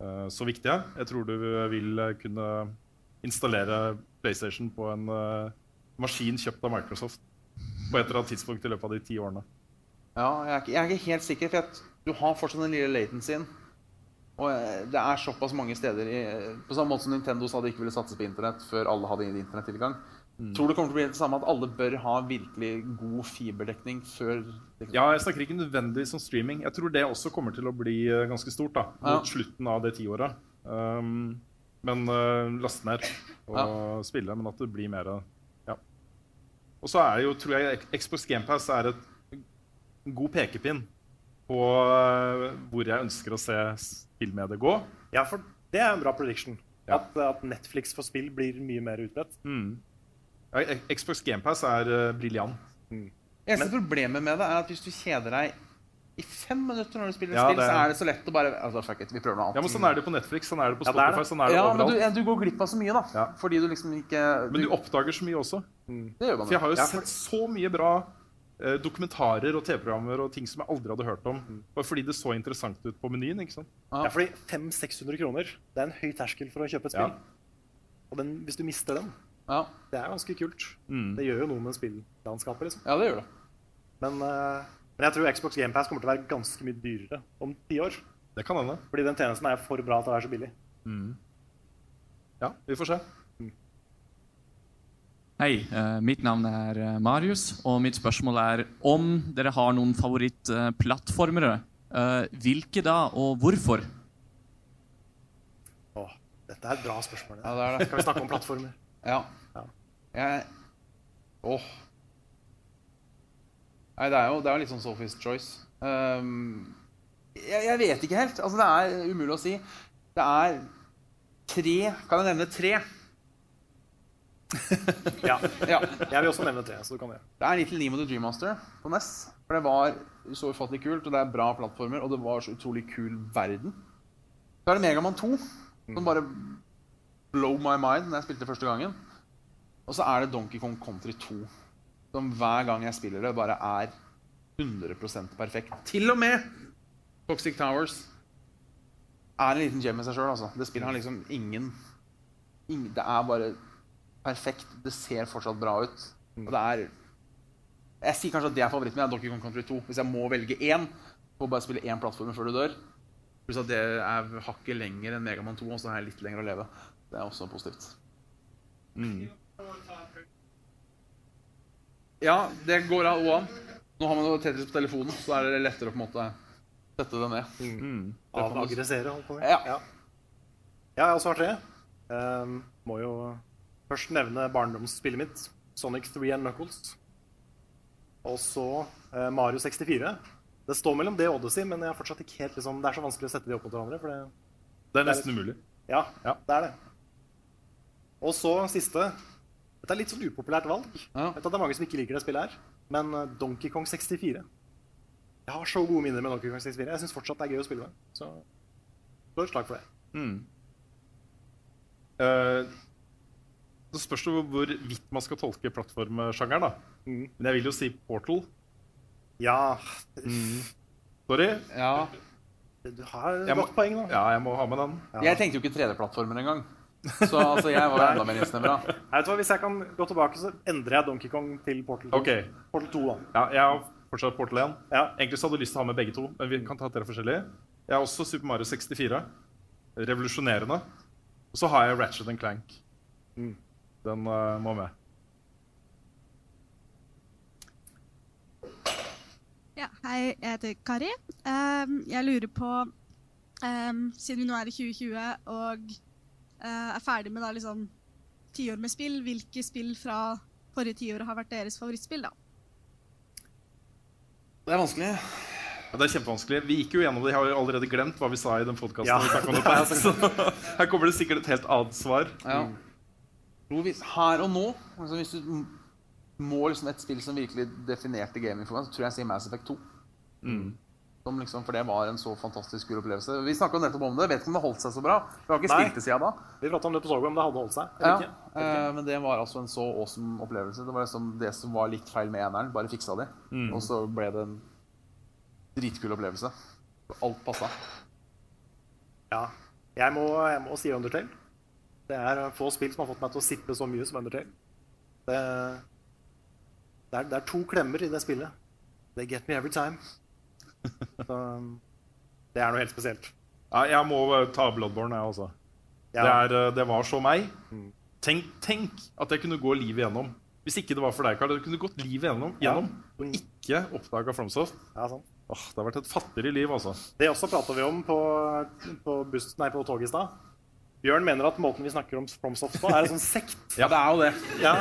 øh, så viktige. Jeg tror du vil øh, kunne installere PlayStation på en øh, maskin kjøpt av Microsoft på et eller annet tidspunkt i løpet av de ti årene.
Ja, jeg er, ikke, jeg er ikke helt sikker, for at du har fortsatt den lille latencyen. Og eh, det er såpass mange steder i, På samme måte som Nintendo sa de ikke ville satse på internett før alle hadde internettilgang.
Mm.
Tror det kommer til å bli det samme at alle bør ha virkelig god fiberdekning før
Ja, jeg snakker ikke nødvendigvis om streaming. Jeg tror det også kommer til å bli eh, ganske stort da, mot
Ja.
slutten av det tiåret. Um, men eh, laste ned og spille, men at det blir mer eh, Ja. Og så er det jo, tror jeg, Ex- Xbox GamePass er et en god pekepinn på eh, hvor jeg ønsker å se spillmediet gå.
Ja, for det er en bra prediction. At, at Netflix for spill blir mye mer utbredt.
Mm. Ja, e- Xbox GamePass er eh, briljant.
Eneste problemet med det er at hvis du kjeder deg i fem minutter når du spiller
Ja,
spill,
det-
så er det så lett å bare altså, fuck it, vi prøver noe annet.
Ja, men Sånn er det på Netflix, sånn er det på
Ja, det er
Spotify,
det.
sånn er det
Ja, men
overalt.
du- du går glipp av så mye, da. Fordi du liksom ikke
Men du oppdager så mye også.
Det gjør man
For jeg har jo
Ja, for-
sett så mye bra eh, dokumentarer og TV-programmer og ting som jeg aldri hadde hørt om.
Mm.
Bare fordi det så interessant ut på menyen. ikke sant?
Ja, fordi 500-600 kroner det er en høy terskel for å kjøpe et spill. Og den, hvis du mister den, det er ganske kult.
Mm.
Det gjør jo noe med spilllandskapet. liksom.
Ja, det gjør det.
Men, eh, men jeg tror Xbox GamePass kommer til å være ganske mye dyrere om ti år.
Det kan hende. Mm.
Fordi den tjenesten er for bra til å være så billig.
Ja, vi får se.
Hei, eh, mitt navn er eh, Marius, og mitt spørsmål er om dere har noen favorittplattformere Eh, hvilke da, og hvorfor?
Åh, dette er et bra spørsmål.
Ja, det er det.
Skal vi snakke om plattformer?
Ja. Jeg Åh. Nei, det er jo, det er jo litt sånn Sophie's choice. Ehm, jeg, jeg vet ikke helt. Altså, det er umulig å si. Det er tre Kan jeg nevne tre?
ja.
ja.
Jeg vil også nevne tre. så du kan gjøre.
Det er Little Nemo the Dream Master på NES. For det var så ufattelig kult, og det er bra plattformer, og det var så utrolig kul verden. Så er det Megaman 2, som bare blow my mind når jeg spilte det første gangen. Og så er det Donkey Kong Country 2, som hver gang jeg spiller det, bare er 100 perfekt. Til og med Toxic Towers er en liten gem i seg sjøl, altså. Det spillet har liksom ingen, ingen Det er bare perfekt. Det ser fortsatt bra ut. Og det er Jeg sier kanskje at det er favoritten min, er Donkey Kong Country 2. Hvis jeg må velge én, får bare spille én plattform før du dør. Pluss at det er hakket lenger enn Megaman 2, og så har jeg litt lenger å leve. Det er også positivt. Mm. Ja, det går av og an. Nå har man jo Tetris på telefonen, så er det lettere å på en måte sette det ned. Det kan man-
Avaggressere, holdt på å si.
Ja.
ja. Ja, jeg også har tre. Ehm, må jo først nevne barndomsspillet mitt, Sonic 3 and Knuckles. Og så eh, Mario 64. Det står mellom det og Odyssey, men jeg har fortsatt ikke helt liksom, det er så vanskelig å sette de opp mot hverandre. For det,
Det er nesten umulig.
ja, det er det. Og så siste. Dette er litt sånn upopulært valg. Jeg vet at det er mange som ikke liker det spillet her. Men eh, Donkey Kong 64. Jeg har så gode minner med Donkey Kong 64. Jeg syns fortsatt det er gøy å spille med. Så slå et slag for det.
Mm. Eh, det spørs jo hvor vidt man skal tolke plattformsjangeren. da. Men jeg vil jo si Portal.
Mm. Ja
Sorry.
Ja.
Du har
Jeg må-
godt poeng, da.
Ja, jeg må ha med den.
Jeg tenkte jo ikke 3D-plattformer engang. Så altså, jeg var jo enda mer innsnevra.
Nei, vet du hva, Hvis jeg kan gå tilbake, så endrer jeg Donkey Kong til Portal 2.
Ok.
Portal 2 da.
Ja, jeg har fortsatt Portal 1. Egentlig så hadde jeg lyst til å ha med begge to, men vi kan ta tre forskjellige. Jeg har også Super Mario 64. Revolusjonerende. Og så har jeg Ratchet and Clank.
Mm.
Den eh, må med.
Ja, hei, jeg heter Kari. Ehm, jeg lurer på, ehm, siden vi nå er i 2020 og eh, er ferdig med da liksom tiår med spill, hvilke spill fra forrige tiår har vært deres favorittspill da?
Det er vanskelig.
Ja, det er kjempevanskelig. Vi gikk jo gjennom det. Jeg har jo allerede glemt hva vi sa i den podkasten.
Ja, det er
Her kommer det sikkert et helt annet svar.
Ja.
Mm.
Jo, hvis- Her og nå, altså hvis du m- må liksom et spill som virkelig definerte gaming for meg, så tror jeg jeg sier Mass Effect 2.
Mm.
Som liksom, for det var en så fantastisk kul opplevelse. Vi snakka nettopp om det. Vet ikke om det holdt seg så bra. Vi har ikke
Nei.
spilt det siden da.
Vi pratet om det på Sogo, om det hadde holdt seg.
Ja,
eller ikke.
eh, men det var altså en så awesome opplevelse. Det var liksom det som var litt feil med eneren, bare fiksa de.
Mm.
Og så ble det en dritkul opplevelse. Alt passa.
Ja. Jeg må, jeg må si Undertale. Det er få spill som har fått meg til å sippe så mye som Undertale. Det, det, er, det er to klemmer i det spillet. They get me every time. Så, det er noe helt spesielt.
Ja, jeg må eh, ta Bloodborne, jeg også.
Ja.
Det, er, eh, det var så meg. Tenk, tenk at jeg kunne gå livet gjennom. Hvis ikke det var for deg, Karl. Du kunne gått livet gjennom, gjennom og ikke oppdaga Flomsoft.
Ja, sant.
Åh, det har vært et fattigere liv, altså.
Det også prata vi om på, på, buss, nei, på toget i stad. Bjørn mener at måten vi snakker om Fromsoft på, er en sånn sekt.
Ja, det er jo det.
Ja.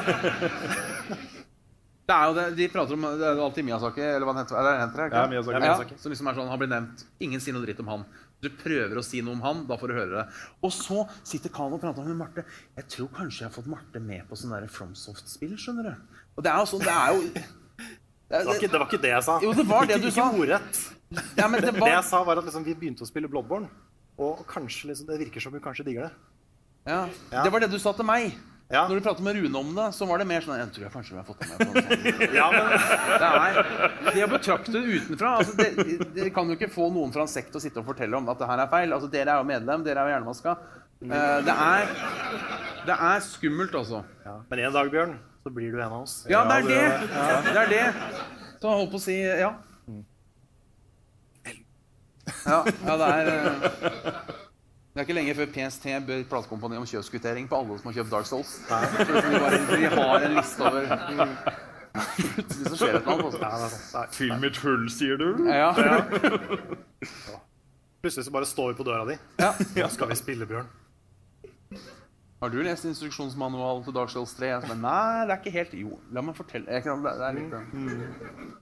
Det er jo det, De prater om det er jo alltid Miyazaki, eller hva han heter. Er det han heter ikke?
Ja, Miyazaki. Miyazaki.
Ja, som liksom er sånn, han blir nevnt. Ingen sier noe dritt om han. Du prøver å si noe om han, da får du høre det. Og så sitter Kano og prater med Marte. Jeg tror kanskje jeg har fått Marte med på sånn der FromSoft-spill, skjønner du. Og det er jo sånn, det er jo
Det var, ikke, det var ikke det jeg sa.
Jo, det var det
ikke,
du
ikke
sa.
ordrett.
Ja, men det
det,
var-
jeg sa, var at liksom, vi begynte å spille Bloodborne, og kanskje liksom, det virker som hun kanskje digger det.
Ja. Det var det du sa til meg. Når du pratet med Rune om det, så var det mer sånn Jeg tror jeg kanskje vi har fått det med på en sånn.
Ja, men-
Det er, de har betraktet det utenfra. Altså, det, det kan jo ikke få noen fra en sekt til å sitte og fortelle om at det her er feil. Altså, dere er jo medlem, dere er jo hjernemaska. Eh, det, er, det er skummelt, altså.
Men en dag, Bjørn, så blir du en av oss.
Ja, det er det!
Ja.
Det er det. Så jeg holdt på å si ja. Ja, ja det er eh, Det er ikke lenge før PST bør platekompani om kjøpskvittering på alle som har kjøpt Dark Souls. Så de, bare, de har en liste over mm. Plutselig så skjer det noe. altså.
sånn. Ja, det er sant.
Film i tull, sier du?
Ja.
Ja.
Plutselig så bare står vi på døra di. Nå skal vi spille, Bjørn.
Har du lest instruksjonsmanualen til Dark Souls 3? Jeg sa, nei, det er ikke helt Jo, la meg fortelle jeg kan, det, det er litt,
Mm.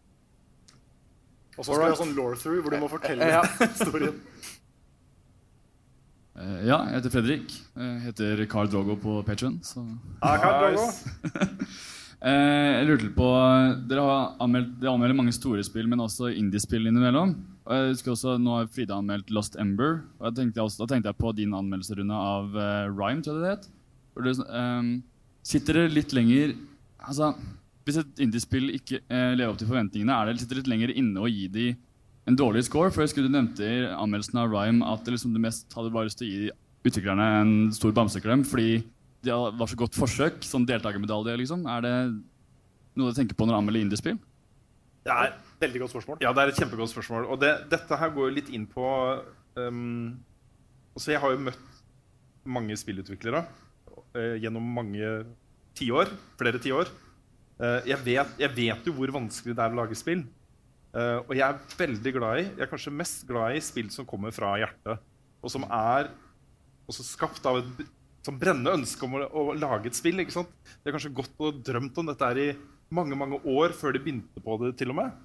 Og så skal vi ha sånn lore-through hvor du må fortelle
Ja.
Mm.
historien.
Eh, ja, jeg heter Fredrik. Jeg heter Carl Drogo på Patreon. Så.
Ah, Khal Drogo.
Eh, jeg lurte på Dere har anmeldt, dere anmelder mange store spill, men også indiespill innimellom. Og jeg husker også, Nå har Frida anmeldt Lost Ember. Og jeg tenkte også, Da tenkte jeg på din anmeldelse Rune, av eh, Rhyme, tror jeg det het. Hvor du, ehm, sitter dere litt lenger Altså, Hvis et indiespill ikke eh, lever opp til forventningene, er det sitter dere litt lenger inne og gir de en dårlig score? For jeg husker du nevnte i anmeldelsen av Rhyme at det liksom du mest hadde bare lyst til å gi utviklerne en stor bamseklem fordi det var så godt forsøk. Sånn deltakermedalje, liksom. Er det noe du tenker på når du anmelder indiespill?
Det er et veldig godt spørsmål.
Ja, det er et kjempegodt spørsmål. Og det, dette her går jo litt inn på ehm, Altså, jeg har jo møtt mange spillutviklere eh, gjennom mange tiår. Flere tiår. Eh, jeg, vet, jeg vet jo hvor vanskelig det er å lage spill. Eh, og jeg er veldig glad i Jeg er kanskje mest glad i spill som kommer fra hjertet, og som er også skapt av et som brennende ønske om å, å lage et spill. ikke sant? De har kanskje gått og drømt om dette her i mange mange år før de begynte på det. til og med.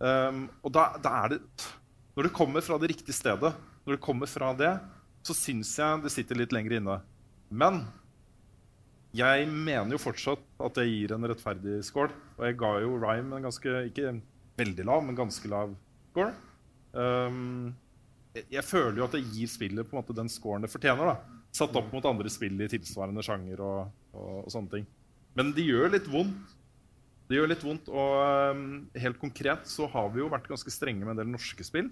Ehm, og da, da er det Når det kommer fra det riktige stedet, når det kommer fra det, så syns jeg det sitter litt lenger inne. Men jeg mener jo fortsatt at jeg gir en rettferdig score. Og jeg ga jo Rhyme en ganske ikke veldig lav, men ganske lav score. Ehm, jeg, jeg føler jo at jeg gir spillet på en måte den scoren det fortjener. da. Satt opp mot andre spill i tilsvarende sjanger og, og, og sånne ting. Men det gjør litt vondt. Det gjør litt vondt, og ehm, helt konkret så har vi jo vært ganske strenge med en del norske spill.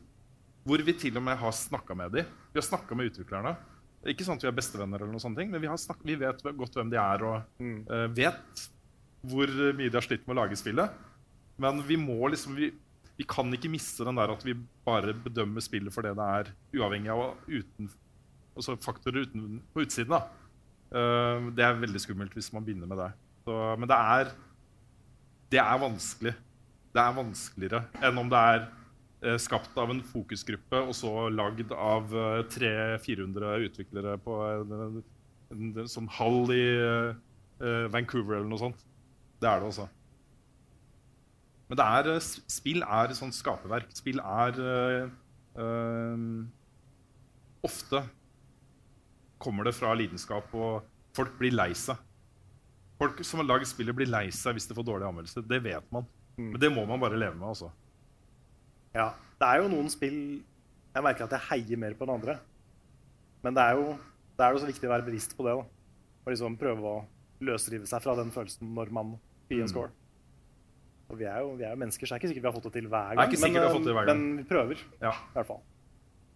Hvor vi til og med har snakka med de. Vi har snakka med utviklerne. Ikke sånn at vi er bestevenner, eller noen sånne ting, men vi, har snakk- vi vet godt hvem de er, og eh, vet hvor mye de har slitt med å lage spillet. Men vi må liksom vi, vi kan ikke miste den der at vi bare bedømmer spillet for det det er, uavhengig av uten, altså faktorer uten, på utsiden. da. Eh, det er veldig skummelt hvis man begynner med det. Så, men det er, det er vanskelig. Det er vanskeligere enn om det er eh, skapt av en fokusgruppe og så lagd av eh, 300-400 utviklere på en, en, en, sånn hall i eh, Vancouver eller noe sånt. Det er det, altså. Men det er, eh, s- spill er sånn skaperverk. Spill er eh, eh, Ofte kommer det fra lidenskap, og folk blir lei seg. Folk som har lagd spillet, blir lei seg hvis de får dårlige anmeldelser. Det vet man. Men det må man bare leve med. altså.
Ja, det er jo noen spill Jeg merker at jeg heier mer på enn andre. Men det er jo, det er jo så viktig å være bevisst på det. da. Og liksom prøve å løsrive seg fra den følelsen når man gir en
Mm.
score. Og vi er jo, vi er jo mennesker, så det er ikke sikkert vi har fått det til hver
Det
gang.
er ikke sikkert vi har fått det hver gang.
men vi prøver.
Ja.
I hvert fall.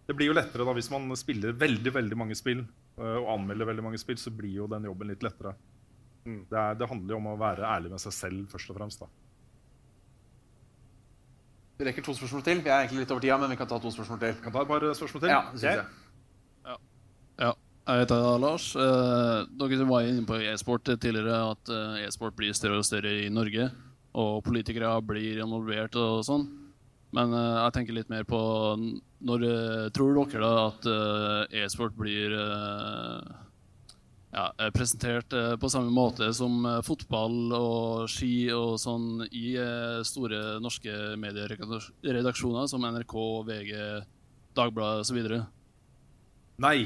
Det blir jo lettere da hvis man spiller veldig veldig mange spill eh, og anmelder veldig mange spill, så blir jo den jobben litt lettere. Det, er, det handler jo om å være ærlig med seg selv først og fremst. da.
Vi rekker to spørsmål til. Vi er egentlig litt over tida, men vi kan ta to spørsmål til.
Kan ta et par spørsmål til?
Ja, det synes
Ok.
jeg.
Ja. Jeg heter Lars. Eh, Dere var inne på e-sport tidligere, at eh, e-sport blir større og større i Norge. Og politikere blir involvert og sånn. Men eh, jeg tenker litt mer på n- når eh, tror dere da at eh, e-sport blir eh, ja, eh, presentert eh, på samme måte som eh, fotball og ski og sånn i eh, store norske medieredaksjoner som NRK, VG, Dagbladet osv.?
Nei.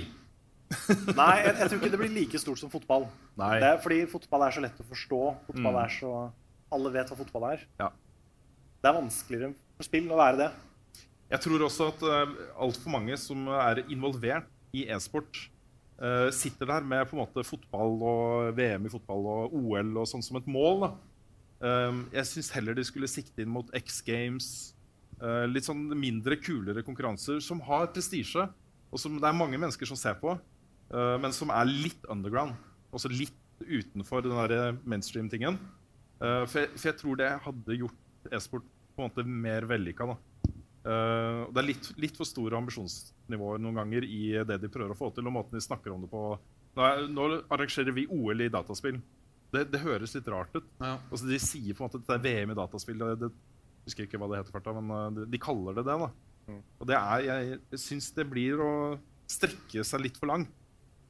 Nei, jeg, jeg tror ikke det blir like stort som fotball.
Nei.
Det er fordi fotball er så lett å forstå. Fotball
Mm.
er så, Alle vet hva fotball er.
Ja.
Det er vanskeligere for spill å være det.
Jeg tror også at uh, altfor mange som er involvert i e-sport, eh, sitter der med på en måte fotball og VM i fotball og OL og sånn som et mål. Da. Ehm, jeg syns heller de skulle sikte inn mot X Games. eh, litt sånn mindre, kulere konkurranser som har prestisje, og som det er mange mennesker som ser på, eh, men som er litt underground. Altså litt utenfor den der mainstream-tingen. Eh, for, jeg, for jeg tror det hadde gjort e-sport på en måte mer vellykka. da. Eh, og det er litt, litt for store ambisjonsnivåer noen ganger i det de prøver å få til. og måten de snakker om det på. Nå, er, nå arrangerer vi OL i dataspill. Det, det høres litt rart ut. Altså, de sier på en måte at det er VM i dataspill. og Det, det, jeg husker ikke hva det heter, farta, men eh, de, de kaller det det. da. Og det er, jeg, jeg syns det blir å strekke seg litt for langt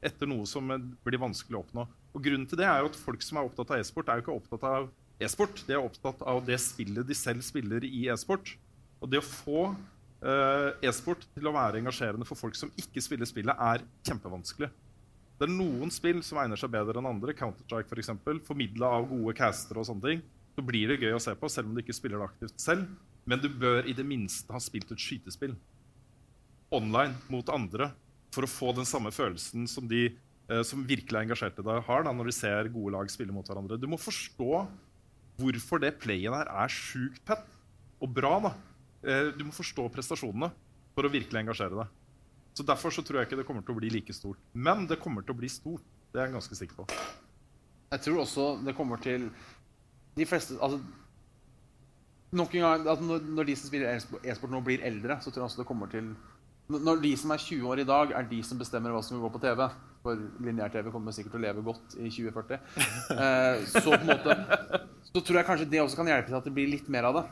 etter noe som eh, blir vanskelig å oppnå. Og grunnen til det er jo at folk som er opptatt av e-sport, er jo ikke opptatt av e-sport. De er opptatt av det spillet de selv spiller i e-sport. Og det å få eh, e-sport til å være engasjerende for folk som ikke spiller spillet, er kjempevanskelig. Det er noen spill som egner seg bedre enn andre. Counter-Strike for eksempel, formidla av gode castere og sånne ting. Så blir det gøy å se på, selv om du ikke spiller det aktivt selv. Men du bør i det minste ha spilt et skytespill online mot andre for å få den samme følelsen som de eh, som virkelig er engasjert i deg, har da, når de ser gode lag spille mot hverandre. Du må forstå hvorfor det playet der er sjukt pett og bra. da. Eh, Du må forstå prestasjonene for å virkelig engasjere deg. Så Derfor så tror jeg ikke det kommer til å bli like stort. Men det kommer til å bli stort. Det er jeg ganske sikker på.
Jeg tror også det kommer til De fleste Altså Nok en gang at når, når de som spiller e-sp- e-sport nå, blir eldre, så tror jeg også det kommer til Når når de som er 20 år i dag, er de som bestemmer hva som vil gå på TV For lineær-TV kommer sikkert til å leve godt i 2040. Eh, så på en måte Så tror jeg kanskje det også kan hjelpe til at det blir litt mer av det.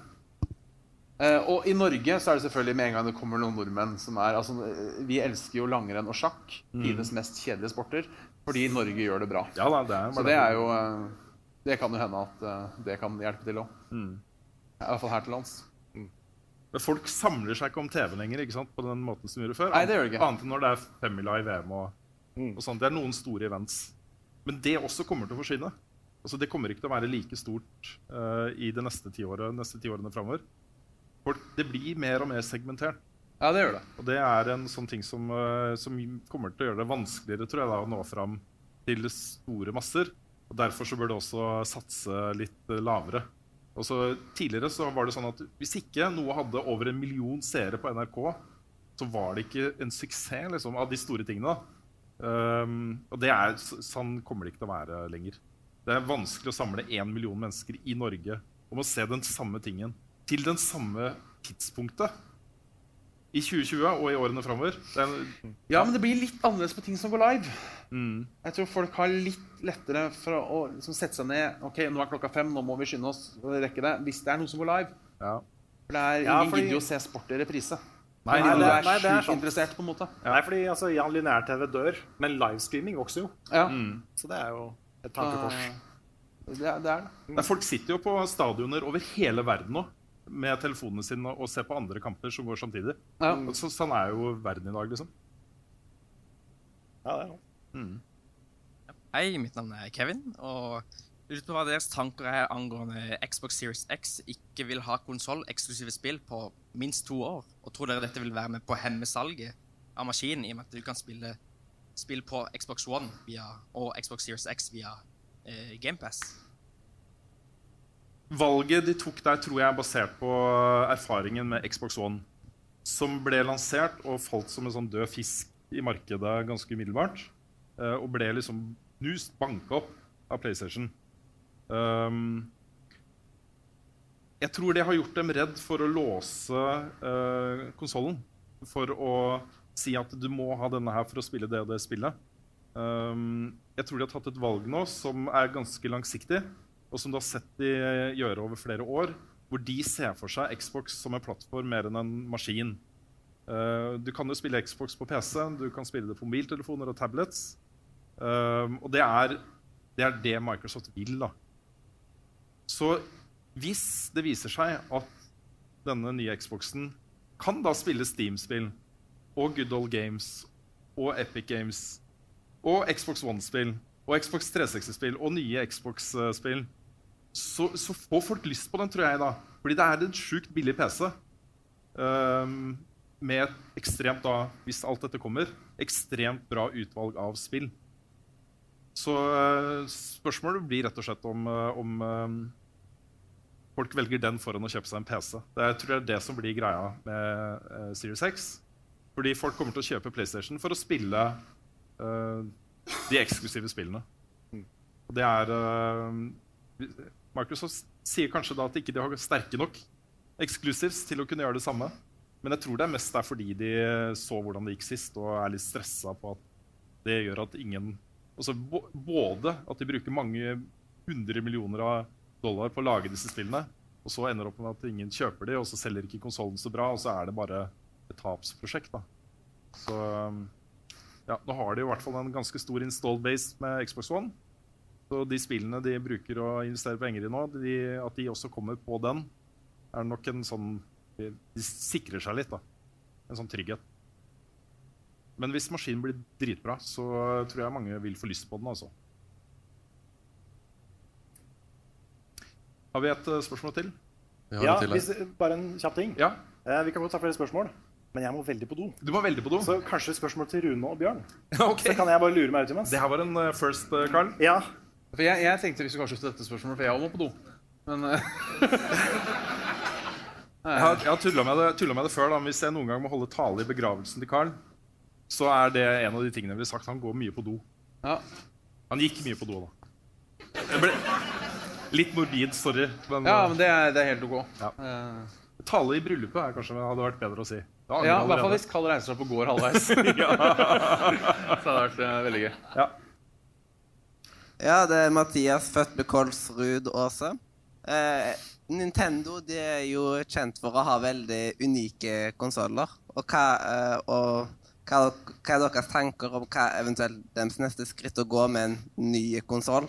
Eh, og i Norge så er det selvfølgelig med en gang det kommer noen nordmenn som er altså, eh, Vi elsker jo langrenn og sjakk,
Mm.
tidenes mest kjedelige sporter, fordi Norge gjør det bra.
Ja da, det er
så
bare
det
det.
er jo eh, Det kan jo hende at eh, det kan hjelpe til òg.
Mm.
I hvert fall her til lands.
Men Folk samler seg ikke om TV lenger ikke sant? på den måten som vi gjorde før.
Nei, det gjør de ikke. Mm.
Annet enn når det er femmila i VM og, og sånt. Det er noen store events. Men det også kommer til å forsvinne. Altså, det kommer ikke til å være like stort eh, i det neste tiåret, neste tiårene framover. Det blir mer og mer segmentert.
Ja, det gjør det.
Og det er en sånn ting som, eh, som kommer til å gjøre det vanskeligere tror jeg, da, å nå fram til store masser. Og Derfor så bør det også satse litt eh, lavere. Og så Tidligere så var det sånn at hvis ikke noe hadde over en million seere på NRK, så var det ikke en suksess liksom, av de store tingene. da. Um, og det er, s- sånn kommer det ikke til å være lenger. Det er vanskelig å samle én million mennesker i Norge om å se den samme tingen til den samme tidspunktet. I 2020 og i årene framover.
Ja, men det blir litt annerledes på ting som går live.
Mm.
Jeg tror folk har litt lettere for å liksom, sette seg ned Ok, nå er klokka fem, nå må vi skynde oss og rekke det. Hvis det er noe som går live. For det er,
Ja,
ingen
fordi-
gidder jo å se sport i reprise.
Nei,
Fordi
nei,
alle
det- nei, det er
sjukt
sant.
interessert, på en måte.
Nei, fordi altså, ja, lineær-TV dør, men livestreaming vokser jo.
Ja.
Mm.
Så det er jo et tankekors.
Det er det.
sånn-
Nei, folk sitter jo på stadioner over hele verden nå med telefonene sine og ser på andre kamper som går samtidig. Og Så, sånn er jo verden i dag, liksom.
Ja, det er noe.
Hei, mitt navn er Kevin, og lurer på hva deres tanker er angående Xbox Series X ikke vil ha konsoll eksklusive spill på minst to år, og tror dere dette vil være med på å hemme salget av maskinen, i og med at du kan spille spill på Xbox One via, og Xbox Series X via eh, GamePass?
Valget de tok der, tror jeg er basert på erfaringen med Xbox One. Som ble lansert og falt som en sånn død fisk i markedet ganske umiddelbart. eh, Og ble liksom knust, banka opp av PlayStation. Um, jeg tror det har gjort dem redd for å låse uh, konsollen. For å si at du må ha denne her for å spille det og det spillet. Um, jeg tror de har tatt et valg nå som er ganske langsiktig, og som du har sett de eh, gjøre over flere år. Hvor de ser for seg Xbox som en plattform mer enn en maskin. Uh, du kan jo spille Xbox på PC, du kan spille det på mobiltelefoner og tablets. Um, og det er, det er det Microsoft vil, da. Så hvis det viser seg at denne nye Xboxen kan da spille Steam-spill og Good Old Games og Epic Games og Xbox One-spill og Xbox 360-spill og nye Xbox-spill, så, så får folk lyst på den, tror jeg, da. Fordi det er en sjukt billig PC. ehm, med et ekstremt, da, hvis alt dette kommer, ekstremt bra utvalg av spill. Så eh, spørsmålet blir rett og slett om, eh, om eh, folk velger den foran å kjøpe seg en PC. Det er, tror jeg er det som blir greia med eh, Series X. Fordi folk kommer til å kjøpe PlayStation for å spille eh, de eksklusive spillene. Og det er eh, Microsoft sier kanskje da at ikke de har sterke nok exclusives til å kunne gjøre det samme. Men jeg tror det er mest der fordi de så hvordan det gikk sist, og er litt stressa på at det gjør at ingen altså bå- Både at de bruker mange hundre millioner av dollar på å lage disse spillene, og så ender det opp med at ingen kjøper de, og så selger ikke konsollen så bra, og så er det bare et tapsprosjekt. da. Så um, ja, nå har de jo i hvert fall en ganske stor install base med Xbox One. Så de spillene de bruker å investere penger i nå, de, at de også kommer på den, er nok en sånn De de sikrer seg litt, da. En sånn trygghet. Men hvis maskinen blir dritbra, så tror jeg mange vil få lyst på den. altså. Har vi et eh, spørsmål til?
Ja, hvis, bare en kjapp ting. Eh, vi kan godt ta flere spørsmål, men jeg må veldig på do.
Du må veldig på do.
Så kanskje spørsmål til Rune og Bjørn.
Så
kan jeg bare lure meg ut imens.
Det her var en eh, first, eh, Carl.
Ja.
For jeg, jeg tenkte vi skulle avslutte dette spørsmålet, for jeg må på do. Men eh,
Jeg har, jeg har tulla med, det- tulla med det før. da, men Hvis jeg noen gang må holde tale i begravelsen til Carl, så er det en av de tingene jeg ville sagt. Han går mye på do. Han gikk mye på do, da. Jeg ble litt morbid, sorry. Men,
Ja, men det er, det er helt ok. Eh,
Ja. Tale i bryllupet er kanskje det hadde vært bedre å si. Da angrer
Ja,
jeg
i hvert fall
allerede.
hvis Karl reiser seg opp og går halvveis. Så hadde det vært eh, veldig gøy.
Ja, det er Mathias født med Kolsrud Aase. Eh, Nintendo de er jo kjent for å ha veldig unike konsoller. Og, hva, eh, og hva, hva er deres tanker om hva eventuelt deres neste skritt å gå med en ny konsoll?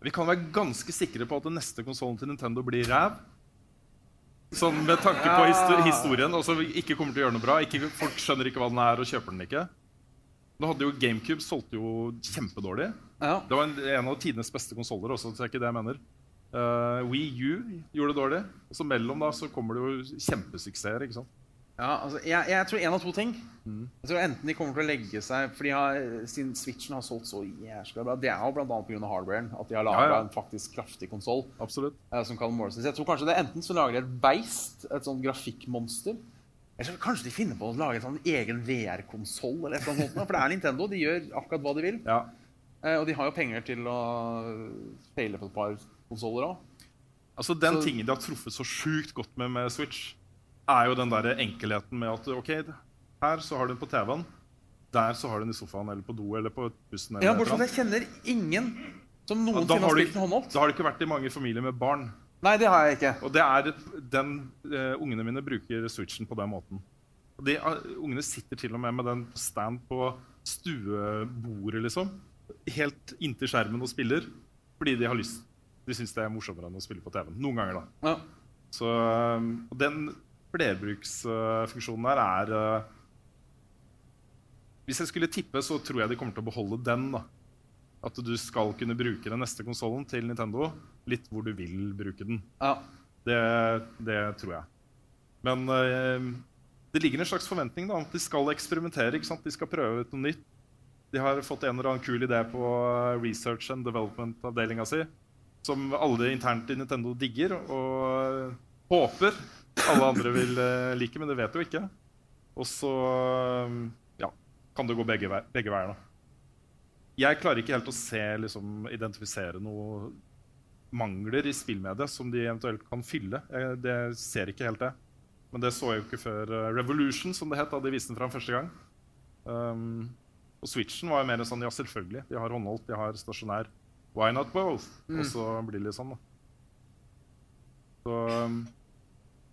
Vi kan være ganske sikre på at den neste konsollen til Nintendo blir ræv. Sånn med tanke på histo-
Ja.
historien. Også ikke kommer til å gjøre noe bra. Ikke, folk skjønner ikke hva den er, og kjøper den ikke. Nå hadde jo GameCube solgte jo kjempedårlig. Det var en, en av tidenes beste konsoller også, så det er ikke det jeg mener. Uh, Wii U gjorde det dårlig. Og så mellom da så kommer det jo kjempesuksesser. ikke sant?
Ja, altså, jeg, jeg tror en av to ting. Jeg tror Enten de kommer til å legge seg For de har, siden Switchen har solgt så jæskla bra Det er jo bl.a. pga. hardwaren. At de har laga
Ja, ja.
en faktisk kraftig konsoll.
Eh,
som kan måles. Så jeg tror kanskje det er enten så lager de et beist, et sånt grafikkmonster. Eller så kanskje de finner på å lage en sånn egen VR-konsoll. eller et eller annet sånt noe, For det er Nintendo. De gjør akkurat hva de vil. Eh, og de har jo penger til å feile på et par konsoller òg.
Altså Den
Så-
tingen de har truffet så sjukt godt med med Switch, er jo den der enkelheten med at ok, her så har du den på TV-en, der så har du den i sofaen eller på do eller på bussen. Eller
Ja,
et
bortsett fra
eller
at jeg kjenner ingen som
annet.
noensinne
da,
har
har du,
spilt en hånd opp.
da har du ikke vært i mange familier med barn.
Nei, det har jeg ikke.
Og det er den eh, Ungene mine bruker Switchen på den måten. Og De, eh, ungene sitter til og med med den på stand på stuebordet, liksom. Helt inntil skjermen og spiller fordi de har lyst. De syns det er morsommere enn å spille på TV-en. Noen ganger, da.
Ja.
Så um, og den flerbruksfunksjonen der er uh, Hvis jeg skulle tippe, så tror jeg de kommer til å beholde den. da. At du skal kunne bruke den neste konsollen til Nintendo litt hvor du vil bruke den. Det, det tror jeg. Men uh, det ligger en slags forventning da, om at de skal eksperimentere. ikke sant? De skal prøve ut noe nytt. De har fått en eller annen kul idé på uh, research and development-avdelinga si. Som alle internt i Nintendo digger og håper alle andre vil eh, like, men det vet jo ikke. Og så eh, ja, kan det gå begge, vei, begge veier. da. Jeg klarer ikke helt å se, liksom, identifisere noe mangler i spillmediet som de eventuelt kan fylle. Jeg, det ser ikke helt det. Men det så jeg jo ikke før eh, Revolution, som det het, da de viste den fram første gang. Um, og Switchen var jo mer sånn ja, selvfølgelig. De har håndholdt, de har stasjonær. Why not both?
Mm.
Og så blir det litt sånn, da. Så um,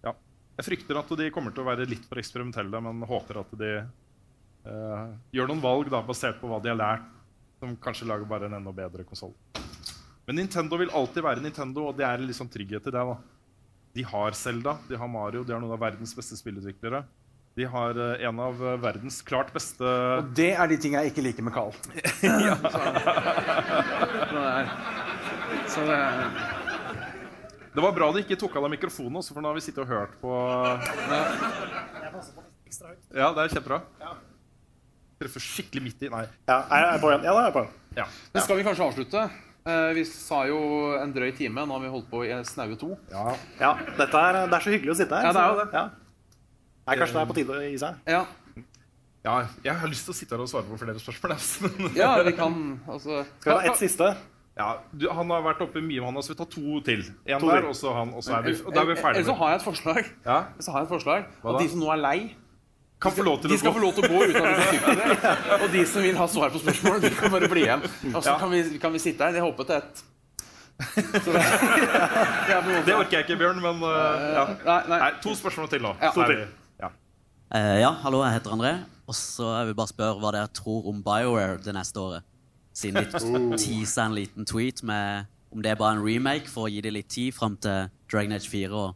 ja. Jeg frykter at de kommer til å være litt for eksperimentelle, men håper at de eh, gjør noen valg da, basert på hva de har lært, som kanskje lager bare en enda bedre konsoll. Men Nintendo vil alltid være Nintendo, og det er litt sånn trygghet i det. da. De har Zelda, de har Mario, de har noen av verdens beste spillutviklere. De har eh, en av eh, verdens klart beste
Og det er de tingene jeg ikke liker med Carl. ja. Så, så det er
Det var bra de ikke tok av deg mikrofonen, også, for nå har vi sittet og hørt på eh,
Jeg passer på litt ekstra høyt.
Ja, det er kjempebra. Treffer skikkelig midt i Nei.
Ja, er jeg på igjen? Ja, da er jeg på igjen.
Men skal vi kanskje avslutte? Eh, vi sa jo en drøy time. Nå har vi holdt på i snaue to.
Ja.
dette er, det er så hyggelig å sitte her.
Ja, det er jo
så-
det.
Ja. Nei, kanskje det er på tide å gi seg.
Ja.
Ja, jeg har lyst til å sitte her og svare på flere spørsmål. jeg, men-
Ja, vi kan altså
Skal vi ha ett siste? Ja, du, Han har vært oppe mye med han, så vi tar to til. En
To
der,
til.
og så han. Og så er vi, og da er vi
Eller
ferdige.
Eh, så har jeg et forslag.
Ja?
Så har jeg et forslag
Hva
At
da?
de som nå er lei,
Kan få lov til
de
å
skal
gå.
få lov til å gå uten at de får sykt av det. Og de som vil ha svar på spørsmål, de kan bare bli igjen. Og så
Ja.
kan, vi, kan vi sitte her. Jeg håper til ett.
Det orker jeg ikke, Bjørn, men uh, ja. eh, nei, To spørsmål til nå.
Ja.
Så er vi- Ja.
Eh, ja, hallo, jeg heter André. Og så jeg vil bare spørre hva dere tror om BioWare det neste året. Siden de
Oh.
teasa en liten tweet med om det er bare en remake for å gi det litt tid fram til Dragon Age 4 og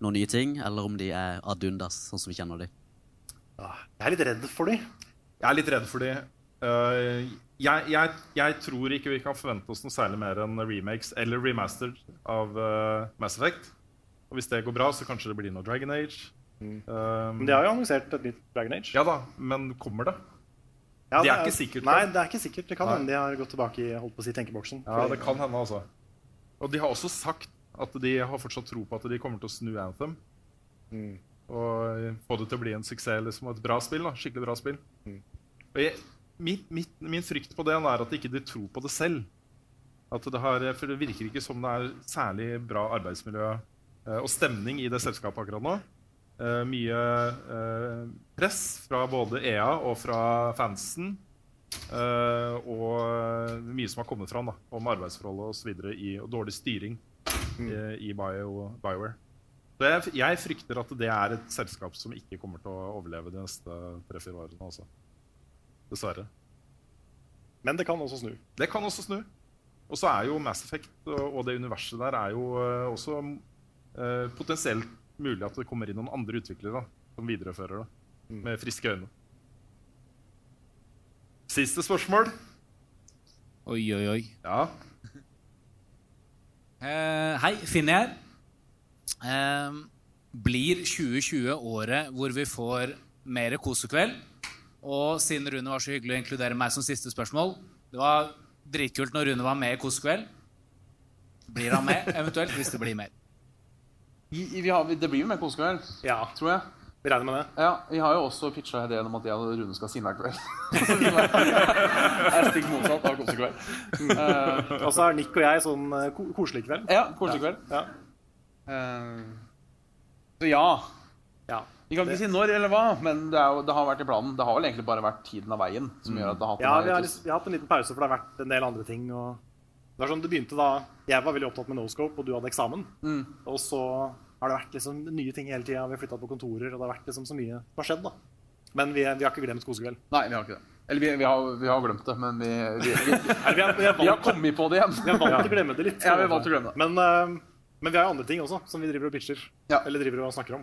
noen nye ting, eller om de er ad undas, sånn som vi kjenner de.
Jeg er litt redd for de. Jeg er litt redd for de. Eh, jeg, jeg, jeg tror ikke vi kan forvente oss noe særlig mer enn remakes eller remastered av eh, Mass Effect. Og hvis det går bra, så kanskje det blir noe Dragon Age. Eh,
Men de har jo annonsert et nytt Dragon Age.
Ja da, men kommer det?
Ja,
det er ikke sikkert.
Nei,
vel?
det er ikke sikkert. Det kan
Nei.
hende de har gått tilbake i holdt på å si, tenkeboksen.
Ja, det kan hende, altså. Og de har også sagt at de har fortsatt tro på at de kommer til å snu Anthem. Mm. Og få det til å bli en suksess. Liksom, et bra spill. da, Skikkelig bra spill. Og jeg, mitt, mitt, min frykt på det er at ikke de tror på det selv. At det har, for det virker ikke som det er særlig bra arbeidsmiljø eh, og stemning i det selskapet akkurat nå. Eh, mye eh, press fra både EA og fra fansen. Eh, og mye som har kommet fram da, om arbeidsforhold og, så videre, i, og dårlig styring eh, i Bio, Bioware. Så jeg, jeg frykter at det er et selskap som ikke kommer til å overleve de neste tre-fire årene. Altså. Dessverre.
Men det kan også snu.
Det kan også snu. Og så er jo Mass Effect og og det universet der er jo eh, også eh, potensielt mulig at det kommer inn noen andre utviklere da, som viderefører det
Mm.
med friske øyne. Siste spørsmål.
Oi, oi, oi.
Ja.
Eh, hei, Finni her. Eh, blir 2020 året hvor vi får mer kosekveld? Og siden Rune var så hyggelig å inkludere meg som siste spørsmål Det var dritkult når Rune var med i kosekveld. Blir han med, eventuelt, hvis det blir mer?
I, i, vi har, det blir jo mer kosekveld,
ja.
tror jeg.
Vi regner med det.
Ja, Vi har jo også pitcha ideen om at jeg og Rune skal ha Sinnakveld. det er stikk motsatt av kosekveld. Eh,
og så er Nick og jeg sånn eh, ko koselig kveld.
Ja, koselig kveld.
Ja.
eh, så ja. Vi kan ikke si når eller hva, men det, er jo, det har vært i planen. Det har vel egentlig bare vært tiden av veien som gjør at det har hatt
Ja,
en
vi har,
hiatus.
liksom- vi har hatt en liten pause, for det har vært en del andre ting. Og det var sånn det begynte da Jeg var veldig opptatt med Noscope, og du hadde eksamen.
Mm.
Og så har det vært liksom nye ting hele tida. Vi har flytta på kontorer, og det har vært liksom så mye som har skjedd. da. Men vi, vi har ikke glemt kosekveld.
Nei, vi har ikke det. Eller vi, vi, har, vi har glemt det, men vi, vi, vi,
vi, har,
vi har kommet på det igjen.
Vi har valgt å glemme det litt.
Ja, vi har valgt å glemme det.
Men, eh, men vi har jo andre ting også, som vi driver og pitcher. Eller driver og snakker om.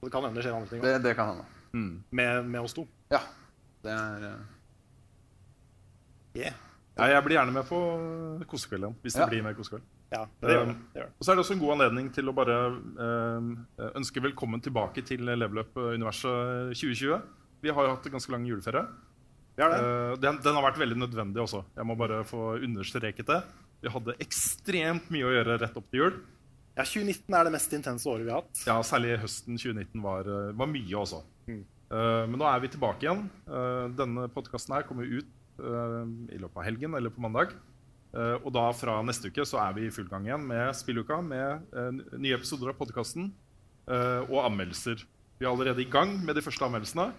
Og det kan hende det skjer andre ting
Det,
også.
det kan hende.
Med, med oss to.
Ja. Det er eh,
Ja, jeg blir gjerne med på eh, kosekveld igjen. Hvis
Ja.
det blir mer kosekveld.
Ja, det gjør det.
Um,
Det gjør det.
Og så er det også en god anledning til å bare um, ønske velkommen tilbake til Level eh, Up-universet 2020. Vi har jo hatt en ganske lang juleferie.
Vi har det.
Uh, den, den har vært veldig nødvendig også. Jeg må bare få understreket det. Vi hadde ekstremt mye å gjøre rett opp til jul.
Ja, 2019 er det mest intense året vi har hatt.
Ja, særlig høsten 2019 var, eh, var mye, altså. Eh, men nå er vi tilbake igjen. Eh, denne podkasten her kommer ut eh, i løpet av helgen eller på mandag. Eh, og da fra neste uke så er vi i full gang igjen med spilluka, med eh, n- nye episoder av podkasten eh, og anmeldelser. Vi er allerede i gang med de første anmeldelsene.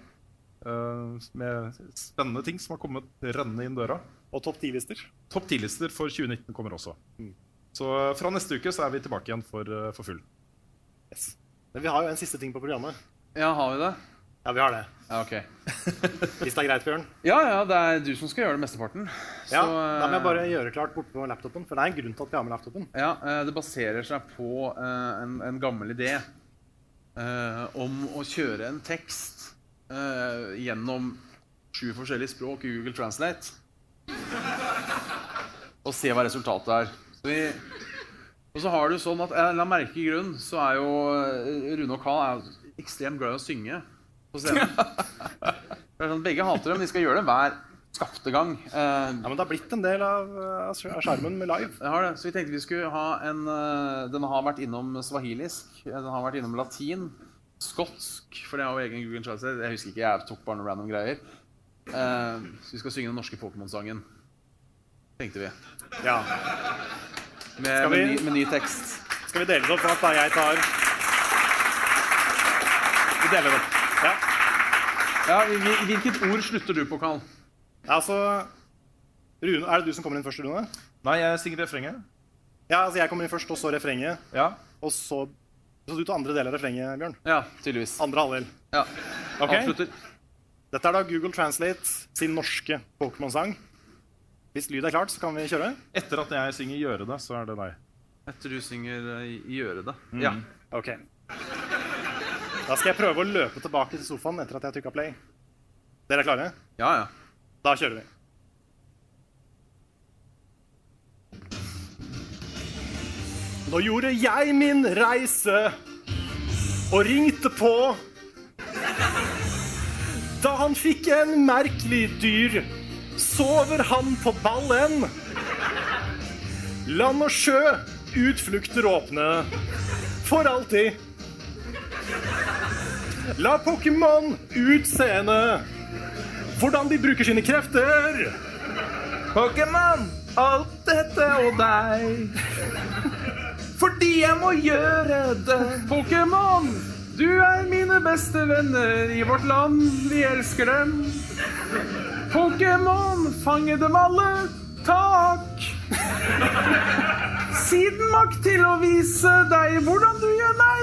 eh, med spennende ting som har kommet rennende inn døra.
Og topp 10-lister.
Topp 10-lister for 2019 kommer også. Så eh, fra neste uke så er vi tilbake igjen for, eh, for full.
Yes. Men vi har jo en siste ting på programmet.
Ja, har vi det?
Ja, vi har det.
Ja, ok.
Hvis det er greit, Bjørn.
Ja, ja, det er du som skal gjøre det mesteparten.
Ja,
Så,
Da må jeg bare
eh,
gjøre klart borte på laptopen, for det er en grunn til at vi har med laptopen.
Ja, eh, det baserer seg på eh, en, en gammel idé eh, om å kjøre en tekst eh, gjennom sju forskjellige språk i Google Translate. Og se hva resultatet er. Så vi, og så har du sånn at eh, La merke i grunn så er jo eh, Rune og Carl er jo ekstremt glad i å synge på scenen. Det er sånn, begge hater det, men de skal gjøre det hver skapte gang. eh,
ja, men det har blitt en del av, skjermen med live.
Jeg har det, så vi tenkte vi skulle ha en eh, Den har vært innom swahilisk, eh, den har vært innom latin, skotsk For det har jo egen Google Translate. Jeg husker ikke, jeg tok bare noen random greier. Eh, så vi skal synge den norske Pokémon-sangen, tenkte vi.
Ja.
Med, med, ny, med ny tekst.
Skal vi dele det opp sånn at da jeg tar Vi deler det opp. Ja.
hvilket ord slutter du på, Karl?
Altså Rune, Er det du som kommer inn først, Rune?
Nei, jeg synger refrenget.
Ja, altså Jeg kommer inn først, og så refrenget.
Ja.
Og så Så du tar andre del av refrenget, Bjørn?
Ja, tydeligvis.
Andre halvdel.
Ja.
Ok.
Avslutter.
Dette er da Google Translate sin norske Pokémon-sang. Hvis lyd er klart, så kan vi kjøre.
Etter at jeg synger 'Gjøre det', så er det deg.
Etter du synger eh, 'Gjøre det'.
Mm.
Ja.
Ok. Da skal jeg prøve å løpe tilbake til sofaen etter at jeg trykka play. Dere er klare?
Ja, ja.
Da kjører vi. Nå gjorde jeg min reise og ringte på. Da han fikk en merkelig dyr, sover han på ballen. Land og sjø, utflukter åpne. For alltid. La Pokémon utseende hvordan de bruker sine krefter. Pokémon, alt dette og deg. Fordi jeg må gjøre det.
Pokémon, du er mine beste venner i vårt land. Vi elsker dem. Pokémon, fange dem alle. Takk. Siden makt til å vise deg hvordan du gjør meg,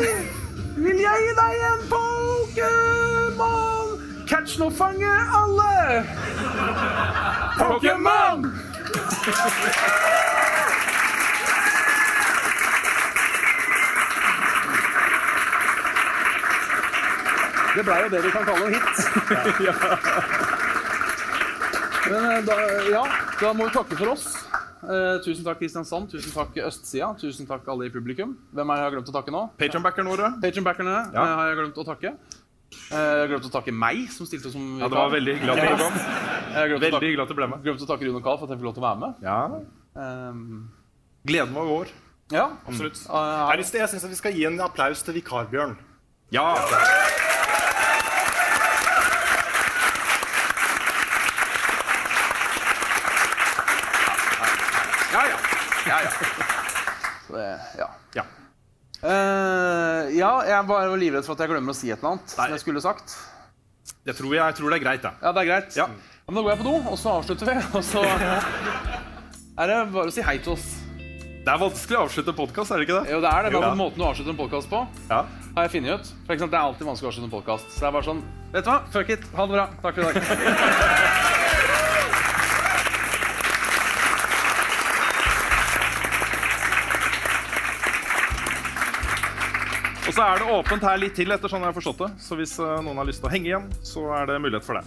vil jeg gi deg en Pokémon. Catch nå fange alle. Pokémon!
Det blei jo det vi kan kalle en hit.
Men eh, da, ja, da må vi takke for oss. Eh, tusen takk Kristiansand, tusen takk Østsida, tusen takk alle i publikum. Hvem er det jeg har glemt å takke nå?
Patronbackerne våre.
Patronbackerne
Ja.
eh, har jeg glemt å takke. Eh, jeg har glemt å takke meg, som stilte opp som
Ja, det var veldig hyggelig at dere kom. Veldig hyggelig
at du ble med. Glemt å takke Rune Karl for at jeg fikk lov til å være med. Ehm,
Gleden var vår.
Ja, Eh,
absolutt.
Jeg har lyst til- jeg syns vi skal gi en applaus til vikarbjørn.
Ja.
ja, ja. ja, ja. Så det, ja. Eh, ja, jeg var jo livredd for at jeg glemmer å si et eller annet. som jeg skulle sagt.
Jeg tror, jeg, tror det er greit, jeg.
Ja, det er greit. Ja. Men da går jeg på do, og så avslutter vi. Og så er det bare å si hei til oss.
Det er vanskelig å avslutte podkast, er det ikke det?
Jo, det er det.
Jo,
Bare
ja.
på måten du avslutter en podkast på,
Ja.
har jeg funnet ut. For ikke sant, Det er alltid vanskelig å avslutte en podkast. Så det er bare sånn Vet du hva? Fuck it. Ha det bra. Takk for i dag.
Og så er det åpent her litt til, etter sånn jeg har forstått det. Så hvis eh, noen har lyst til å henge igjen, så er det mulighet for det.